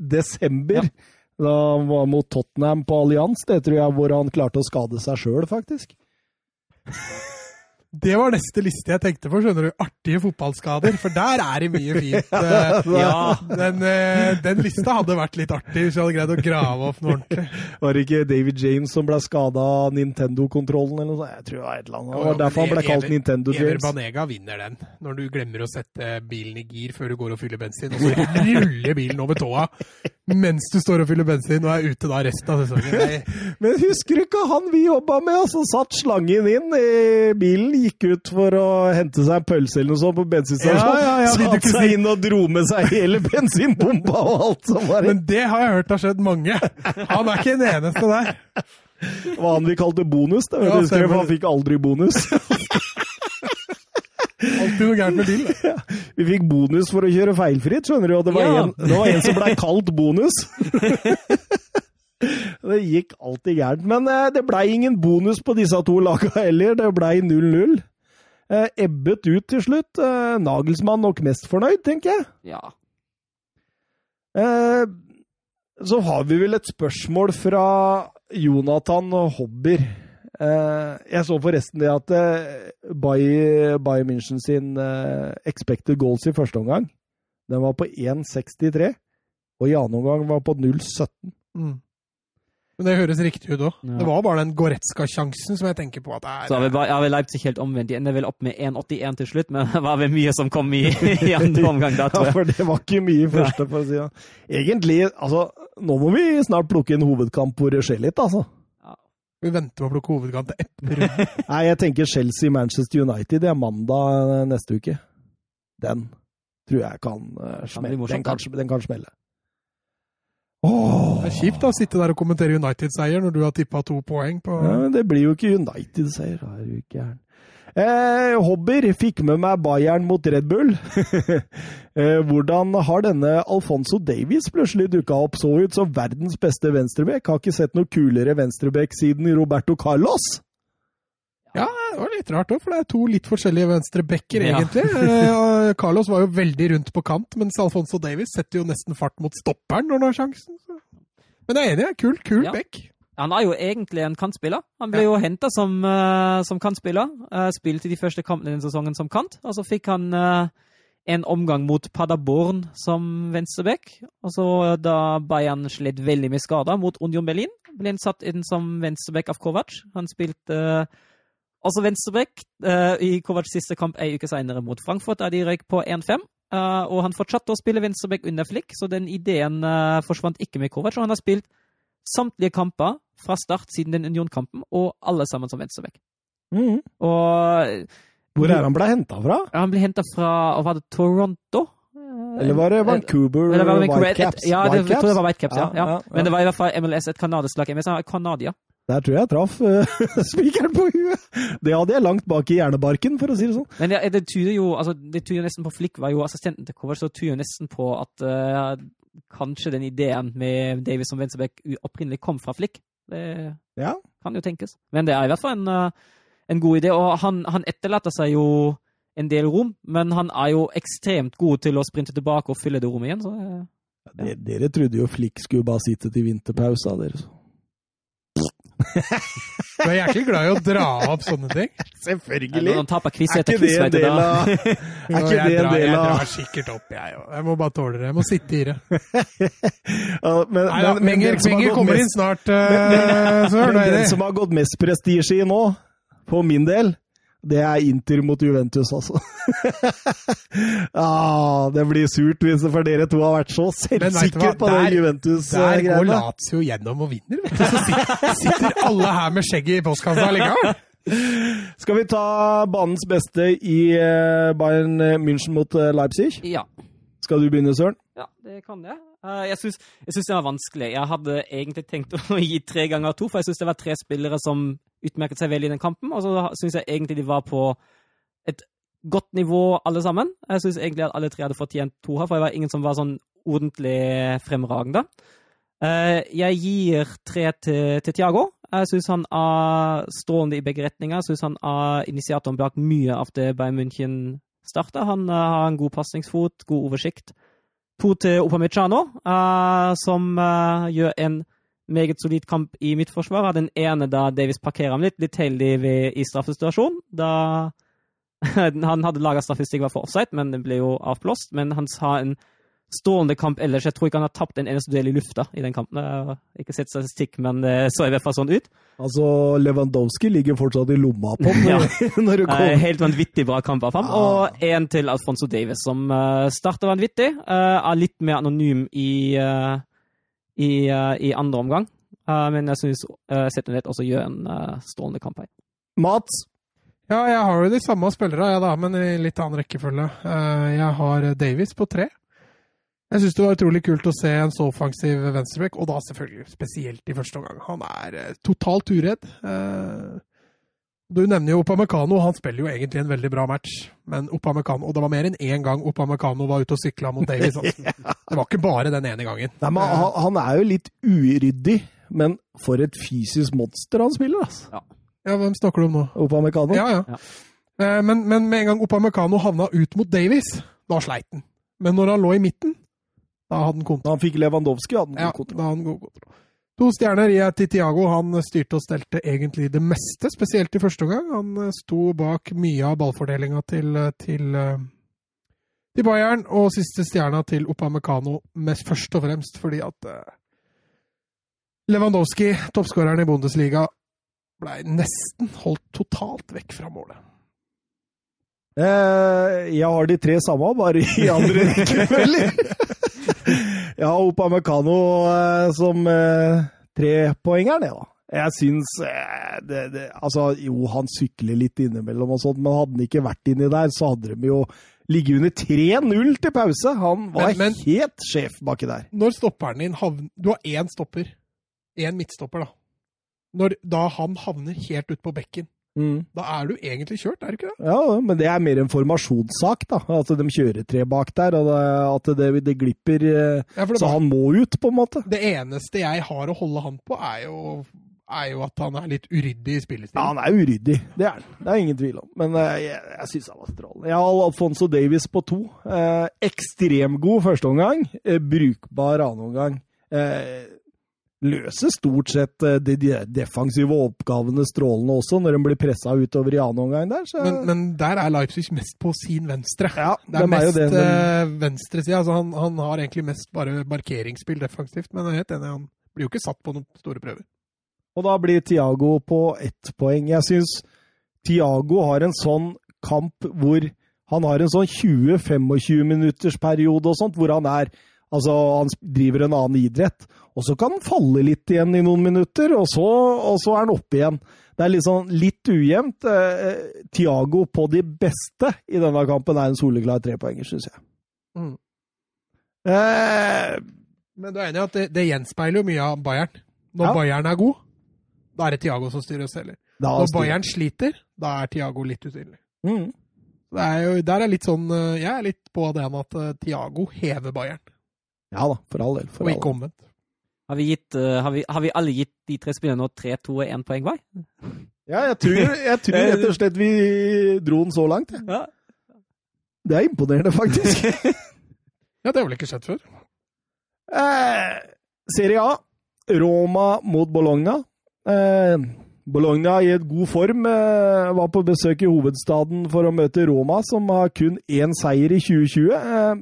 B: desember. Da han var mot Tottenham på Allianz, det tror jeg, hvor han klarte å skade seg sjøl, faktisk.
A: Det var neste liste jeg tenkte på, skjønner du. Artige fotballskader, for der er det mye
B: *laughs*
A: fint. eh,
C: Ja,
A: Den, eh, den lista hadde vært litt artig hvis jeg hadde greid å grave opp noe
B: *laughs*
A: ordentlig.
B: Var det ikke David James som ble skada av Nintendo-kontrollen eller noe sånt? Jeg tror det var et eller annet. Det var derfor han ble kalt Nintendo
A: Ever
B: James.
A: Banega vinner den, når du glemmer å sette bilen i gir før du går og fyller bensin, og så ruller bilen over tåa mens du står og fyller bensin og er ute da resten av sesongen. Det-
B: Men husker du ikke han vi jobba med, og som satt slangen inn i bilen, gikk ut for å hente seg en pølse eller noe sånt på bensinstasjonen,
A: Ja, ja, ja, vil du
B: satt
A: ikke si-
B: seg inn og dro med seg hele bensinpumpa og alt som var i
A: Men det har jeg hørt har skjedd mange. Han er ikke den eneste der.
B: Det var han vi kalte bonus, det.
A: Ja,
B: vet du, husker du, for
A: stemmer.
B: han fikk aldri bonus.
A: Alltid noe gærent med bilen. da.
B: Vi fikk bonus for å kjøre feilfritt, skjønner du, og det var,
C: Ja.
B: en, det var en som ble kalt bonus. det gikk alltid gærent. Men eh, det blei ingen bonus på disse to laga heller. Det blei 0-0. Eh, ebbet ut til slutt. Eh, Nagelsmann nok mest fornøyd, tenker jeg.
C: ja.
B: Eh, så har vi vel et spørsmål fra Jonathan Hobber. Eh, jeg så forresten det at eh, Bay- Bayern München sin eh, expected goals i første omgang, den var på 1,63. Og i annen omgang var på 0,17.
A: Mm. Men det høres riktig ut òg.
C: Ja.
A: Det var bare den Goretzka-sjansen som jeg tenker på at det
C: Så har
A: er
C: vi, bare- har vi Leipzig helt omvendt. De ender vel opp med 1,81 til slutt, men *laughs* det var vel mye som kom i, i andre omgang da, tror
B: Ja, *laughs*
C: jeg.
B: for det var ikke mye i første, for å si det. Egentlig, altså Nå må vi snart plukke en hovedkamp hvor det skjer litt, altså.
A: Vi venter med å plukke hovedkant til etter runden.
B: Nei, jeg tenker Chelsea-Manchester United. Det er mandag eh, neste uke. Den tror jeg kan eh,
C: bli
B: smelle.
C: morsomt,
B: Den kan,
C: den.
B: sm- den kan smelle. Åh.
A: Det er kjipt da, å sitte der og kommentere United-seier når du har tippa to poeng på
B: Ja, men det blir jo ikke United-seier. da er du ikke gæren. Eh, Hobbyer fikk med meg Bayern mot Red Bull. *laughs* eh, hvordan har denne Alfonso Davies plutselig dukka opp? Så ut som verdens beste venstreback. Har ikke sett noe kulere venstreback siden Roberto Carlos.
A: Ja, det var litt rart òg, for det er to litt forskjellige venstrebacker,
C: Ja.
A: egentlig. Eh, og Carlos var jo veldig rundt på kant, mens Alfonso Davies setter jo nesten fart mot stopperen når han har sjansen. Så. Men jeg er enig, kul, kul
C: Ja.
A: back.
C: Han er jo egentlig en kantspiller. Han ble jo henta som, eh, som kantspiller. eh, spilte de første kampene denne sesongen som kant, og så fikk han eh, en omgang mot Paderborn som venstreback. Og så eh, da Bayern slet veldig med skader mot Union Berlin, ble han satt inn som venstreback av Kovac. Han spilte eh, også venstreback eh, i Kovacs siste kamp ei uke seinere mot Frankfurt, der de røyk på 1-5. eh, og han fortsatte å spille venstreback under Flick, så den ideen eh, forsvant ikke med Kovac. Og han har spilt samtlige kamper fra start siden den Union-kampen, og alle sammen som venstreback.
A: Mhm.
C: Og eh,
B: Hvor er han ble henta fra?
C: han ble henta fra og var det Toronto? Eh,
B: Eller var det Vancouver
C: eller var det Vancouver?
B: Whitecaps?
C: Et- Ja, det, jeg tror det var Whitecaps, ja.
B: Ja,
C: ja.
B: ja, ja.
C: Men det var i hvert fall MLS, et kanadisk lag. MLS er Canadier.
B: Der tror jeg jeg traff eh, *laughs* spikeren på huet! Det hadde jeg langt bak i hjernebarken, for å si det sånn.
C: Men det, det tyder jo altså, det tyder jo nesten på Flick var jo assistenten til Kovac, så det tyder jo nesten på at eh, kanskje den ideen med Davis som venstreback u- opprinnelig kom fra Flick. Det
B: Ja.
C: kan jo tenkes. Men det er i hvert fall en, eh, en god idé. Og han, han etterlater seg jo en del rom, men han er jo ekstremt god til å sprinte tilbake og fylle det rommet igjen. Så eh,
B: Dere, dere trodde jo Flick skulle bare sitte til vinterpausa, dere.
A: Du er jæklig glad i å dra opp sånne ting.
C: når
B: Selvfølgelig!
C: han taper quiz
B: Er
C: etter
B: ikke det
C: quiz,
B: en
C: vet du
B: del
C: da. *laughs*
B: av Er
A: Og jeg,
B: ikke det en
A: drar, jeg
B: del av
A: drar sikkert opp, jeg òg. Jeg må bare tåle det. Jeg må sitte i det.
B: Ja, men-
A: Nei da,
B: men- men
A: Menger
B: den som har
A: Menger
B: gått
A: kommer inn
B: mest-
A: snart,
B: Men-
A: eh, så
B: men
A: hører
B: Den
A: dere.
B: som har gått mest prestisje i nå, for min del, det er Inter mot Juventus, altså. *laughs* ah, det blir surt hvis det for dere to har vært så
A: Men vet du hva?
B: selvsikre på
A: Der- Der
B: eh, det
A: går
B: Juventus-greiene.
A: Lazio gjennom og vinner, vet du. Så sitter, sitter alle her med skjegget i postkassa likevel.
B: Skal vi ta banens beste i eh, Bayern München mot eh, Leipzig?
C: Ja.
B: Skal du begynne, Søren?
C: Ja, det kan jeg. Eh, Jeg syns, jeg syns det var vanskelig. Jeg hadde egentlig tenkt *laughs* å gi tre ganger to, for jeg syns det var tre spillere som utmerket seg veldig i den kampen, og så syns jeg egentlig de var på et godt nivå, alle sammen. Jeg syns egentlig at alle tre hadde fortjent to her, for det var ingen som var sånn ordentlig fremragende. Eh, Jeg gir tre til, til Tiago. Jeg syns han er strålende i begge retninger. Jeg syns han er initiatoren bak mye av det Bayern München starter. Han eh, har en god pasningsfot, god oversikt to til Upamecano, eh, som eh, gjør en meget solid kamp i midtforsvaret. Den ene da Davis parkerer ham litt, litt heldig ved, i straffesituasjonen. Da *laughs* han hadde laga straffestikk var for offside, men den ble jo avblåst. Men han sa en strålende kamp ellers. Jeg tror ikke han har tapt en eneste duell i lufta i den kampen. Jeg har ikke sett statistikk, men det så i hvert fall sånn ut.
B: Altså, Lewandowski ligger fortsatt i lomma
A: *laughs*
B: på den
C: Ja.
B: *laughs* når du
C: Eh,
B: kommer.
C: helt vanvittig bra kamp av ham.
B: Ja.
C: Og én til Alfonso Davis, som eh, starter vanvittig. eh, er litt mer anonym i, eh, i, eh, i andre omgang. Eh, men jeg syns uh, Zetunet også gjør en eh, strålende kamp her.
B: Mats,
A: Ja, jeg har jo de samme spillere, jeg da, men i litt annen rekkefølge. Eh, Jeg har Davies på tre. Jeg syns det var utrolig kult å se en så offensiv venstreback, og da selvfølgelig spesielt i første omgang. Han er eh, totalt uredd. Eh, Du nevner jo Opamecano, han spiller jo egentlig en veldig bra match, men Opamecano Og det var mer enn én gang Opamecano var ute og sykla mot Davies. Altså. Det var ikke bare den ene gangen.
B: Nei, men han, han er jo litt uryddig, men for et fysisk monster han spiller, altså.
A: Ja, hvem snakker du om nå?
B: Opamecano.
A: Ja, ja. Eh, Men, men med en gang Opamecano havna ut mot Davies, da sleit han. Men når han lå i midten, da hadde han kontroll.
B: Da han fikk Lewandowski, hadde han
A: Ja,
B: god kontroll.
A: da hadde han god kontroll. To stjerner gir jeg til Tiago. Han styrte og stelte egentlig det meste, spesielt i første omgang. Han eh, sto bak mye av ballfordelinga til, eh, til, eh, til Bayern, og siste stjerna til Opamecano, mest først og fremst fordi at eh, Lewandowski, toppskåreren i Bundesliga, blei nesten holdt totalt vekk fra målet.
B: Eh, jeg har de tre samme, bare i
A: *laughs*
B: andre rekkefølger. jeg har Opamecano eh, som eh, trepoengeren, jeg, da. Jeg syns eh, det, det, Altså, jo, han sykler litt innimellom og sånt, men hadde han ikke vært inni der, så hadde de jo ligge under 3-0 til pause. Han var
A: Men- men-
B: helt sjef baki der.
A: *laughs* Når stopperen din havner Du har én stopper. Én midtstopper, da. Når da han havner helt ut på bekken, da er du egentlig kjørt, er du ikke det?
B: Ja, men det er mer en formasjonssak, da. At de kjører tre bak der, og det, at det, det glipper. eh,
A: Ja, for det,
B: Så
A: var-
B: han må ut, på en måte.
A: det eneste jeg har å holde han på, er jo, er jo at han er litt uryddig i
B: Ja,
A: spillestilen.
B: han er uryddig. Det er han. Det er ingen tvil om. Men eh, jeg, jeg syns han var strålende. Jeg har Alfonso Davies på to. Eh, ekstremgod førsteomgang. Eh, brukbar annenomgang. Eh, løser stort sett eh, de, de defensive oppgavene strålende også, når de blir pressa utover i annenomgang der. Så
A: Men, men der er Leipzig mest på sin venstre.
B: ja,
A: Det er
B: de jo
A: mest
B: det, de-
A: eh, venstresida. Altså han, han har egentlig mest bare markeringsspill defensivt, men jeg er helt enig, han blir jo ikke satt på noen store prøver.
B: Og da blir Tiago på ett poeng. Jeg syns Tiago har en sånn kamp hvor han har en sånn 20-25 minutters periode og sånt, hvor han er Altså, han sp- driver en annen idrett, og så kan han falle litt igjen i noen minutter, og så, og så er han oppe igjen. Det er litt sånn litt ujevnt. Eh, Tiago på de beste i denne kampen er en soleklar trepoenger, syns jeg.
A: Mm.
B: Eh,
A: Men du er enig i at det, det gjenspeiler jo mye av Bayern. Når
B: Ja.
A: Bayern er god, da er det Tiago som styrer og selger.
B: da
A: Når Bayern sliter, da er Tiago litt usynlig.
B: Mm.
A: Det er jo, der er litt sånn, eh, Jeg er litt på det med at eh, Tiago hever Bayern,
B: Ja da, for all del. For
A: og
B: all del.
A: ikke omvendt.
C: Har vi, gitt, eh, har, vi, har vi alle gitt de tre spillerne nå tre, to og én poeng hver?
B: Ja, jeg tror, jeg tror rett og slett vi dro den så langt. jeg.
C: Ja.
B: Det er imponerende, faktisk.
A: Ja, Det har vel ikke skjedd før?
B: Eh, Serie A. Roma mot Bologna. Eh, Bologna i et god form eh, var på besøk i hovedstaden for å møte Roma, som har kun én seier i 2020. Eh,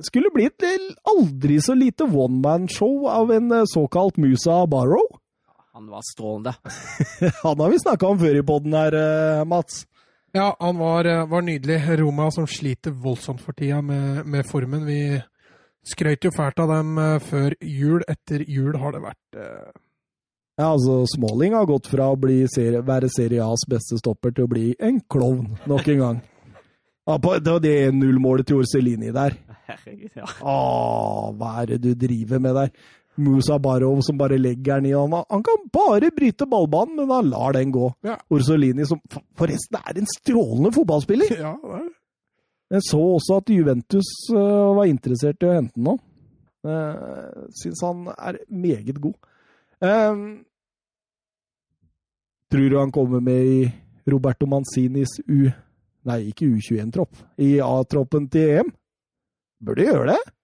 B: skulle bli et l- aldri så lite one-man-show av en eh, såkalt Musa Barrow.
C: *laughs*
B: *laughs*
C: Han var strålende.
B: Han har vi snakka om før i poden her, eh, Mats.
A: Ja, han var, eh, var nydelig. Roma som sliter voldsomt for tida med, med formen. Vi skrøt jo fælt av dem eh, før jul. Etter jul har det vært *laughs* eh,
B: Ja, altså, Smalling har gått fra å bli serie, være Serie A's beste stopper til å bli en klovn, nok en gang. Ja, på, det var det nullmålet til Orselini der.
C: Herregud, ja.
B: Åh, hva er det du driver med der? Musa Barov som bare legger den i han. Han kan bare bryte ballbanen, men han lar den gå.
A: Ja.
B: Orsolini som for- forresten er en strålende fotballspiller.
A: Ja, det er det.
B: Jeg så også at Juventus øh, var interessert i å hente ham nå. Uh, Syns han er meget god. Ehm, tror du han kommer med i Roberto Manzinis U... Nei, ikke U21-tropp. I A-troppen til EM? Burde gjøre det.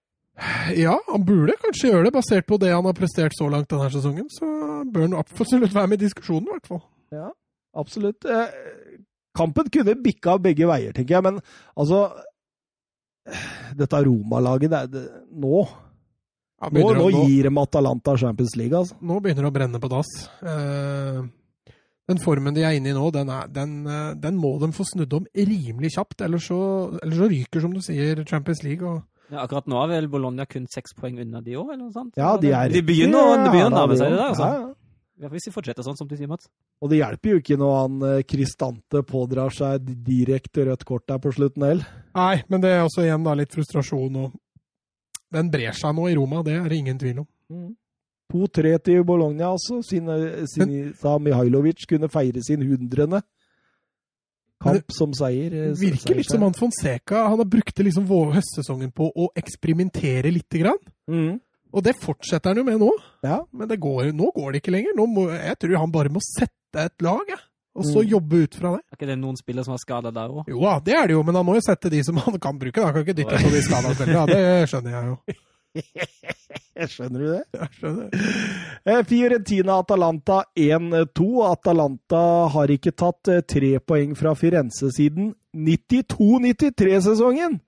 A: ja, han burde kanskje gjøre det, basert på det han har prestert så langt denne sesongen. Så bør han absolutt være med i diskusjonen, i hvert fall.
B: Absolutt. Eh, kampen kunne bikka begge veier, tenker jeg, men altså Dette Roma-laget, det er det, nå,
A: Ja,
B: nå,
A: begynner
B: nå
A: å- nå-
B: gir de Atalanta Champions League, altså.
A: nå begynner det å brenne på dass. Eh, Den formen de er inne i nå, den, er, den, eh, den må de få snudd om rimelig kjapt. Ellers så, ellers så ryker, som du sier, Champions League. og...
C: ja. Akkurat nå er vel Bologna kun seks poeng unna de òg, eller noe sånt?
B: Ja, de er
C: De begynner å de begynner å nærme seg det der, altså.
B: Ja, ja.
C: Ja, Hvis de fortsetter sånn som du sier, Mats.
B: Og det hjelper jo ikke når han eh, Kristante pådrar seg direkte rødt kort der på slutten heller.
A: Nei, men det er også igjen da litt frustrasjon. og Den brer seg nå i Roma, det er det ingen tvil om.
C: Mm.
B: 2-3 til Bologna, altså. Sine- Sinisa Mihailovic kunne feire sin hundrende
A: Men
B: kamp som seier. eh,
A: Det virker litt som han Fonseca han har brukt liksom vår- høstsesongen på å eksperimentere lite grann.
B: Mm.
A: Og det fortsetter han jo med nå.
B: Ja.
A: Men det går, nå går det ikke lenger. Nå må, jeg tror han bare må sette et lag, jeg. Og så
B: Mm.
A: jobbe ut fra det.
C: Er ikke det noen spillere som har skada der òg?
A: Jo da, det er det jo, men han må jo sette de som han kan bruke. da. Han kan ikke dytte på de skada spillerne. da. Det skjønner jeg jo.
B: Jeg skjønner du det?
A: *laughs* Jeg skjønner.
B: *laughs* Eh, Fiorentina-Atalanta 1-2. Atalanta har ikke tatt eh, tre poeng fra Firenze siden 92-93-sesongen.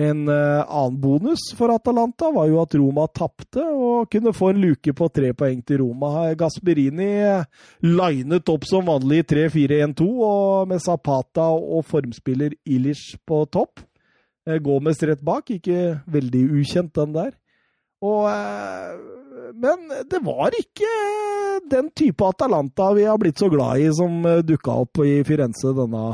B: En eh, annen bonus for Atalanta var jo at Roma tapte og kunne få en luke på tre poeng til Roma. Gasperini eh, linet opp som vanlig i 3-4-1-2, og med Zapata og formspiller Ilish på topp. Eh, Gomez rett bak, ikke veldig ukjent den der. Og, eh, men det var ikke eh, den type Atalanta vi har blitt så glad i, som eh, dukka opp i Firenze denne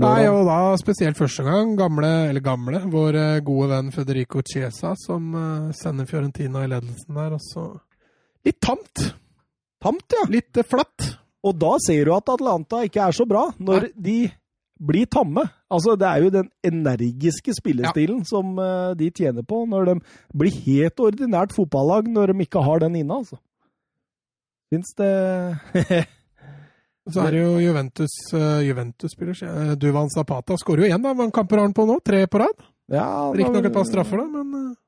A: Nei,
D: lørdag.
A: og da spesielt første gang gamle, eller gamle, vår eh, gode venn Federico Chiesa som eh, sender Fiorentina i ledelsen der, og så Litt tamt!
B: Tamt, ja.
A: Litt eh, flatt.
B: Og da ser du at Atlanta ikke er så bra, når de blir tamme. Altså, det er jo den energiske spillestilen som eh, de tjener på, når de blir helt ordinært fotballag når de ikke har den inne, altså. Fins det *laughs*
A: Så er det jo Juventus eh, Juventus-spiller. eh, Duvan Zapata skårer jo igjen, da. Hvor mange kamper har han på nå? Tre på rad?
B: Ja,
A: Riktignok et par straffer, da, men eh,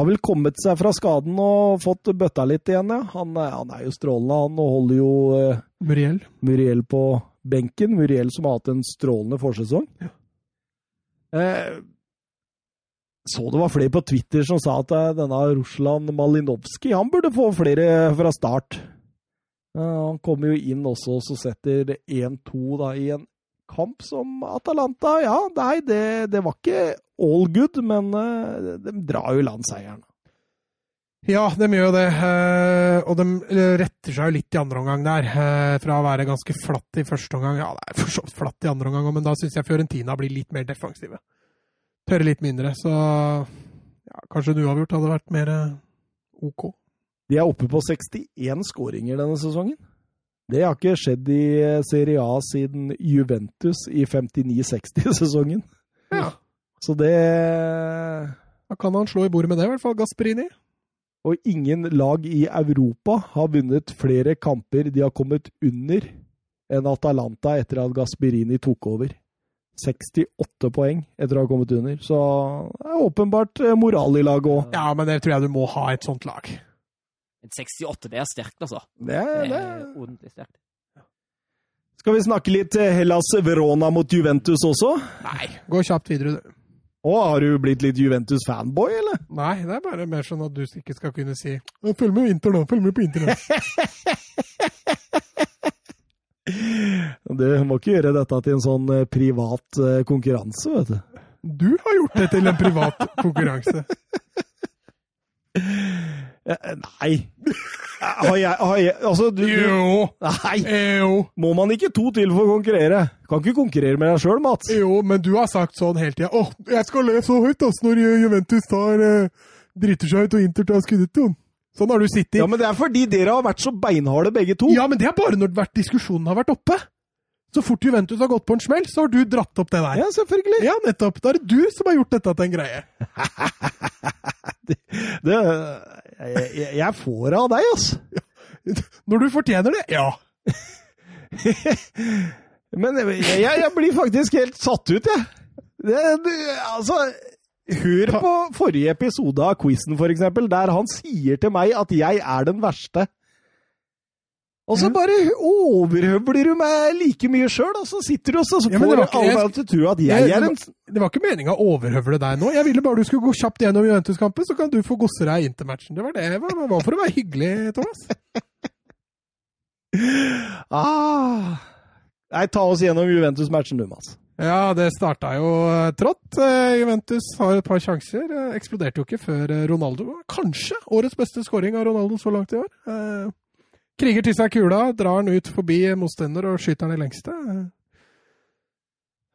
B: Har vel kommet seg fra skaden og fått bøtta litt igjen, ja. Han, er- han er jo strålende, han, og holder jo eh,
A: Muriel.
B: Muriel på benken. Muriel som har hatt en strålende forsesong. Eh, så det var flere på Twitter som sa at eh, denne Russland Malinovskij, han burde få flere fra start. Eh, han kommer jo inn også, så setter 1-2 da i en kamp som Atalanta. Ja, nei, det, det var ikke all good, men eh, de drar jo i land seieren.
A: Ja, de gjør jo det. eh, Og de retter seg jo litt i andre omgang der. eh, Fra å være ganske flatt i første omgang. Ja, det er for så vidt flatt i andre omgang òg, men da syns jeg Fiorentina blir litt mer defensive. Tørre litt mindre, så ja, kanskje en uavgjort hadde vært mer eh, OK.
B: De er oppe på 61 skåringer denne sesongen. Det har ikke skjedd i eh, Serie A siden Juventus i 59-60-sesongen.
A: Ja.
B: Så det
A: Da kan han slå i bordet med det, i hvert fall. Gasperini.
B: Og ingen lag i Europa har vunnet flere kamper de har kommet under enn Atalanta etter at Gasperini tok over. 68 poeng etter å ha kommet under, så det er åpenbart eh, moral i laget òg.
A: Ja, men det tror jeg du må ha i et sånt lag.
C: En 68, det er sterkt, altså.
B: Det,
C: Det
B: det,
C: er ordentlig sterkt.
B: Skal vi snakke litt eh, Hellas Verona mot Juventus også?
A: Nei, gå kjapt videre, du.
B: Å, har du blitt litt Juventus-fanboy, eller?
A: Nei, det er bare mer sånn at du ikke skal kunne si «Ja, Følg med Inter nå, følg med på Inter nå.
B: Du må ikke gjøre dette til en sånn eh, privat eh, konkurranse, vet du.
A: Du har gjort det til en *laughs* privat konkurranse.
B: Eh, Nei. Har jeg, har jeg Altså, du, du
A: Jo,
B: Nei!
A: jo.
B: Må man ikke to til for å konkurrere? Kan ikke konkurrere med deg sjøl, Mats.
A: Jo, men du har sagt sånn hele tida. Åh, jeg skal le så høyt ass, når Ju- Juventus tar eh, driter seg ut og Inter tar skuddeton. Sånn har du sittet.
B: Ja,
A: Ja men,
B: men det er fordi dere har vært så beinharde, begge to.
A: det er bare når vært, diskusjonen har vært oppe. Så fort Juventus har gått på en smell, så har du dratt opp det der.
B: Ja, selvfølgelig.
A: Ja, nettopp. Da er det du som har gjort dette til en greie.
B: Det, eh, jeg, jeg- jeg får det av deg, altså.
A: Når du fortjener det, ja.
B: Men jeg, jeg, jeg blir faktisk helt satt ut, jeg. Det, det, altså, hør på forrige episode av quizen, for eksempel, der han sier til meg at jeg er den verste. Og så
A: Mhm.
B: bare overhøvler du meg like mye sjøl, og så sitter du og så så
A: Ja, men det
B: får
A: var ikke-
B: alle
A: jeg-
B: meg til å tro at jeg
A: Jeg-
B: er en
A: Det var ikke meninga å overhøvle deg nå. Jeg ville bare du skulle gå kjapt gjennom Juventus-kampen, så kan du få gosse deg i Inter-matchen. Det var det. Det var- det var for å være hyggelig, Thomas.
B: ah. Nei, ta oss gjennom Juventus-matchen, du, Mats.
A: Ja, det starta jo eh, trått. Eh, Juventus har et par sjanser. Eh, Eksploderte jo ikke før eh, Ronaldo. Kanskje årets beste skåring av Ronaldo så langt i år. Eh, Kriger til seg kula, drar den ut forbi motstander og skyter den i lengste.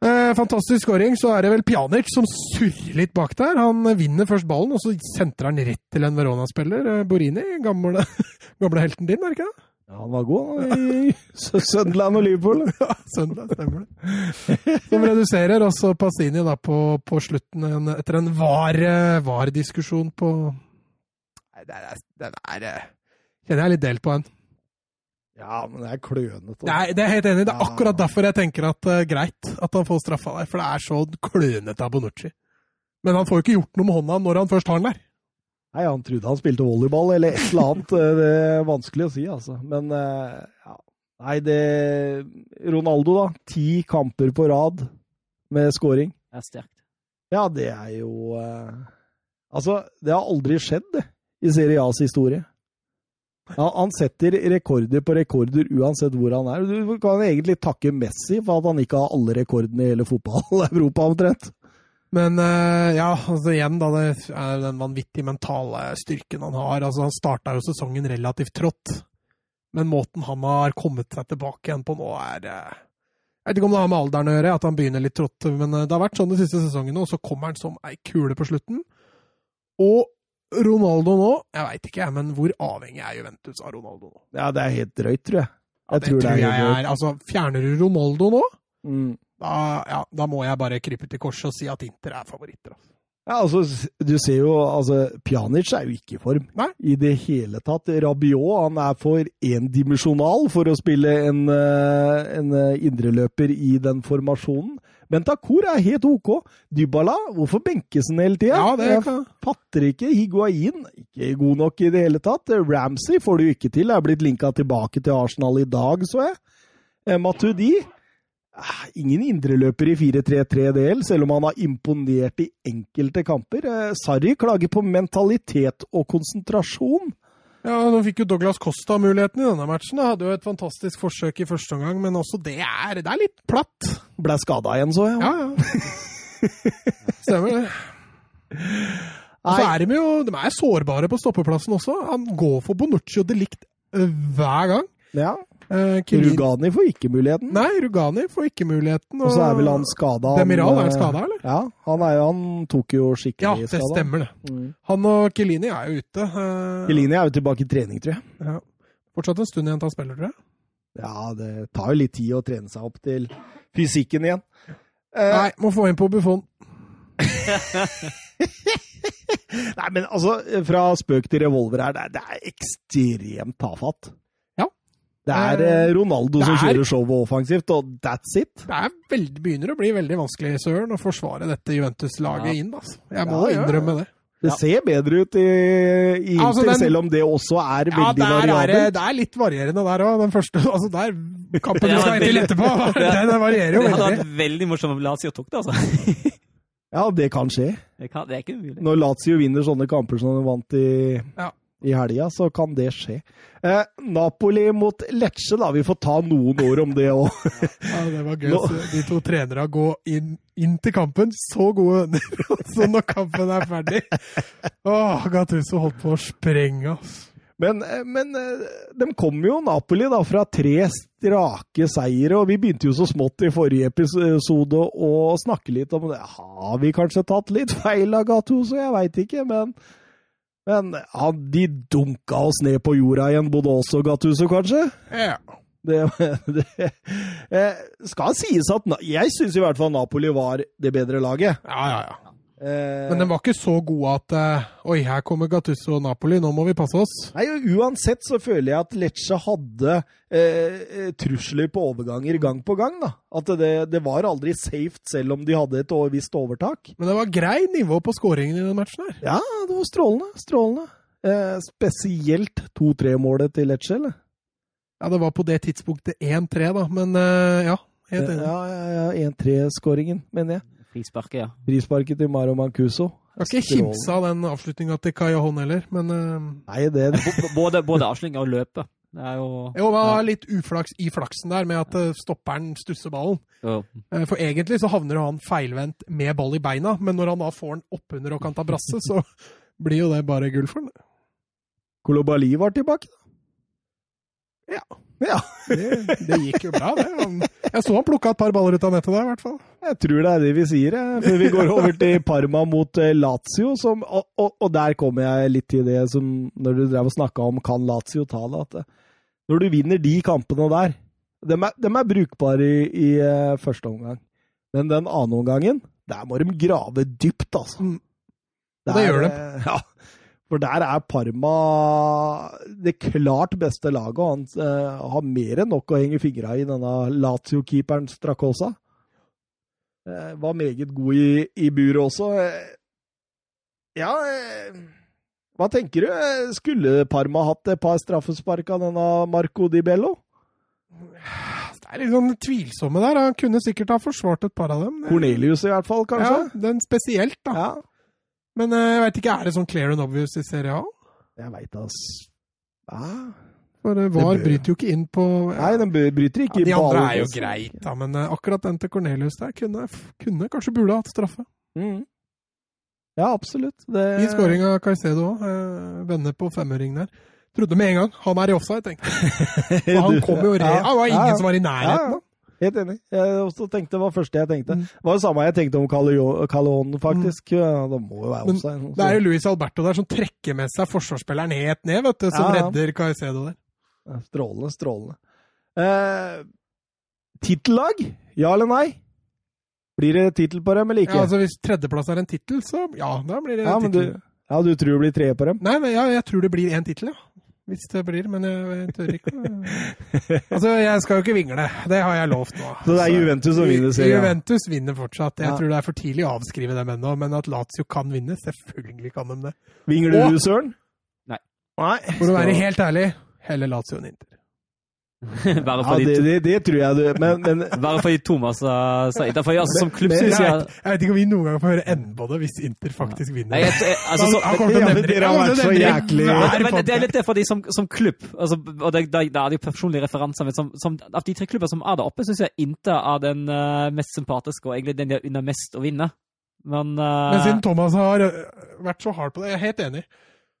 A: Eh, Fantastisk skåring. Så er det vel Pjanic som surrer litt bak der. Han eh, vinner først ballen, og så sentrer han rett til en Verona-spiller. eh, Borini, gamle, *laughs* gamle helten din, er det ikke det?
B: Ja, han var god han, i Sø- Sunderland og Liverpool.
A: Søndag, stemmer det. *laughs* Som reduserer også Passini da på, på slutten en, etter en var, eh, var-diskusjon på Nei, det er, det er eh, Kjenner jeg er litt delt på en.
B: Ja, men det er klønete. altså.
A: Nei, det er jeg helt enig. i. Det er
B: Ja.
A: akkurat derfor jeg tenker at det er greit at han får straffa der. For det er så klønete av Bonucci. Men han får jo ikke gjort noe med hånda når han først har den der.
B: Nei, han trodde han spilte volleyball eller et eller annet. Eh, Det er vanskelig å si, altså. Men eh, ja. Nei, det Ronaldo, da. Ti kamper på rad med scoring.
C: Det er sterkt.
B: Ja, det er jo eh, Altså, det har aldri skjedd, det, i Serie A's historie. Ja, han setter rekorder på rekorder uansett hvor han er. Du kan egentlig takke Messi for at han ikke har alle rekordene i hele fotball-Europa, omtrent.
A: Men eh, ja, altså igjen da, det er den vanvittige mentale styrken han har. Altså Han starta jo sesongen relativt trått, men måten han har kommet seg tilbake igjen på nå, er eh, Jeg vet ikke om det har med alderen å gjøre, at han begynner litt trått, men eh, det har vært sånn de siste sesongene, og så kommer han som ei kule på slutten. Og Ronaldo nå Jeg veit ikke, jeg, men hvor avhengig er Juventus av Ronaldo nå?
B: Ja, det er helt drøyt, tror jeg. Jeg
A: det tror, jeg
B: helt drøyt.
A: er Altså, fjerner du Ronaldo nå,
B: Mm.
A: da, ja, da må jeg bare krype til korset og si at Inter er favoritter. Altså.
B: Ja, altså, du ser jo, altså, Pjanic er jo ikke i form
A: Nei.
B: i det hele tatt. Rabiot han er for endimensjonal for å spille en, eh, en eh, indreløper i den formasjonen. Bentancur er helt OK. Dybala, hvorfor benkes han hele tida?
A: Ja, det
B: Jeg
A: kan
B: fatter ikke. Higuain, ikke god nok i det hele tatt. Ramsey får du ikke til. Er blitt linka tilbake til Arsenal i dag, så jeg. Eh, Matuidi eh, Ingen indreløper i 4-3-3-del, selv om han har imponert i enkelte kamper. Eh, Sarri klager på mentalitet og konsentrasjon.
A: Ja, Nå fikk jo Douglas Costa muligheten i denne matchen. da. Hadde jo et fantastisk forsøk i første omgang, men også det er, det er litt platt.
B: Ble skada igjen, så jeg.
A: Ja, ja. *laughs* Stemmer det. Og så
B: Nei.
A: er de jo de er sårbare på stoppeplassen også. Han går for Bonucci og de likt øh, hver gang.
B: Ja.
A: Eh, Kyrin-
B: Rugani får ikke muligheten.
A: Nei, Rugani får ikke muligheten.
B: Og så er vel han eh, skada.
A: Demiral er skada, eller?
B: Ja, han, er, jo- han tok jo
A: Ja,
B: skikkelig
A: det
B: skada.
A: stemmer, det.
B: Mm.
A: Han og Kelini er jo ute. eh,
B: Elini er jo tilbake i trening, tror jeg.
A: Ja. Fortsatt en stund igjen til han spiller, tror jeg.
B: Ja, det tar jo litt tid å trene seg opp til fysikken igjen. Eh.
A: Nei, må få inn på Buffon.
B: Nei, men altså, fra spøk til revolver her, det er, det er ekstremt tafatt.
A: Ja.
B: Det er eh, Ronaldo som
A: Det er-
B: kjører showet offensivt, og that's it.
A: Det er veldig, begynner å bli veldig vanskelig Søren, å forsvare dette Juventus-laget
C: Ja.
A: inn. Altså. Jeg må
B: Ja, ja, ja.
A: innrømme det.
B: Det
C: Ja.
B: ser bedre ut i, i Inter,
A: Altså, den-
B: selv om det også er
A: Ja,
B: veldig
A: der er, det,
B: variabelt.
A: det er litt varierende der òg. Den første altså der, kampen du
C: Ja,
A: skal inn til
C: det-
A: etterpå,
C: *laughs*
A: *laughs* den varierer jo
C: Det
A: veldig.
C: hadde vært veldig morsomt om Lazio tok det, altså. *laughs*
B: Ja, det kan skje.
C: Det, kan, det er ikke umulig.
B: Når Lazio vinner sånne kamper som de vant i,
A: Ja.
B: i helga, så kan det skje. Eh, Napoli mot Lecce, da. Vi får ta noen år om det òg.
A: Ja, det var gøy
B: Nå-
A: å se de to trenerne gå inn, inn til kampen, så gode *laughs* venner, og så når kampen er ferdig Åh, Gattuso holdt på å sprenge, ass.
B: Men, men eh, de kom jo, Napoli, da, fra tre strake seire. Og vi begynte jo så smått i forrige episode å snakke litt om det. Har vi kanskje tatt litt feil av Gattuso? Jeg veit ikke, men men han, de dunka oss ned på jorda igjen, både oss og Gattuso, kanskje?
A: Ja.
B: Det, *laughs* det eh, skal sies at Na- Jeg syns i hvert fall Napoli var det bedre laget.
A: ja, ja, ja.
B: Eh,
A: Men den var ikke så god at eh, Oi, her kommer Gattuso og Napoli, nå må vi passe oss.
B: Nei, og Uansett så føler jeg at Lecce hadde eh, eh, trusler på overganger gang på gang. da. At det, det var aldri safe, selv om de hadde et over- visst overtak.
A: Men det var grei nivå på skåringen i den matchen her.
B: Ja, det var strålende. Strålende. Eh, spesielt 2-3-målet til Lecce, eller?
A: Ja, det var på det tidspunktet 1-3, da, men eh, ja. Helt enig.
B: Ja, ja, ja, 1-3-skåringen, mener jeg.
C: Frisparket, ja.
B: Frisparket til Maro Mancuso.
A: Jeg skal ikke kimse av den avslutninga til Kajahon heller, men eh,
B: Nei, det
C: B- Både, både avslutninga og løpet. Det er jo
A: Jo, men det var litt uflaks i flaksen der med at eh, stopperen stusser ballen.
C: Ja.
A: Eh, For egentlig så havner jo han feilvendt med ball i beina, men når han da får den oppunder og kan ta brasse, så *laughs* blir jo det bare gull for han.
B: Kolobali var tilbake.
A: Det, det gikk jo bra, det. Han, jeg så han plukka et par baller ut av nettet der, i hvert fall.
B: Jeg tror det er det vi sier, jeg. før vi går over til Parma mot eh, Lazio. Som, og, og, og der kommer jeg litt til det som når du drev og snakka om kan Lazio ta det. At eh, når du vinner de kampene der De er, dem er brukbare i, i eh, første omgang, men den andre omgangen, der må de grave dypt, altså.
A: Mm. Og det gjør de.
B: eh, Ja. For der er Parma det klart beste laget, og han eh, har mer enn nok å henge fingra i denne Lazio-keeperen Strakosa. Eh, var meget god i, i buret også. Eh, ja eh, Hva tenker du? Eh, Skulle Parma hatt et par straffespark av denne Marco Di Bello?
A: Det er litt sånn tvilsomme der. Han kunne sikkert ha forsvart et par av dem. Det-
B: Cornelius i hvert fall,
A: Ja,
B: kanskje?
A: den spesielt, da.
B: Ja.
A: Men eh, jeg veit ikke, er det sånn clear and obvious i Serie A?
B: Jeg veit ass. Ja.
A: For eh, VAR
B: bør-
A: bryter jo ikke inn på
B: Nei, den bø- bryter ikke liksom.
A: Ja, de
B: på
A: andre
B: alle
A: er jo
B: plasser.
A: greit, da, men eh, akkurat den til Cornelius der kunne, kunne kanskje burde hatt straffe.
B: Mm. Ja, absolutt. Det,
A: I
B: *laughs*
A: scoring av Caicedo òg. Vender på femøring der. Trodde med en gang han er i offside, tenkte jeg. For han kom jo re... Ah,
B: Ja,
A: Det var
B: ja,
A: ingen som var i
B: ja, ja.
A: nærheten. da. Mm.
B: Helt enig. Jeg også tenkte, det var det første jeg tenkte. Det var det samme jeg tenkte om Callejon, faktisk. Ja, det må jo være
A: Men
B: offside.
A: Det er jo Luis Alberto der som trekker med seg forsvarsspilleren helt ned, vet du, som
B: Ja, ja.
A: redder Caicedo der.
B: Ja, Strålende, strålende. Eh, Tittellag? Ja eller nei? Blir det tittel på dem eller ikke?
A: Ja, altså Hvis tredjeplass er en tittel, så ja, da blir det
B: Ja, men
A: tittel.
B: du, ja, du tror det blir tre på dem?
A: Nei, men ja, jeg tror det blir én tittel, ja. Hvis det blir, men jeg, jeg tør
B: *laughs*
A: ikke. Altså, jeg skal jo ikke vingle. Det har jeg lovt nå. Altså,
B: Så det er Juventus som vinner serien?
A: Juventus vinner fortsatt. Jeg
B: Ja.
A: tror det er for tidlig å avskrive dem ennå, men at Lazio kan vinne, selvfølgelig kan de det.
B: Vingler du, Søren?
C: Nei.
B: Nei.
A: For å være helt ærlig, heller Lazio enn Inter.
C: *laughs* Bare
B: Ja,
C: fordi,
B: det, det, det tror jeg du Men, *laughs* men
C: bare fordi Thomas uh, sier det. For jeg, altså, som klubb
A: Jeg
C: synes jeg
A: vet, jeg vet ikke om vi noen gang får høre enden på det hvis Inter faktisk
C: Nei,
A: vinner.
C: jeg, jeg, altså, så,
A: Han kommer til å
B: Ja, men
A: nevne det.
B: dere har
A: Han kommer
B: vært
A: til å
B: så
A: nevne det i
B: jæklig-
A: hver
C: men det er
A: podcast.
C: litt det fordi som, som klubb altså, og det, det, det er jo personlige referanser, men som, som, av de tre klubber som er der oppe, syns jeg Inter er den eh, mest sympatiske, og egentlig den de har unna mest å vinne. Men, eh,
A: Men siden Thomas har øh, vært så hard på det, jeg er helt enig.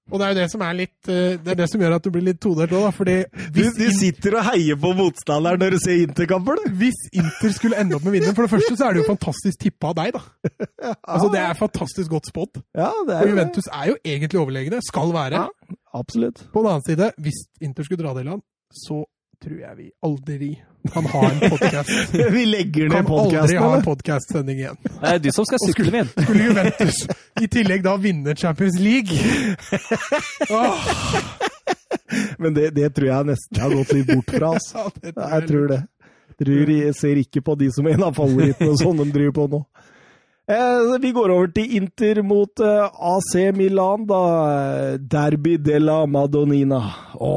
A: Og det er jo det som er litt øh, Det er det som gjør at du blir litt todelt òg, da. Fordi
B: du,
A: hvis,
B: du
A: In-
B: sitter og heier på motstanderen når du ser Interkamper, du!
A: hvis Inter skulle ende opp med å vinne For det første så er det jo fantastisk tippa av *laughs* deg, da. Altså Det er fantastisk godt spådd.
B: Ja,
A: Og
B: det er jo det.
A: Juventus er jo egentlig overlegne. Skal være.
B: Ja. Absolutt.
A: På den annen side, hvis Inter skulle dra det i land, så tror jeg vi aldri kan ha en podcast
B: *laughs*
A: *laughs*
B: Vi legger
A: Kan
B: ned
A: aldri
B: podkasten,
A: ha en
B: eller?
A: podcast-sending igjen.
C: det er du som skal sykle min.
A: Skulle Juventus i tillegg da vinne Champions *laughs* League? Åh,
B: Men det, det tror jeg nesten jeg har gått litt bort fra, altså.
A: ja, det
B: Ja, jeg tror det. Tror jeg ser ikke på de som er en av favorittene og sånn de driver på nå. Eh, vi går over til Inter mot eh, AC Milan, da. Derby della Madonnina. Å,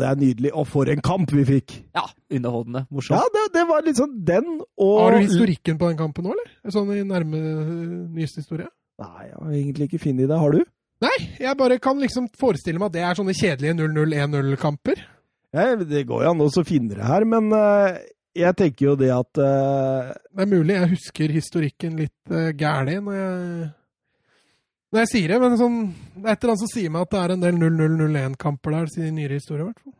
B: det er nydelig. Og for en kamp vi fikk!
C: Ja, underholdende.
B: Ja,
C: Morsomt.
B: det, det var liksom den og
A: Har du historikken på den kampen nå, eller? Sånn i nærme øh, nyeste historie?
B: Nei, jeg har egentlig ikke funnet det. Har du?
A: Nei, jeg bare kan liksom forestille meg at det er sånne kjedelige 0-0-1-0-kamper.
B: Ja, det går jo an å finne det her, men eh, jeg tenker jo det at eh,
A: Det er mulig jeg husker historikken litt uh, gæli når jeg når jeg sier det, men sånn, det er et eller annet som sier meg at det er en del 0-0-0-1-kamper der siden i nyere historie, i hvert fall.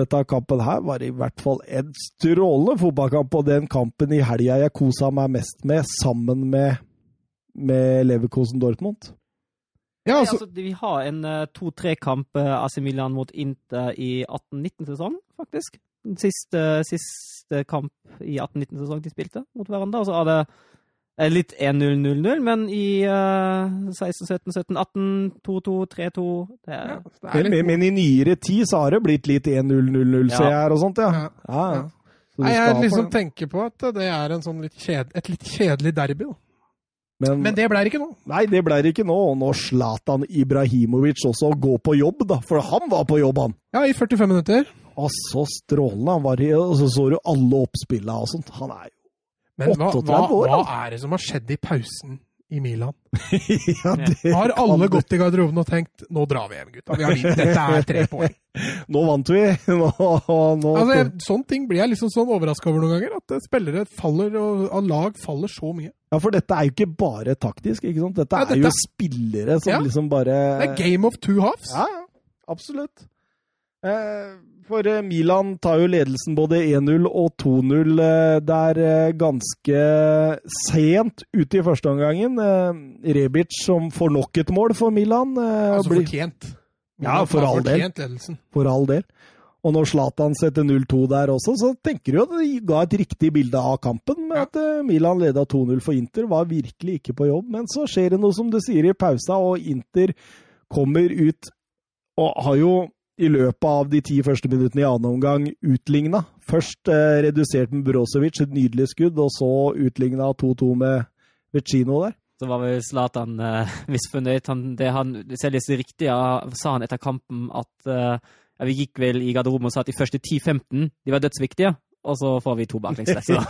B: Dette kampen her var i hvert fall en strålende fotballkamp, og den kampen i helga jeg kosa meg mest med, sammen med, med Leverkosen Dortmund.
A: Ja,
C: Nei,
A: altså,
C: altså, vi har en eh, to-tre-kamp eh, AC Milan mot Inter i 18-19-sesong, faktisk. Den siste, eh, siste kamp i 18-19-sesong de spilte mot hverandre. Og så er det eh, litt 1-0-0-0, men i eh, 16-17-17-18, 2-2, 3-2 det er,
A: ja, altså, det er
B: Men,
A: litt...
B: men, men i nyere tid så har det blitt litt 1-0-0-0-seer og sånt, ja.
A: Ja.
B: ja. ja.
A: Ja.
B: Så du
A: Nei,
B: skal
A: jeg
B: på
A: liksom
B: den.
A: tenker på at det er en sånn litt kjed... et litt kjedelig derby, da.
B: men,
A: Men det ble det ikke nå.
B: Nei, det ble det ikke nå. Og nå Zlatan Ibrahimovic også gå på jobb, da. For han var på jobb, han.
A: Ja, i 45 minutter.
B: Altså, strålende. Han var i, og så så du alle oppspillene og sånt. Han er jo *laughs*
A: Men hva, hva,
B: 38 år,
A: hva er det som har skjedd i pausen i Milan?
B: ja, *laughs* det,
A: Har alle gått i garderoben og tenkt 'nå drar vi hjem, gutta'. Vi har vunnet. Dette
B: *laughs*
A: er tre poeng.
B: Nå vant vi! *laughs* Nå, nå
A: Altså, jeg, sånne ting blir jeg liksom sånn overraska over noen ganger. At eh, spillere faller, og av lag faller så mye.
B: Ja, for dette er jo ikke bare taktisk, ikke sant? Dette
A: Nei,
B: er
A: dette-
B: jo spillere som
A: Ja.
B: liksom bare
A: Det er game of two halves.
B: Ja, ja. Absolutt. Eh, for eh, Milan tar jo ledelsen både 1-0 og 2-0 eh, der eh, ganske sent ute i første omgangen. Eh, Rebic som får nok et mål for Milan. Eh,
A: altså
B: blir,
A: fortjent.
B: Ja, for
A: Ja,
B: all del.
A: fortjent ledelsen.
B: for all del. Og når Zlatan setter 0-2 der også, så tenker du jo at det ga et riktig bilde av kampen. Med
A: Ja.
B: at eh, Milan leda 2-0 for Inter, var virkelig ikke på jobb. Men så skjer det noe, som du sier, i pausa, og Inter kommer ut og har jo i løpet av de ti første minuttene i annen omgang utligna. Først eh, redusert med Brozovic, et nydelig skudd, og så utligna 2-2 med Vecino der. *laughs*
C: Så var vel Zlatan eh, *laughs* misfornøyd. Han, det han, hvis jeg leser riktig, ja, sa han etter kampen at eh, ja, Vi gikk vel i garderoben og sa at de første 10-15 de var dødsviktige, og så får vi to baklengs. Så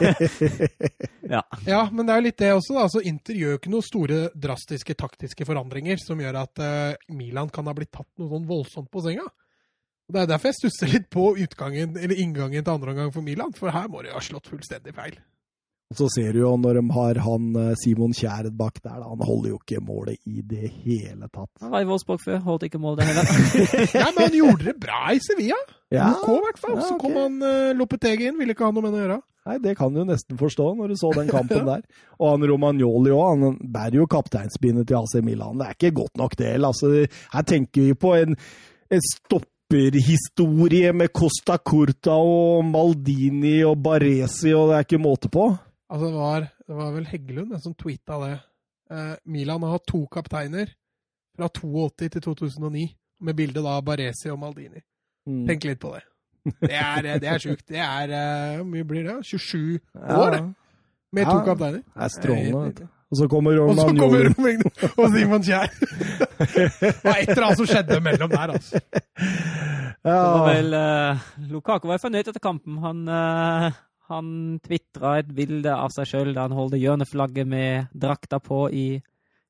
A: *laughs* Ja, men det er jo litt det også. da. Altså, Inter gjør jo ikke noen store drastiske taktiske forandringer som gjør at eh, Milan kan ha blitt tatt noe sånn voldsomt på senga. Og Det er derfor jeg stusser litt på utgangen, eller inngangen til andre omgang for Milan, for her må de ha slått fullstendig feil.
B: Og så ser du jo når de har han eh, Simon Kjærd bak der, da, han holder jo ikke målet i det hele tatt.
C: Han var i Wolfsburg før, holdt ikke
B: *laughs*
C: mål det heller.
A: Ja, men han gjorde det bra i Sevilla.
B: Ja,
A: OK, i hvert fall.
B: Ja,
A: Så
B: ok.
A: kom han uh, Lopetegi inn, ville ikke ha noe med det å gjøre.
B: Nei, det kan du nesten forstå når du så den kampen
A: *laughs*
B: der. Og han Romagnoli òg, han bærer jo kapteinsbindet til AC Milan. Det er ikke godt nok, det. Altså, her tenker vi på en, en stopperhistorie med Costa Curta og Maldini og Baresi, og det er ikke måte på.
A: Altså, det var, det var vel Heggelund den som tweeta det. Eh, Milan har hatt to kapteiner fra 82 til 2009, med bilde da av Baresi og Maldini.
B: Mm.
A: Tenk litt på det. Det er, det er sjukt. Det er eh, Hvor mye blir det? 27 år, det. Med to
B: Ja.
A: kapteiner.
B: Det er
A: Helt
B: strålende. vet
A: nydelig.
B: du. Og så kommer
A: Og så kommer
B: Romagnoli.
A: Romagno og Simon Kjær. Det var et eller annet som skjedde mellom der, altså.
C: Det var
B: Ja,
C: vel, eh, Lukaku var fornøyd etter kampen. Han, uh, han tvitra et bilde av seg sjøl da han holdt hjørneflagget med drakta på i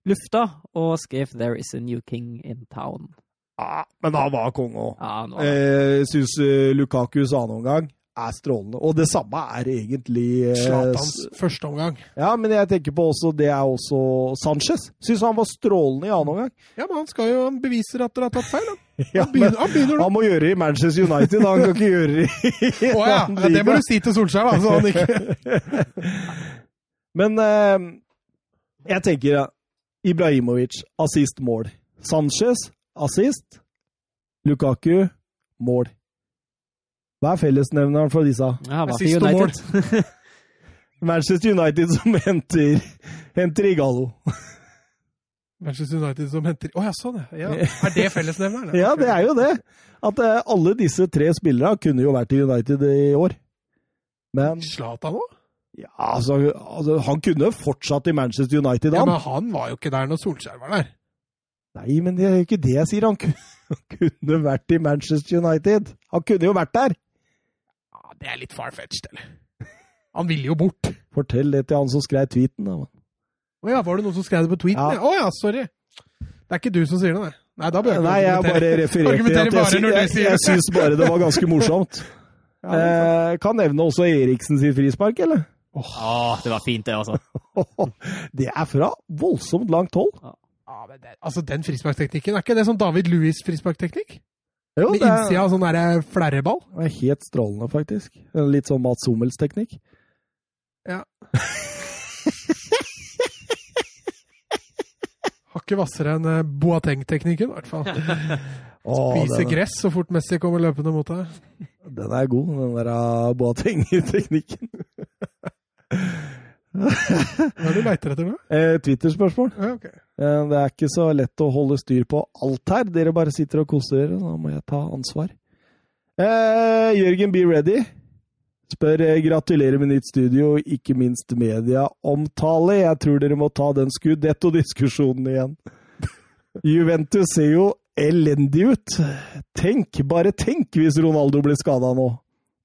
C: lufta, og skrev 'There is a new king in town'.
B: Ja, men han var konge òg.
C: Ja, han var
B: Jeg syns Eh, Lukaku sa noen gang er strålende. Og det samme er egentlig eh,
A: Zlatans første omgang.
B: Ja, men jeg tenker på også, det er også Sanchez. Syns han var strålende i annen omgang.
A: Ja, men han skal jo han beviser at dere har tatt feil. Han,
B: *laughs* Ja,
A: han,
B: men
A: begynner, han begynner nå.
B: han må gjøre det i Manchester United, han kan ikke gjøre det i *laughs*
A: Å
B: en
A: ja.
B: annen
A: ja, det må
B: liga.
A: du si til Solskjær, da. Så han ikke
B: Men eh, jeg tenker ja, Ibrahimovic, assist, mål. Sanchez, assist. Lukaku, mål. Hva er fellesnevneren for disse?
C: Ja, han var
A: Siste
C: for United.
B: Manchester United som *laughs* henter, henter Igalo.
A: *laughs* Manchester United som henter Å ja, sånn, ja. ja. *laughs* Er det fellesnevneren?
B: *laughs* Ja, det er jo det. At eh, alle disse tre spillerne kunne jo vært i United i år. Men
A: Zlatan òg?
B: ja, altså, altså Han kunne fortsatt i Manchester United,
A: Ja,
B: han.
A: men han var jo ikke der når Solskjær var der.
B: Nei, men det er jo ikke det jeg sier. Han ku- *laughs* han kunne vært i Manchester United. Han kunne jo vært der!
A: Ja, det er litt far-fetched, eller? Han ville jo bort.
B: Fortell det til han som skrev tweeten. da. mann.
A: Å ja, var det noen som skrev det på tweeten?
B: Ja.
A: ja? Å ja, sorry. Det er ikke du som sier det, nei. Nei, da bør jeg ikke
B: Nei, jeg bare
A: argumentere.
B: refererte til
A: Argumenterer
B: at jeg,
A: bare når du
B: sy- jeg,
A: sier
B: jeg
A: det.
B: syns bare det var ganske morsomt.
A: *laughs* Ja, det er sant.
B: eh, kan nevne også Eriksen sitt frispark, eller?
C: Åh, det var fint, det, altså.
B: *laughs* Det er fra voldsomt langt hold.
A: Ja, men det, altså, den frisparkteknikken, er ikke det sånn David Louis frisparkteknikk?
B: Jo,
A: Med
B: det er-
A: innsida av sånn derre flerreball?
B: Det er helt strålende, faktisk. En Litt sånn Mats Hummels-teknikk.
A: Hakket hvassere enn eh, Boateng-teknikken, i hvert *laughs* fall.
B: Å,
A: Spiser
B: den,
A: gress så fort Messi kommer løpende mot deg.
B: den er god, den der ah, Boateng-teknikken.
A: Hva er det du leiter etter nå?
B: *laughs* Eh, Twitter-spørsmål.
A: Ja, ok.
B: Eh, det er ikke så lett å holde styr på alt her. Dere bare sitter og koser dere, da må jeg ta ansvar. Eh, Jørgen Be Ready spør eh, gratulerer med nytt studio, ikke minst medieomtale. Jeg tror dere må ta den skuddetto-diskusjonen igjen. *laughs* Juventus ser jo elendig ut. Tenk, bare tenk hvis Ronaldo blir skada nå.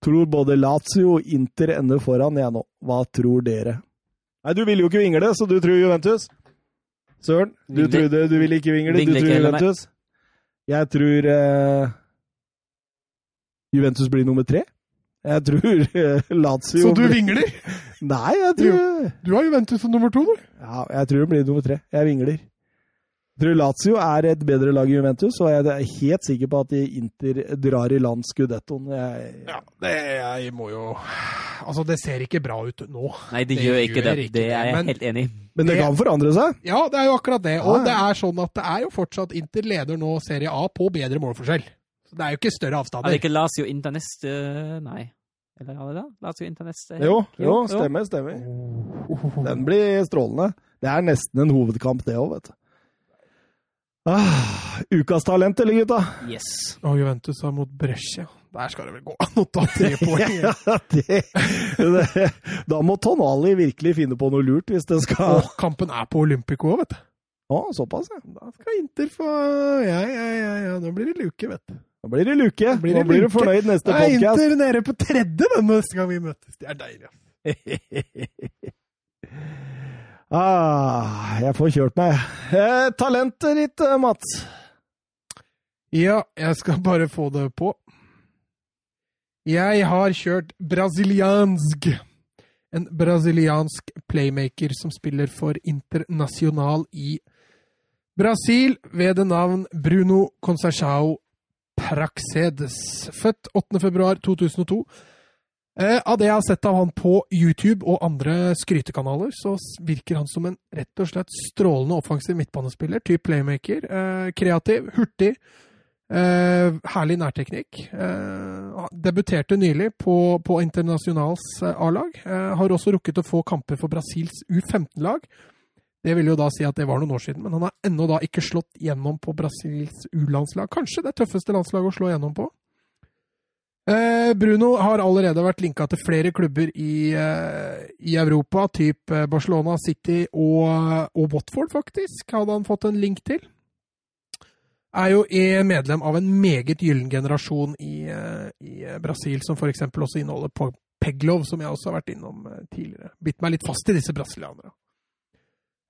B: Tror både Lazio og Inter ender foran jeg nå. Hva tror dere? Nei, du ville jo ikke vingle, så du tror Juventus. Søren, du
C: Vingle-
B: trodde du ville ikke vingle,
C: Vingle
B: du
C: ikke
B: tror
C: heller, nei.
B: Juventus. Jeg tror eh, Juventus blir nummer tre. Jeg tror *laughs* eh, Lazio
A: Så du
B: blir-
A: vingler?
B: Nei, jeg tror
A: Du har Juventus som nummer to, du.
B: ja, jeg tror det blir nummer tre. Jeg vingler. Jeg tror Lazio er et bedre lag i Juventus, og jeg er helt sikker på at Inter drar i land skudettoen. Jeg,
A: Ja, det jeg må jo Altså, det ser ikke bra ut nå.
C: Nei, det
A: Det
C: gjør ikke
A: gjør
C: det.
A: ikke
C: Det er
A: det,
C: jeg
A: men-
C: helt enig i.
B: men det kan forandre seg.
A: Ja, det er jo akkurat det.
B: Ja, ja.
A: Og det er sånn at det er jo fortsatt Inter leder nå Serie A på bedre målforskjell. Så det er jo ikke større
C: Er det
A: avstander.
C: ikke Lazio Internest eh, Nei. Eller er det det? Lazio Internest eh,
B: Jo, jo,
C: jo.
B: stemmer, stemmer.
A: Oh.
B: Den blir strålende. Det er nesten en hovedkamp, det òg, vet du. Ah, ukas talent, eller, gutta?
C: Yes.
A: Og Juventus har mot Brescia. Der skal det vel gå an å ta tre poeng.
B: *laughs* Ja, det, det, da må Tonali virkelig finne på noe lurt, hvis det skal Å,
A: Og kampen er på Olympico òg, vet du.
B: såpass, ja.
A: Da skal Inter få Ja, ja, ja, ja. Nå blir det luke, vet du.
B: Da blir det luke.
A: blir
B: Nå
A: det
B: blir du
A: luke.
B: fornøyd neste
A: Da er
B: podkast.
A: Inter nede på tredje den neste gang vi møtes. Det er deilig. ass.
B: ah, jeg får kjørt meg. Eh, talentet ditt, eh, Mats.
A: Ja, jeg skal bare få det på. Jeg har kjørt brasiliansk. En brasiliansk playmaker som spiller for Internasjonal i Brasil ved det navn Bruno Concerchao Praxedes. Født 8. februar 2002. Eh, av det jeg har sett av han på YouTube og andre skrytekanaler, så s- virker han som en rett og slett strålende offensiv midtbanespiller. Typ playmaker. Eh, kreativ, hurtig. Eh, herlig nærteknikk. Eh, han debuterte nylig på, på Internasjonals eh, A-lag. Eh, har også rukket å få kamper for Brasils U15-lag. Det vil jo da si at det var noen år siden, men han har ennå da ikke slått gjennom på Brasils U-landslag. Kanskje det tøffeste landslaget å slå gjennom på. Eh, Bruno har allerede vært linka til flere klubber i, eh, i Europa, typ eh, Barcelona, City og, og Watford, faktisk, hadde han fått en link til. Er jo er medlem av en meget gyllen generasjon i, eh, i eh, Brasil, som f.eks. også inneholder Pog- Peglov, som jeg også har vært innom eh, tidligere. Bitt meg litt fast i disse brasilianerne.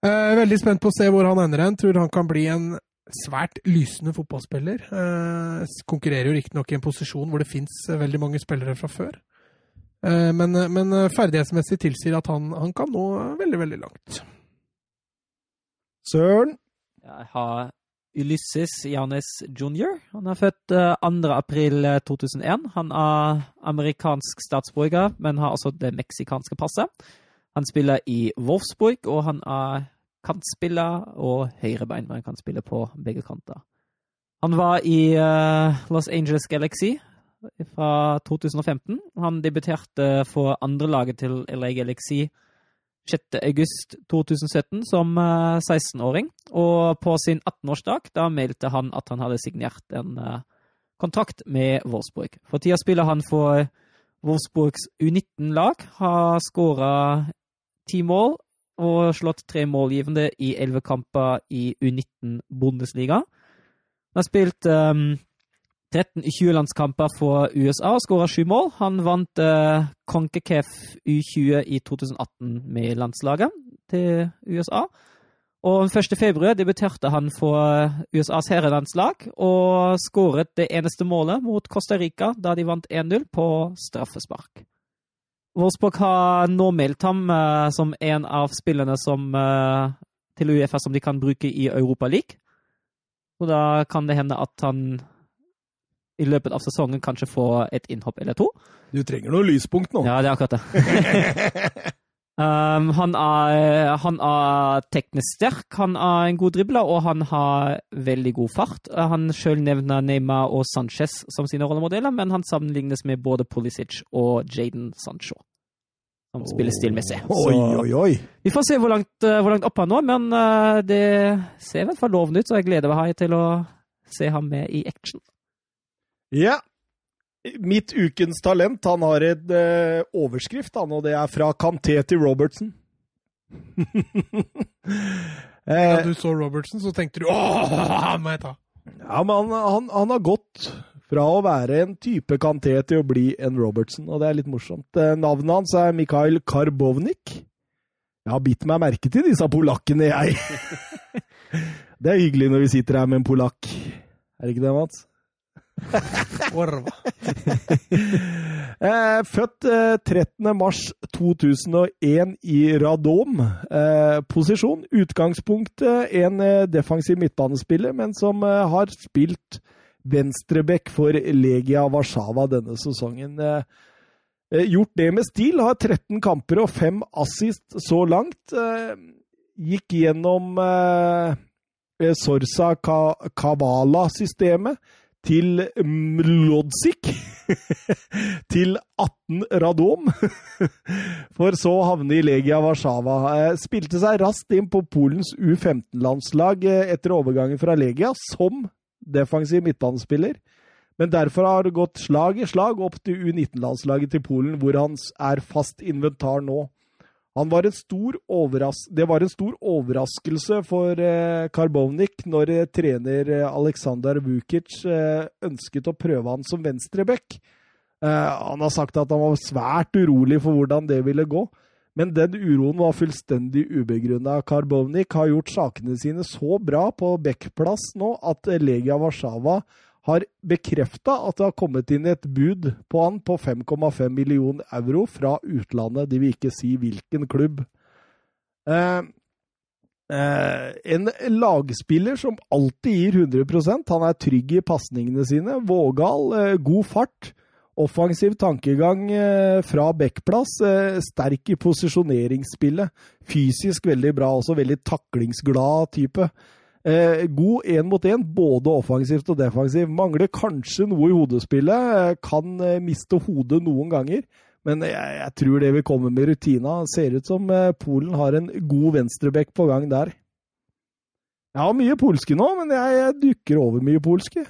A: Eh, veldig spent på å se hvor han ender hen. Tror han kan bli en svært lysende fotballspiller. Eh, konkurrerer jo riktignok i en posisjon hvor det fins veldig mange spillere fra før. Eh, men, men ferdighetsmessig tilsier at han, han kan nå eh, veldig, veldig langt.
B: Søren,
C: Jeg har Ulysses Janes jr. Han er født eh, 2. april 2001. Han er amerikansk statsborger, men har altså det meksikanske passet. Han spiller i Wolfsburg, og han er kantspiller og høyrebein, men han kan spille på begge kanter. Han var i eh, Los Angeles Galaxy fra 2015. Han debuterte for andrelaget til LA Galaxy 6. august 2017 som eh, 16-åring. Og på sin 18-årsdag da meldte han at han hadde signert en eh, kontrakt med Wolfsburg. For tida spiller han for Wolfsburgs U19-lag, har skåra ti mål og slått tre målgivende i elleve kamper i U19-Bundesliga. Han har spilt eh, 13 U20-landskamper for USA og skåra sju mål. Han vant uh, Concacaf U20 i 2018 med landslaget til USA. Og 1. februar debuterte han for eh, USAs herrelandslag og skåret det eneste målet mot Costa Rica da de vant 1-0 på straffespark. Wolfsburg har nå meldt ham eh, som en av spillerne som, eh, til Uefa som de kan bruke i Europa League. Og da kan det hende at han i løpet av sesongen kanskje får et innhopp eller to.
B: du trenger noe lyspunkt nå.
C: Ja, det er akkurat det.
B: *laughs*
C: um, han, er, han er teknisk sterk, han er en god dribler, og han har veldig god fart. Uh, Han sjøl nevner Neymar og Sanchez som sine rollemodeller, men han sammenlignes med både Pulisic og Jaden Sancho. Som spiller stilmessig.
B: Oi,
C: Så
B: oi, oi.
C: vi får se hvor langt, uh, hvor langt opp han når, men uh, det ser i hvert fall lovende ut, så jeg gleder meg til å se ham med i action.
B: Ja. Mitt ukens talent, han har en eh, overskrift, han, og det er fra Kanté til Robertsen. *laughs*
A: Da
B: eh,
A: du så Robertson, så tenkte du åh, han må jeg ta!
B: ja, men han, han, han har gått fra å være en type Kanté til å bli en Robertsen, og det er litt morsomt. Eh, navnet hans er Mikhail Karbovnik. Jeg har bitt meg merke til disse polakkene, jeg. *laughs* det er hyggelig når vi sitter her med en polakk. Er det ikke det, Mats?
A: Orva.
B: *laughs* Eh, født eh, 13. mars 2001 i Radom. Eh, posisjon, utgangspunktet, en eh, defensiv midtbanespiller, men som eh, har spilt venstreback for Legia Warszawa denne sesongen. Eh, eh, gjort det med stil, har 13 kamper og 5 assist så langt. Eh, gikk gjennom eh, eh, Sorsa Ka Kavala-systemet til Mlodzik. til 18 Radom, for så å havne i Legia Warszawa. Eh, Spilte seg raskt inn på Polens U15-landslag eh, etter overgangen fra Legia som defensiv midtbanespiller. Men derfor har det gått slag i slag opp til U19-landslaget til Polen, hvor han s- er fast inventar nå. Han var en stor overras det var en stor overraskelse for eh, Karbovnik når eh, trener eh, Aleksandr Vukic eh, ønsket å prøve han som venstreback. Eh, han har sagt at han var svært urolig for hvordan det ville gå. Men den uroen var fullstendig ubegrunna. Karbovnik har gjort sakene sine så bra på backplass nå at Legia Warszawa har bekrefta at det har kommet inn et bud på han på 5,5 millioner euro fra utlandet. De vil ikke si hvilken klubb. Eh, eh, en lagspiller som alltid gir 100 Han er trygg i pasningene sine, vågal, eh, god fart Offensiv tankegang eh, fra backplass, eh, sterk i posisjoneringsspillet. Fysisk veldig bra, også veldig taklingsglad type. Eh, god én mot én, både offensivt og defensivt. Mangler kanskje noe i hodespillet, eh, kan eh, miste hodet noen ganger. Men jeg, jeg tror det vil komme med rutina. Ser ut som eh, Polen har en god venstrebekk på gang der. Jeg har mye polske nå, men jeg, jeg dukker over mye polske.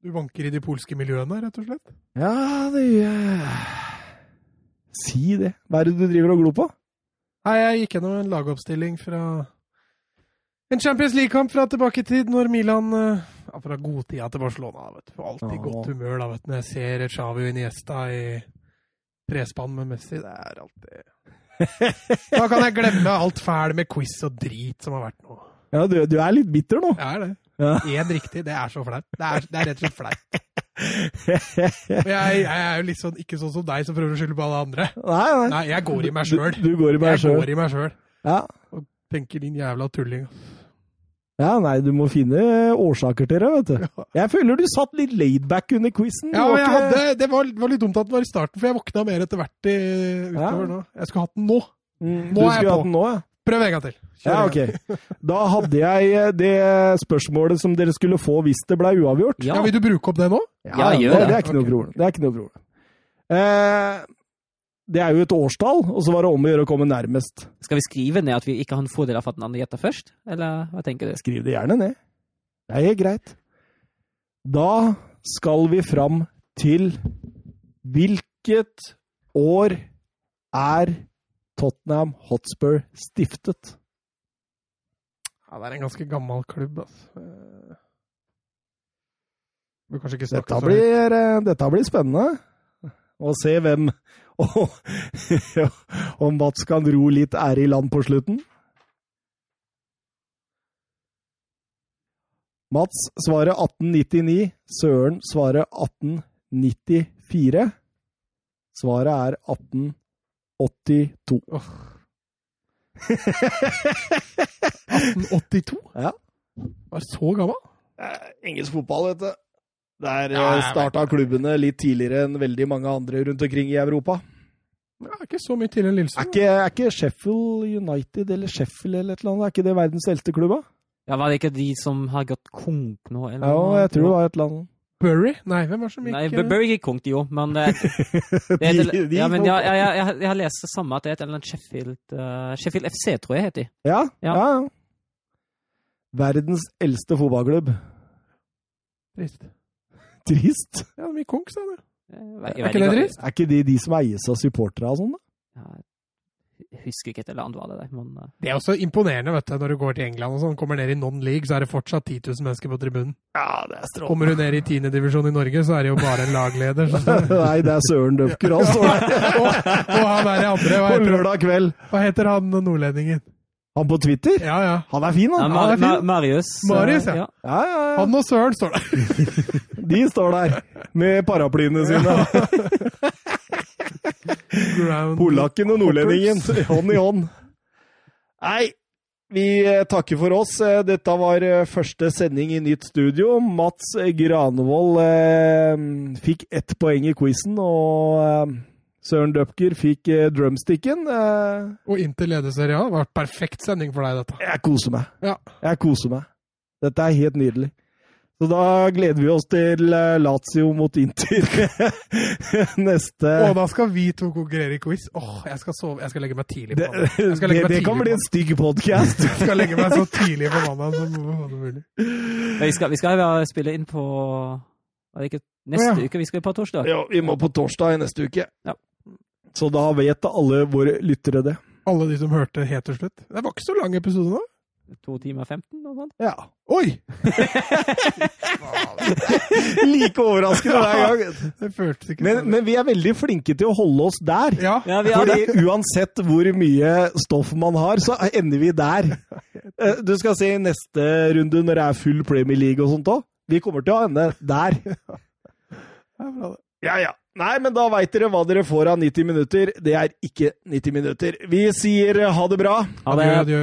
A: Du vanker i de polske miljøene, rett og slett?
B: Ja, det gjør jeg. Si det. Hva er det du driver og glor på?
A: Nei, jeg gikk gjennom en lagoppstilling fra en Champions League-kamp fra tilbake i tid, når Milan eh, ja, Fra godtida til Barcelona, da, vet du. Får Alltid
B: Ja.
A: godt humør da, vet du. når jeg ser Xavi og Iniesta i trespann med Messi. Det er *laughs* alltid Da kan jeg glemme alt fæl med quiz og drit som har vært nå.
B: Ja, du, du er litt bitter nå.
A: Det er det.
B: Ja.
A: Én riktig, det er så flaut. Det, er- det er rett og slett *laughs* flaut. Og jeg, jeg er jo litt sånn, ikke sånn som deg som prøver å skylde på alle andre.
B: Nei, nei.
A: Nei, jeg går i meg
B: Du,
A: sjøl.
B: du går i meg
A: Jeg
B: sjøl.
A: går i meg sjøl.
B: Ja.
A: Tenker din jævla tulling.
B: ja, nei, du må finne årsaker til det, vet du. Jeg føler du satt litt laidback under quizen.
A: Ja, men jeg hadde, det var, det var litt dumt at den var i starten, for jeg våkna mer etter hvert i, utover
B: Ja.
A: nå. Jeg skulle hatt den nå.
B: Mm,
A: Nå
B: du
A: er jeg
B: skulle
A: på.
B: hatt den nå, ja.
A: Prøv en gang til. Kjør
B: Ja,
A: en gang til.
B: ok. Da hadde jeg eh, det spørsmålet som dere skulle få hvis det ble uavgjort.
A: Ja,
C: Ja,
A: Vil du bruke opp det nå?
C: Ja, gjør
B: det.
C: det.
B: Det er ikke noe
A: Ok.
B: problem. Det er ikke noe problem. Eh, det er jo et årstall, og så var det om å gjøre å komme nærmest.
C: skal vi skrive ned at vi ikke har en fordel av at den andre gjetter først? Eller hva tenker du?
B: Skriv det gjerne ned. Det er helt greit. Da skal vi fram til hvilket år er Tottenham Hotspur stiftet?
A: Ja, det er en ganske gammel klubb, altså. Eh, Bør kanskje ikke snakke så
B: Dette
A: høyt.
B: blir, eh, dette blir spennende. Å se hvem *laughs* Om Mats kan ro litt ære i land på slutten. Mats svarer 1899. Søren svarer 1894. Svaret er 1882.
A: 1882?
B: Ja.
A: Var så gammel?
B: Engelsk fotball, vet du. Der
A: Ja, jeg
B: starta klubbene litt tidligere enn veldig mange andre rundt omkring i Europa.
A: Ja, ikke så mye tidligere enn
B: Er
A: Lillesund.
B: ikke, er ikke Sheffield United eller Sheffield eller et eller annet, er ikke det verdens eldste klubb? da?
C: Ja, Var det ikke de som har gått konk nå? Eller
B: Ja,
C: noe?
B: jeg tror det var et eller annet.
A: Bury? Nei, hvem var det som gikk
C: Nei,
A: eh,
C: Burry gikk konk, de jo, men eh,
B: *laughs*
C: det, det er,
B: De- de
C: ja, men
B: gikk
C: jeg,
B: konk.
C: jeg, jeg, jeg har lest det samme, at det er et eller annet Sheffield eh, Sheffield FC, tror jeg heter de.
B: Ja, ja.
C: Ja.
B: ja. Verdens eldste fotballklubb.
A: Trist.
B: Trist.
A: eh, Ja, de gikk konk, sa du.
C: Jeg,
A: Er ikke det trist?
B: Er ikke det de som eies av supportere og sånn? da?
C: Jeg husker ikke et eller annet var det der, men eh,
B: Ah,
A: Det er også imponerende vet du, når du går til England og sånn, kommer ned i non-league, så er det fortsatt 10 000 mennesker på tribunen.
B: Ja, det er strålende.
A: Kommer du ned i tiendedivisjon i Norge, så er det jo bare en lagleder. Så.
B: *laughs* Nei, det er Søren Døfker han står *laughs* der
A: og, og han er i andre. Hva
B: på
A: heter,
B: lørdag kveld.
A: hva heter han nordlendingen?
B: Han på Twitter?
A: Ja, ja.
B: Han ah, er fin,
C: ja,
B: han.
C: Mar
A: det er fint.
C: Mar Marius. eh,
A: Marius, ja.
B: Ja, ja, ja.
A: Han og Søren står der.
B: De står der med paraplyene sine.
A: Ground.
B: Polakken og nordlendingen *laughs* hånd i hånd. Nei, vi eh, takker for oss. Eh, Dette var eh, første sending i nytt studio. Mats Granevold eh, fikk ett poeng i quizen, og eh, Søren Døpker fikk eh, drumsticken. Eh,
A: Og inntil ledeserie A. Det var perfekt sending for deg, dette.
B: jeg koser meg.
A: Ja.
B: Jeg koser meg. Dette er helt nydelig. Så da gleder vi oss til eh, Lazio mot Inter *laughs* neste
A: Og da skal vi to konkurrere i quiz. Åh, jeg skal sove. Jeg skal legge meg tidlig på
B: det,
A: mandag. Jeg skal
B: det,
A: legge meg
B: det
A: tidlig
B: kan
A: på-
B: bli en stygg podkast.
A: Jeg skal legge meg så tidlig på mandag som overhodet mulig.
C: Men Vi skal, vi skal jo spille inn på er det ikke neste
A: Å, ja.
C: uke, vi skal på torsdag.
B: Ja, vi må på torsdag i neste uke.
C: Ja.
B: Så da vet alle våre lyttere det.
A: Alle de som hørte helt til slutt. Det var ikke så lang episode nå.
C: To timer 15 og sånt.
B: Ja.
A: Oi!
B: *laughs* Like overraskende hver gang.
A: Det føltes ikke
B: Men,
A: sånn.
B: men vi er veldig flinke til å holde oss der.
A: Ja.
C: Ja, vi har det.
B: Fordi uansett hvor mye stoff man har, så ender vi der. Eh, Du skal se i neste runde, når det er full Premier League og sånt òg. Vi kommer til å ende der.
A: det er bra det.
B: Ja, ja. Nei, men da veit dere hva dere får av 90 minutter. Det er ikke 90 minutter. Vi sier ha det bra.
C: Ha
A: Adjø,
C: det.
A: adjø.